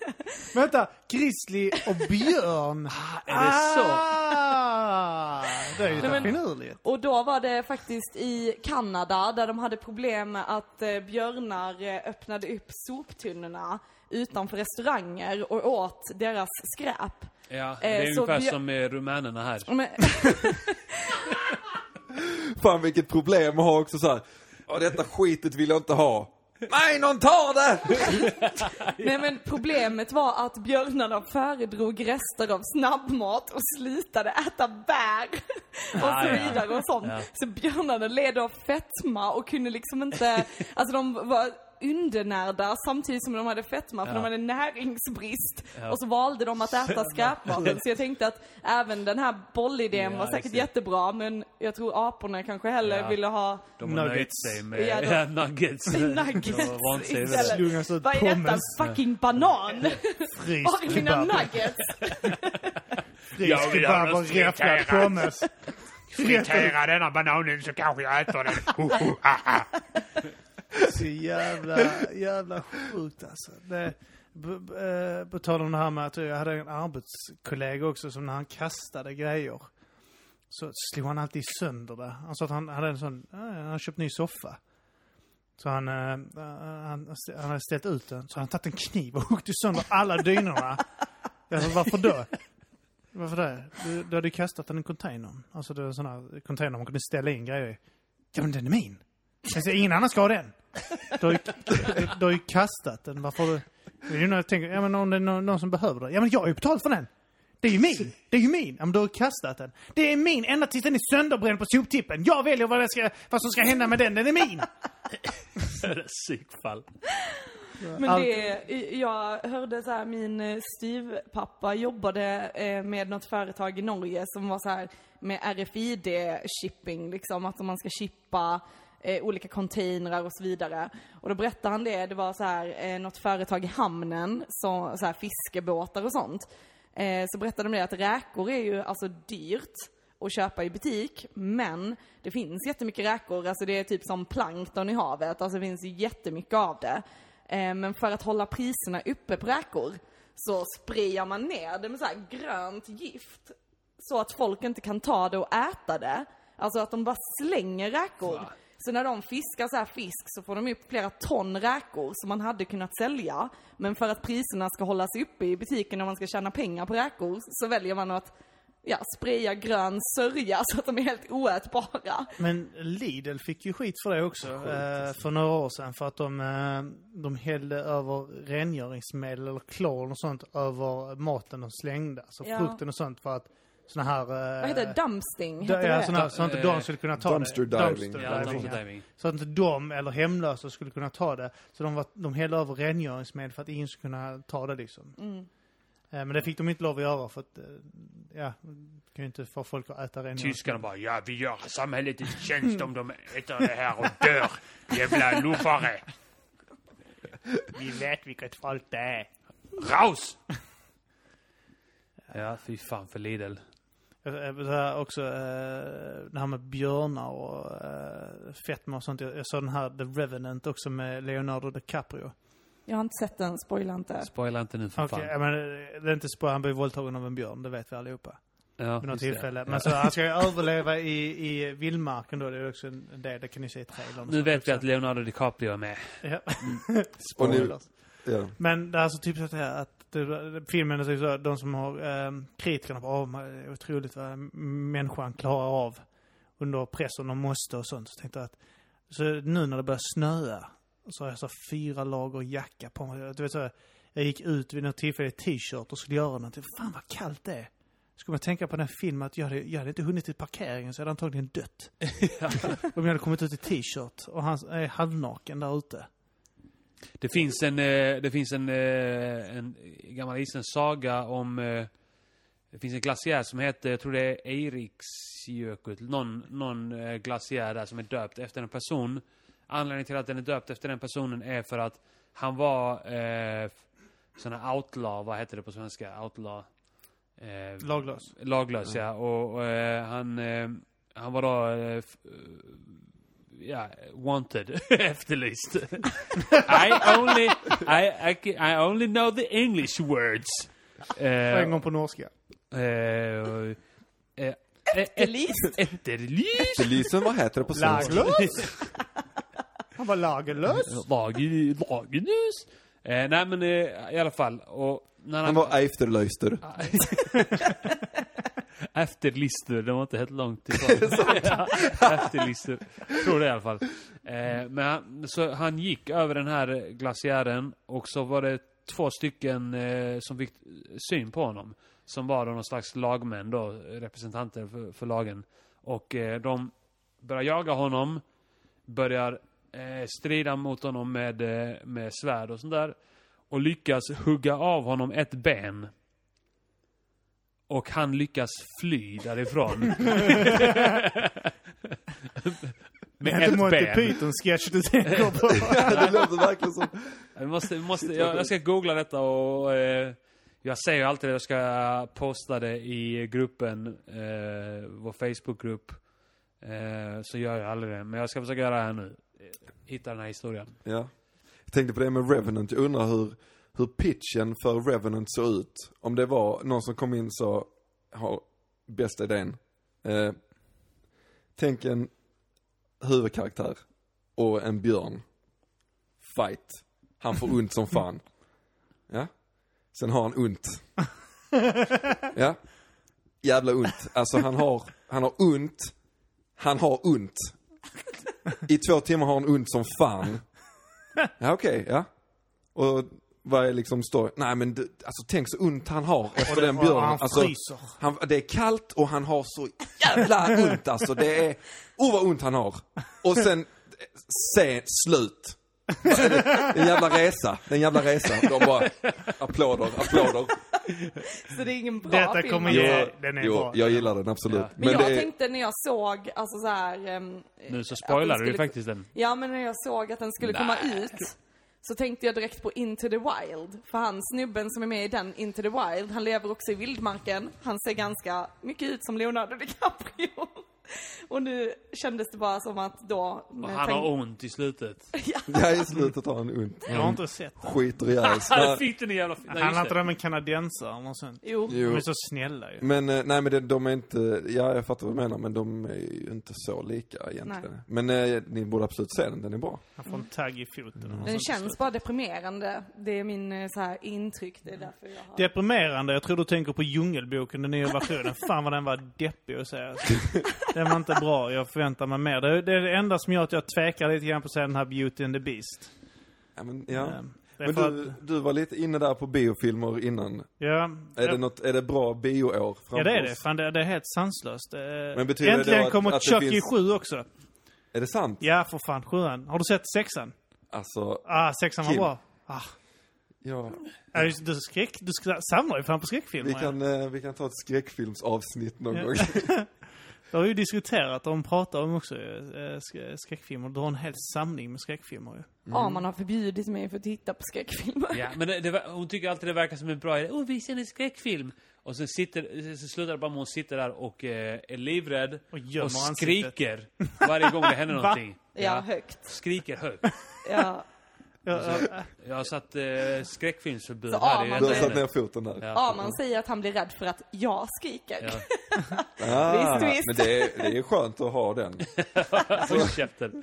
Speaker 3: Vänta, grizzly och
Speaker 2: [LAUGHS]
Speaker 3: björn.
Speaker 2: Är det så?
Speaker 3: Ah, det är ju
Speaker 5: Nej, men-
Speaker 3: finurligt.
Speaker 5: Och då var det faktiskt i Kanada där de hade problem med att eh, björnar eh, öppnade upp soptunnorna utanför restauranger och åt deras skräp.
Speaker 2: Ja, det är
Speaker 5: Eh, så
Speaker 2: ungefär
Speaker 5: vi-
Speaker 2: som med rumänerna här.
Speaker 5: Men, [LAUGHS]
Speaker 4: Fan vilket problem att ha också så här. Ja, detta skitet vill jag inte ha. Nej, någon tar det!
Speaker 5: nej, men problemet var att björnarna föredrog rester av snabbmat och slutade äta bär och
Speaker 2: Ah,
Speaker 5: så
Speaker 2: ja.
Speaker 5: vidare och sånt.
Speaker 2: Ja.
Speaker 5: Så björnarna led av fetma och kunde liksom inte, alltså de var undernärda samtidigt som de hade fetma för
Speaker 2: Ja.
Speaker 5: de hade näringsbrist.
Speaker 2: Ja.
Speaker 5: Och så valde de att äta skräpmaten.
Speaker 2: [LAUGHS]
Speaker 5: Så jag tänkte att även den här bollidén
Speaker 2: Ja,
Speaker 5: var
Speaker 2: just
Speaker 5: säkert
Speaker 2: det.
Speaker 5: jättebra men jag tror aporna kanske hellre
Speaker 2: Ja.
Speaker 5: ville ha
Speaker 2: De har nöjt
Speaker 3: Nuggets.
Speaker 2: sig med
Speaker 5: Ja, de-
Speaker 2: ja, [LAUGHS] nuggets.
Speaker 5: nuggets
Speaker 2: De har vant sig vid det.
Speaker 5: istället.
Speaker 3: Slungas ut
Speaker 5: Vad är detta?
Speaker 3: pommes,
Speaker 5: Fucking banan!
Speaker 3: fryst
Speaker 5: Var är mina
Speaker 3: kebab,
Speaker 5: nuggets?
Speaker 2: Jag
Speaker 3: fryst
Speaker 2: vill
Speaker 3: kebab
Speaker 2: gärna
Speaker 3: och räfflad
Speaker 2: fritera.
Speaker 3: pommes. Räfflad-
Speaker 2: Fritera denna bananen så kanske jag äter den.
Speaker 3: [LAUGHS] Så jävla, jävla sjukt alltså. Det, b- b- eh, på tal om det här med att jag hade en arbetskollega också som när han kastade grejer så slog han alltid sönder det. Han sa att han hade en sån, eh, han hade köpt ny soffa. Så han, eh, han, han hade ställt ut den, så han tagit en kniv och huggit sönder alla dynorna. Jag sa, varför då? Varför det? Du, du hade ju kastat den i containern. Alltså det är en sån här container man kunde ställa in grejer i. Ja men den är min. Alltså, ingen annan ska ha den. Du har ju, [LAUGHS] du har ju kastat den. Varför har du... Det är ju när jag tänker, ja men om det är någon, någon som behöver den. Ja men jag har ju betalt för den. Det är ju min. Det är ju min. Ja men du har ju kastat den. Det är min ända tills den är sönderbränd på soptippen. Jag väljer vad, det ska, vad som ska hända med den. Den är min.
Speaker 2: Psykfall.
Speaker 5: Men
Speaker 3: Allt-
Speaker 5: det, jag hörde så här, min eh, styvpappa jobbade eh, med något företag i Norge som var så här med RFID-shipping, liksom att man ska chippa eh, olika containrar och så vidare. Och då berättade han det, det var så här eh, något företag i hamnen, så, så här fiskebåtar och sånt. Eh, så berättade de det att räkor är ju alltså dyrt att köpa i butik, men det finns jättemycket räkor, alltså det är typ som plankton i havet, alltså det finns ju jättemycket av det. Eh, Men för att hålla priserna uppe på räkor så sprayar man ner det med så här grönt gift så att folk inte kan ta det och äta det. Alltså att de bara slänger räkor. Så när de fiskar så här fisk så får de upp flera ton räkor som man hade kunnat sälja. Men för att priserna ska hållas uppe i butiken och man ska tjäna pengar på räkor så väljer man att ja, spraya grön sörja så att de är helt oätbara.
Speaker 3: [LAUGHS] Men Lidl fick ju skit för det också eh, för några år sedan för att de, eh, de hällde över rengöringsmedel eller klor och sånt över maten de slängde. Alltså
Speaker 5: Ja.
Speaker 3: frukten och sånt för att såna här... eh,
Speaker 5: Vad heter det? Dumpsting?
Speaker 3: Ja,
Speaker 5: Heter
Speaker 3: ja,
Speaker 5: det?
Speaker 3: såna här, så att inte de skulle kunna ta
Speaker 4: Dumpster
Speaker 3: det.
Speaker 4: diving.
Speaker 2: Ja,
Speaker 3: diving,
Speaker 2: dumpster diving.
Speaker 3: Så att inte de eller hemlösa skulle kunna ta det. Så de, var, de hällde över rengöringsmedel för att ingen skulle kunna ta det liksom. Eh, Men det fick de inte lov att göra för att, eh, ja, kan ju inte få folk att äta rengöringsmedel.
Speaker 2: Tyskarna bara, ja vi gör samhället en tjänst om de äter det här och dör. Jävla luffare.
Speaker 3: Vi vet vilket folk det är.
Speaker 2: Raus! Ja, fy fan för Lidl.
Speaker 3: Jag- jag vill säga eh, också eh, det här med björnar och eh, fetma och sånt. Jag, jag såg den här The Revenant också med Leonardo DiCaprio.
Speaker 5: Jag har inte sett den, spoila inte.
Speaker 2: Spoila inte nu för
Speaker 3: Okej,
Speaker 2: fan.
Speaker 3: jag menar, det är inte spoil, han blir våldtagen av en björn, det vet vi allihopa.
Speaker 2: Ja,
Speaker 3: Vid
Speaker 2: just
Speaker 3: något
Speaker 2: det.
Speaker 3: tillfälle.
Speaker 2: Ja.
Speaker 3: Men så han ska ju överleva i, i vildmarken då, det är också en en del, det kan ni se i trailern.
Speaker 2: Nu vet vi att Leonardo DiCaprio är med.
Speaker 3: Ja. [LAUGHS]
Speaker 4: Och nu-
Speaker 3: Mm. Spoilers.
Speaker 4: Ja.
Speaker 3: Men det är alltså typ så att, det här, att det, filmen är typ så, här, de som har eh, kritikerna på oh, man- det är otroligt vad människan klarar av under pressen de måste och sånt. Så tänkte jag att, så nu när det börjar snöa så har jag så här fyra lager jacka på mig. Du vet så här, Jag gick ut vid något tillfälle i t-shirt och skulle göra någonting. Fan vad kallt det är. Skulle man tänka på den här filmen att jag hade, jag hade inte hunnit till parkeringen så jag hade antagligen dött. [LAUGHS] Om jag hade kommit ut i t-shirt och han är halvnaken där ute.
Speaker 2: Det finns en, eh, det finns en, eh, en gammal isen saga om... eh, Det finns en glaciär som heter, jag tror det är Eiriksjökull, någon, någon eh, glaciär där som är döpt efter en person. Anledningen till att den är döpt efter den personen är för att han var eh, sån här outlaw, vad heter det på svenska? Outlaw? Eh,
Speaker 3: Laglös.
Speaker 2: Laglös, ja.
Speaker 3: Mm.
Speaker 2: Och, och eh, han, eh, han var då... Eh, f- eh, ja, wanted. [LAUGHS]
Speaker 3: [LAUGHS]
Speaker 2: Efterlyst. I only... I, I, ca- I only know the English words.
Speaker 3: Och
Speaker 2: Eh,
Speaker 3: en gång på norska.
Speaker 2: eh, och, eh,
Speaker 5: Efterlyst.
Speaker 2: eh, Efterlyst.
Speaker 4: Polisen, vad heter det på svenska?
Speaker 3: [LAUGHS] Han var lagerlös.
Speaker 2: Lager- Lagerlös. Eh, nej men eh, i alla fall. Och när han,
Speaker 4: Han var Eifterlöster.
Speaker 2: [LAUGHS] Efterlistor, det var inte helt långt ifrån. Ja, [LAUGHS] Efterlistor, tror det i alla fall. Eh, men han, så han gick över den här glaciären och så var det två stycken eh, som fick syn på honom. Som var då någon slags lagmän då, representanter för, för lagen. Och eh, de börjar jaga honom, börjar eh, strida mot honom med, eh, med svärd och sånt där. Och lyckas hugga av honom ett ben. Och han lyckas fly därifrån.
Speaker 3: Det är
Speaker 2: Med
Speaker 3: inte
Speaker 2: ett
Speaker 3: Monty
Speaker 2: ben.
Speaker 3: Python-sketch du tänker på.
Speaker 4: [LAUGHS] det låter verkligen som...
Speaker 2: Vi måste, vi måste, jag, jag ska googla detta och... Eh, jag säger ju alltid att jag ska posta det i gruppen, eh, vår Facebookgrupp. Eh, så gör jag aldrig det. Men jag ska försöka göra det här nu. Eh, Hitta den här historien.
Speaker 4: Ja. Jag tänkte på det med Revenant, jag undrar hur, hur pitchen för Revenant såg ut. Om det var någon som kom in så har bästa idén. Eh, tänk en huvudkaraktär och en björn. Fight. Han får ont som fan. Ja. Sen har han ont. Ja. Jävla ont. Alltså han har, han har ont. Han har ont. I två timmar har han ont som fan. Ja, okej, ja. Och vad är liksom står Nej men du, alltså tänk så ont han har efter den björnen.
Speaker 3: och han
Speaker 4: alltså,
Speaker 3: fryser.
Speaker 4: han, det är kallt och han har så jävla ont alltså. Det är, oh vad ont han har. Och sen, sen, slut. En jävla resa, det är en jävla resa. De bara, applåder, applåder.
Speaker 5: Så det är ingen bra
Speaker 3: Detta
Speaker 5: film.
Speaker 3: kommer
Speaker 5: alltså.
Speaker 3: ge... Den är
Speaker 4: jo,
Speaker 3: bra.
Speaker 4: jag gillar den absolut.
Speaker 2: Ja.
Speaker 5: Men, jag
Speaker 4: det är,
Speaker 5: tänkte när jag såg, alltså så här... ehm,
Speaker 2: Nu så
Speaker 5: att den
Speaker 2: spoilar du ju
Speaker 5: skulle-
Speaker 2: faktiskt den.
Speaker 5: Ja, men när jag såg att den skulle komma ut så tänkte jag direkt på Into the Wild. För han snubben som är med i den, Into the Wild, han lever också i vildmarken. Han ser ganska mycket ut som Leonardo DiCaprio. [LAUGHS] Och nu kändes det bara som att då...
Speaker 2: Och han har ont i [LAUGHS] slutet.
Speaker 5: [LAUGHS]
Speaker 4: ja, i slutet har han ont.
Speaker 3: Jag har inte sett den.
Speaker 4: Skiter
Speaker 3: [LAUGHS]
Speaker 4: ihjäl sig.
Speaker 2: Han
Speaker 4: Nej,
Speaker 2: fick den i jävla... Nej, just
Speaker 3: Handlar inte
Speaker 2: det.
Speaker 3: det om en kanadensare eller något sånt?
Speaker 5: Jo.
Speaker 3: De
Speaker 4: Jo.
Speaker 3: är så snälla ju.
Speaker 4: Men eh, nej men det, de är inte, ja jag fattar vad du menar men de är ju inte så lika egentligen. Men eh, ni borde absolut se den, den är bra.
Speaker 3: Han får en tagg i foten. och
Speaker 5: Den
Speaker 3: sånt.
Speaker 5: känns bara deprimerande. Det är min eh, så här intryck. Det är därför jag har...
Speaker 3: Deprimerande. Jag tror du tänker på Djungelboken, den nya
Speaker 5: [LAUGHS]
Speaker 3: versionen. Fan vad den var deppig att säga. Den var inte bra. Jag förväntar mig mer. Det det är det enda som gör att jag tvekar lite grann på att säga den här Beauty and the Beast.
Speaker 4: Ja, men, ja.
Speaker 3: Ehm, det är
Speaker 4: men
Speaker 3: för
Speaker 4: du,
Speaker 3: att,
Speaker 4: du var lite inne där på biofilmer innan.
Speaker 3: ja,
Speaker 4: Är det något, är det bra bioår framför
Speaker 3: ja, det är det.
Speaker 4: oss?
Speaker 3: Fan, det, det är helt sanslöst. Det-
Speaker 4: Men betyder det
Speaker 3: Äntligen
Speaker 4: då att-
Speaker 3: kommer
Speaker 4: att det
Speaker 3: Chucky
Speaker 4: finns-
Speaker 3: 7 också.
Speaker 4: Är det sant?
Speaker 3: Ja, för fan. Sjuan. Har du sett sexan?
Speaker 4: Alltså,
Speaker 3: Ah, sexan var
Speaker 4: Kim.
Speaker 3: bra. Ah.
Speaker 4: ja.
Speaker 3: Ja, just, du, skräck, du sk- samlar ju fan på skräckfilmer.
Speaker 4: Vi
Speaker 3: ja.
Speaker 4: kan, eh, vi kan ta ett skräckfilmsavsnitt
Speaker 3: [LAUGHS]
Speaker 4: någon
Speaker 3: Ja.
Speaker 4: gång.
Speaker 3: Det har vi ju diskuterat och pratat om också ju, eh, sk- skräckfilmer. Du har en hel samling med skräckfilmer ju.
Speaker 5: Ja, man har förbjudit mig för att titta på skräckfilmer.
Speaker 2: Ja, men det, det, var- hon tycker alltid det verkar som en bra idé. Åh, vi ser en skräckfilm. Och sen sitter, så slutar det bara med att hon sitter där och eh, är livrädd.
Speaker 3: Och gömmer
Speaker 2: skriker
Speaker 3: [LAUGHS] ansiktet.
Speaker 2: varje gång det händer någonting.
Speaker 5: Ja, högt.
Speaker 2: Skriker högt.
Speaker 5: Ja.
Speaker 3: Ja, ja,
Speaker 2: Jag har satt eh, skräckfilmsförbud
Speaker 5: Så
Speaker 2: här i
Speaker 5: Arman-
Speaker 4: Du har
Speaker 2: detta
Speaker 4: satt ner
Speaker 2: ämnet.
Speaker 4: foten där.
Speaker 5: ja, man säger att han blir rädd för att jag skriker.
Speaker 2: Ja.
Speaker 4: Ah,
Speaker 5: Visst, visst.
Speaker 4: Men det är, det är skönt att ha den.
Speaker 2: Håll Alltså, käften.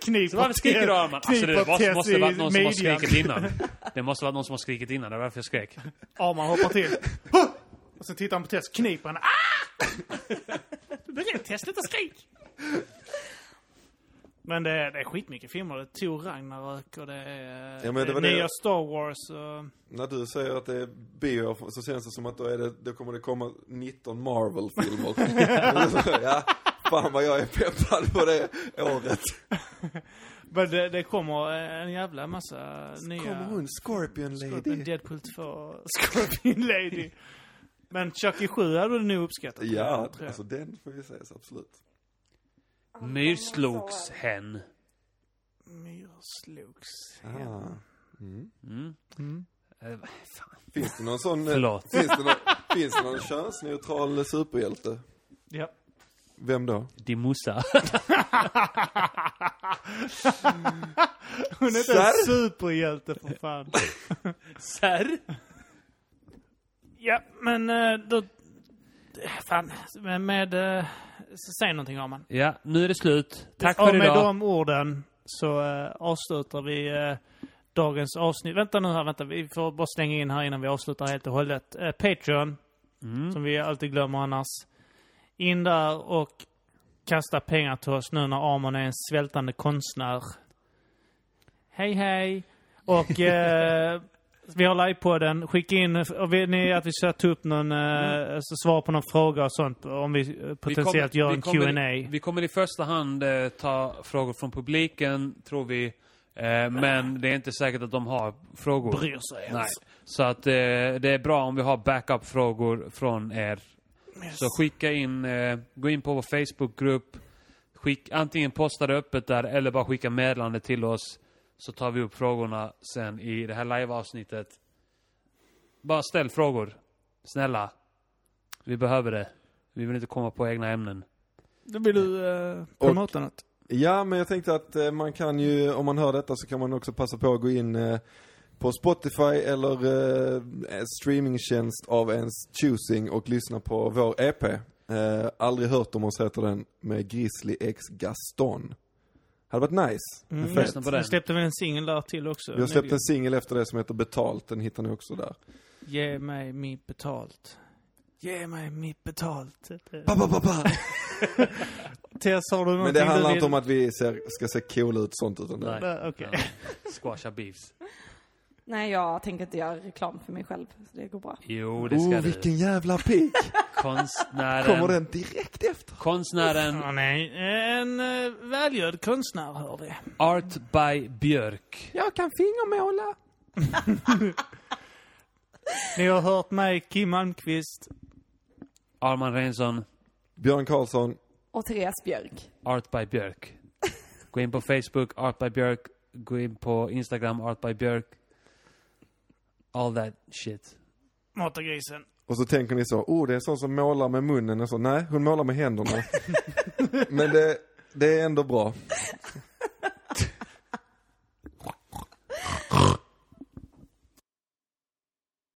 Speaker 3: Knip
Speaker 2: Så varför skriker du Arman? Alltså det
Speaker 3: knip och
Speaker 2: måste,
Speaker 3: tess
Speaker 2: måste
Speaker 3: i
Speaker 2: varit någon som har
Speaker 3: midjan.
Speaker 2: skrikit innan. Det måste varit någon som har skrikit innan, det var därför jag skrek.
Speaker 3: Arman hoppar till. Huh! Och sen tittar han på Tess, kniper henne. Ah! Du är rädd Tess, sluta skrik! Men det är, det är skitmycket filmer. Det är Thor Ragnarök och det är
Speaker 4: Ja, men det var det
Speaker 3: nya
Speaker 4: jag-
Speaker 3: Star Wars och...
Speaker 4: När du säger att det är bio så känns det som att då, är det, då kommer det komma
Speaker 3: [LAUGHS]
Speaker 4: 19 Marvel-filmer. [LAUGHS] ja, fan vad jag är peppad på det året.
Speaker 3: Men det, det kommer en jävla massa nya...
Speaker 4: Kommer hon, Scorpion
Speaker 3: Scorpion
Speaker 4: Lady?
Speaker 3: Deadpool 2, Scorpion Lady. Men Chucky 7 hade du nog uppskattat.
Speaker 4: Ja,
Speaker 3: tror jag.
Speaker 4: alltså den får vi säga så absolut.
Speaker 2: Myrslogs hen.
Speaker 3: Myrslogs.
Speaker 4: Ah.
Speaker 2: Eh, vad fan.
Speaker 4: Finns det någon sån... eh,
Speaker 2: Förlåt.
Speaker 4: Finns det någon, finns det någon könsneutral superhjälte?
Speaker 3: Ja.
Speaker 4: Vem då?
Speaker 2: Din morsa. [LAUGHS]
Speaker 3: Hon är inte en superhjälte för fan.
Speaker 2: Sär?
Speaker 3: ja, men eh, då... Fan, men med... eh, så Säg någonting om man.
Speaker 2: Ja, nu är det slut. Tack
Speaker 3: Och
Speaker 2: för
Speaker 3: med
Speaker 2: idag.
Speaker 3: de orden så eh, avslutar vi eh, dagens avsnitt. Vänta nu här, vänta. Vi får bara slänga in här innan vi avslutar helt och hållet. Eh, Patreon,
Speaker 2: Mm.
Speaker 3: som vi alltid glömmer annars. In där och kasta pengar till oss nu när Amon är en svältande konstnär. Hej hej! Och eh,
Speaker 2: [LAUGHS]
Speaker 3: vi har livepodden. Skicka in, och vill ni att vi ska ta upp någon, eh, så svar på någon fråga och sånt om vi eh, potentiellt gör
Speaker 2: Mm. vi
Speaker 3: en
Speaker 2: kommer,
Speaker 3: Q&A.
Speaker 2: vi kommer i första hand eh, ta frågor från publiken, tror vi. Eh, men det är inte säkert att de har frågor.
Speaker 3: Bryr sig ens.
Speaker 2: Nej. Så att eh, det är bra om vi har backup-frågor från er. Så skicka in, eh, gå in på vår Facebookgrupp. Skick, antingen posta det öppet där eller bara skicka meddelande till oss. Så tar vi upp frågorna sen i det här live-avsnittet. Bara ställ frågor. Snälla. Vi behöver det. Vi vill inte komma på egna ämnen.
Speaker 3: Då vill du eh,
Speaker 4: promota
Speaker 3: något.
Speaker 4: Ja, men jag tänkte att eh, man kan ju, om man hör detta så kan man också passa på att gå in eh, på Spotify eller eh, streamingtjänst av ens choosing och lyssna på vår EP. Eh, aldrig hört om oss heter den med Grizzly X Gaston. Hade varit nice.
Speaker 3: Mm.
Speaker 4: Fett.
Speaker 2: Lyssna på
Speaker 3: Nu
Speaker 2: den.
Speaker 3: släppte vi en singel där till också.
Speaker 4: Vi har släppt en singel efter det som heter Betalt, den hittar ni också där.
Speaker 3: Ge mig mitt betalt. Ge mig mitt betalt.
Speaker 4: Ba, ba, ba, ba.
Speaker 3: Tess, har du någonting
Speaker 4: Men det handlar
Speaker 3: du
Speaker 4: inte om att vi ser, ska se coola ut sånt utan det.
Speaker 2: Nej.
Speaker 3: Nej, Okej.
Speaker 2: Squasha beefs.
Speaker 5: Nej, jag tänker inte göra reklam för mig själv, så det går bra.
Speaker 2: Jo, det ska
Speaker 4: Oh,
Speaker 2: du.
Speaker 4: vilken jävla pik! Kommer
Speaker 2: Konstnären.
Speaker 4: den direkt efter?
Speaker 2: Konstnären
Speaker 3: Ja, nej. En eh, välgörd konstnär hör det.
Speaker 2: Art by Björk.
Speaker 4: Jag kan
Speaker 3: [LAUGHS]
Speaker 4: fingermåla.
Speaker 3: Ni har hört mig, Kim Malmqvist.
Speaker 2: Arman Reinsson.
Speaker 4: Björn Karlsson,
Speaker 5: Och Therese Björk.
Speaker 2: Art by Björk. Gå in på Facebook, Art by Björk. Gå in på Instagram, Art by Björk. All that shit.
Speaker 3: Mata grisen.
Speaker 4: Och så tänker ni så, oh det är en sån som [LAUGHS] målar med munnen och så, nej hon målar med händerna. Men det, det är ändå bra.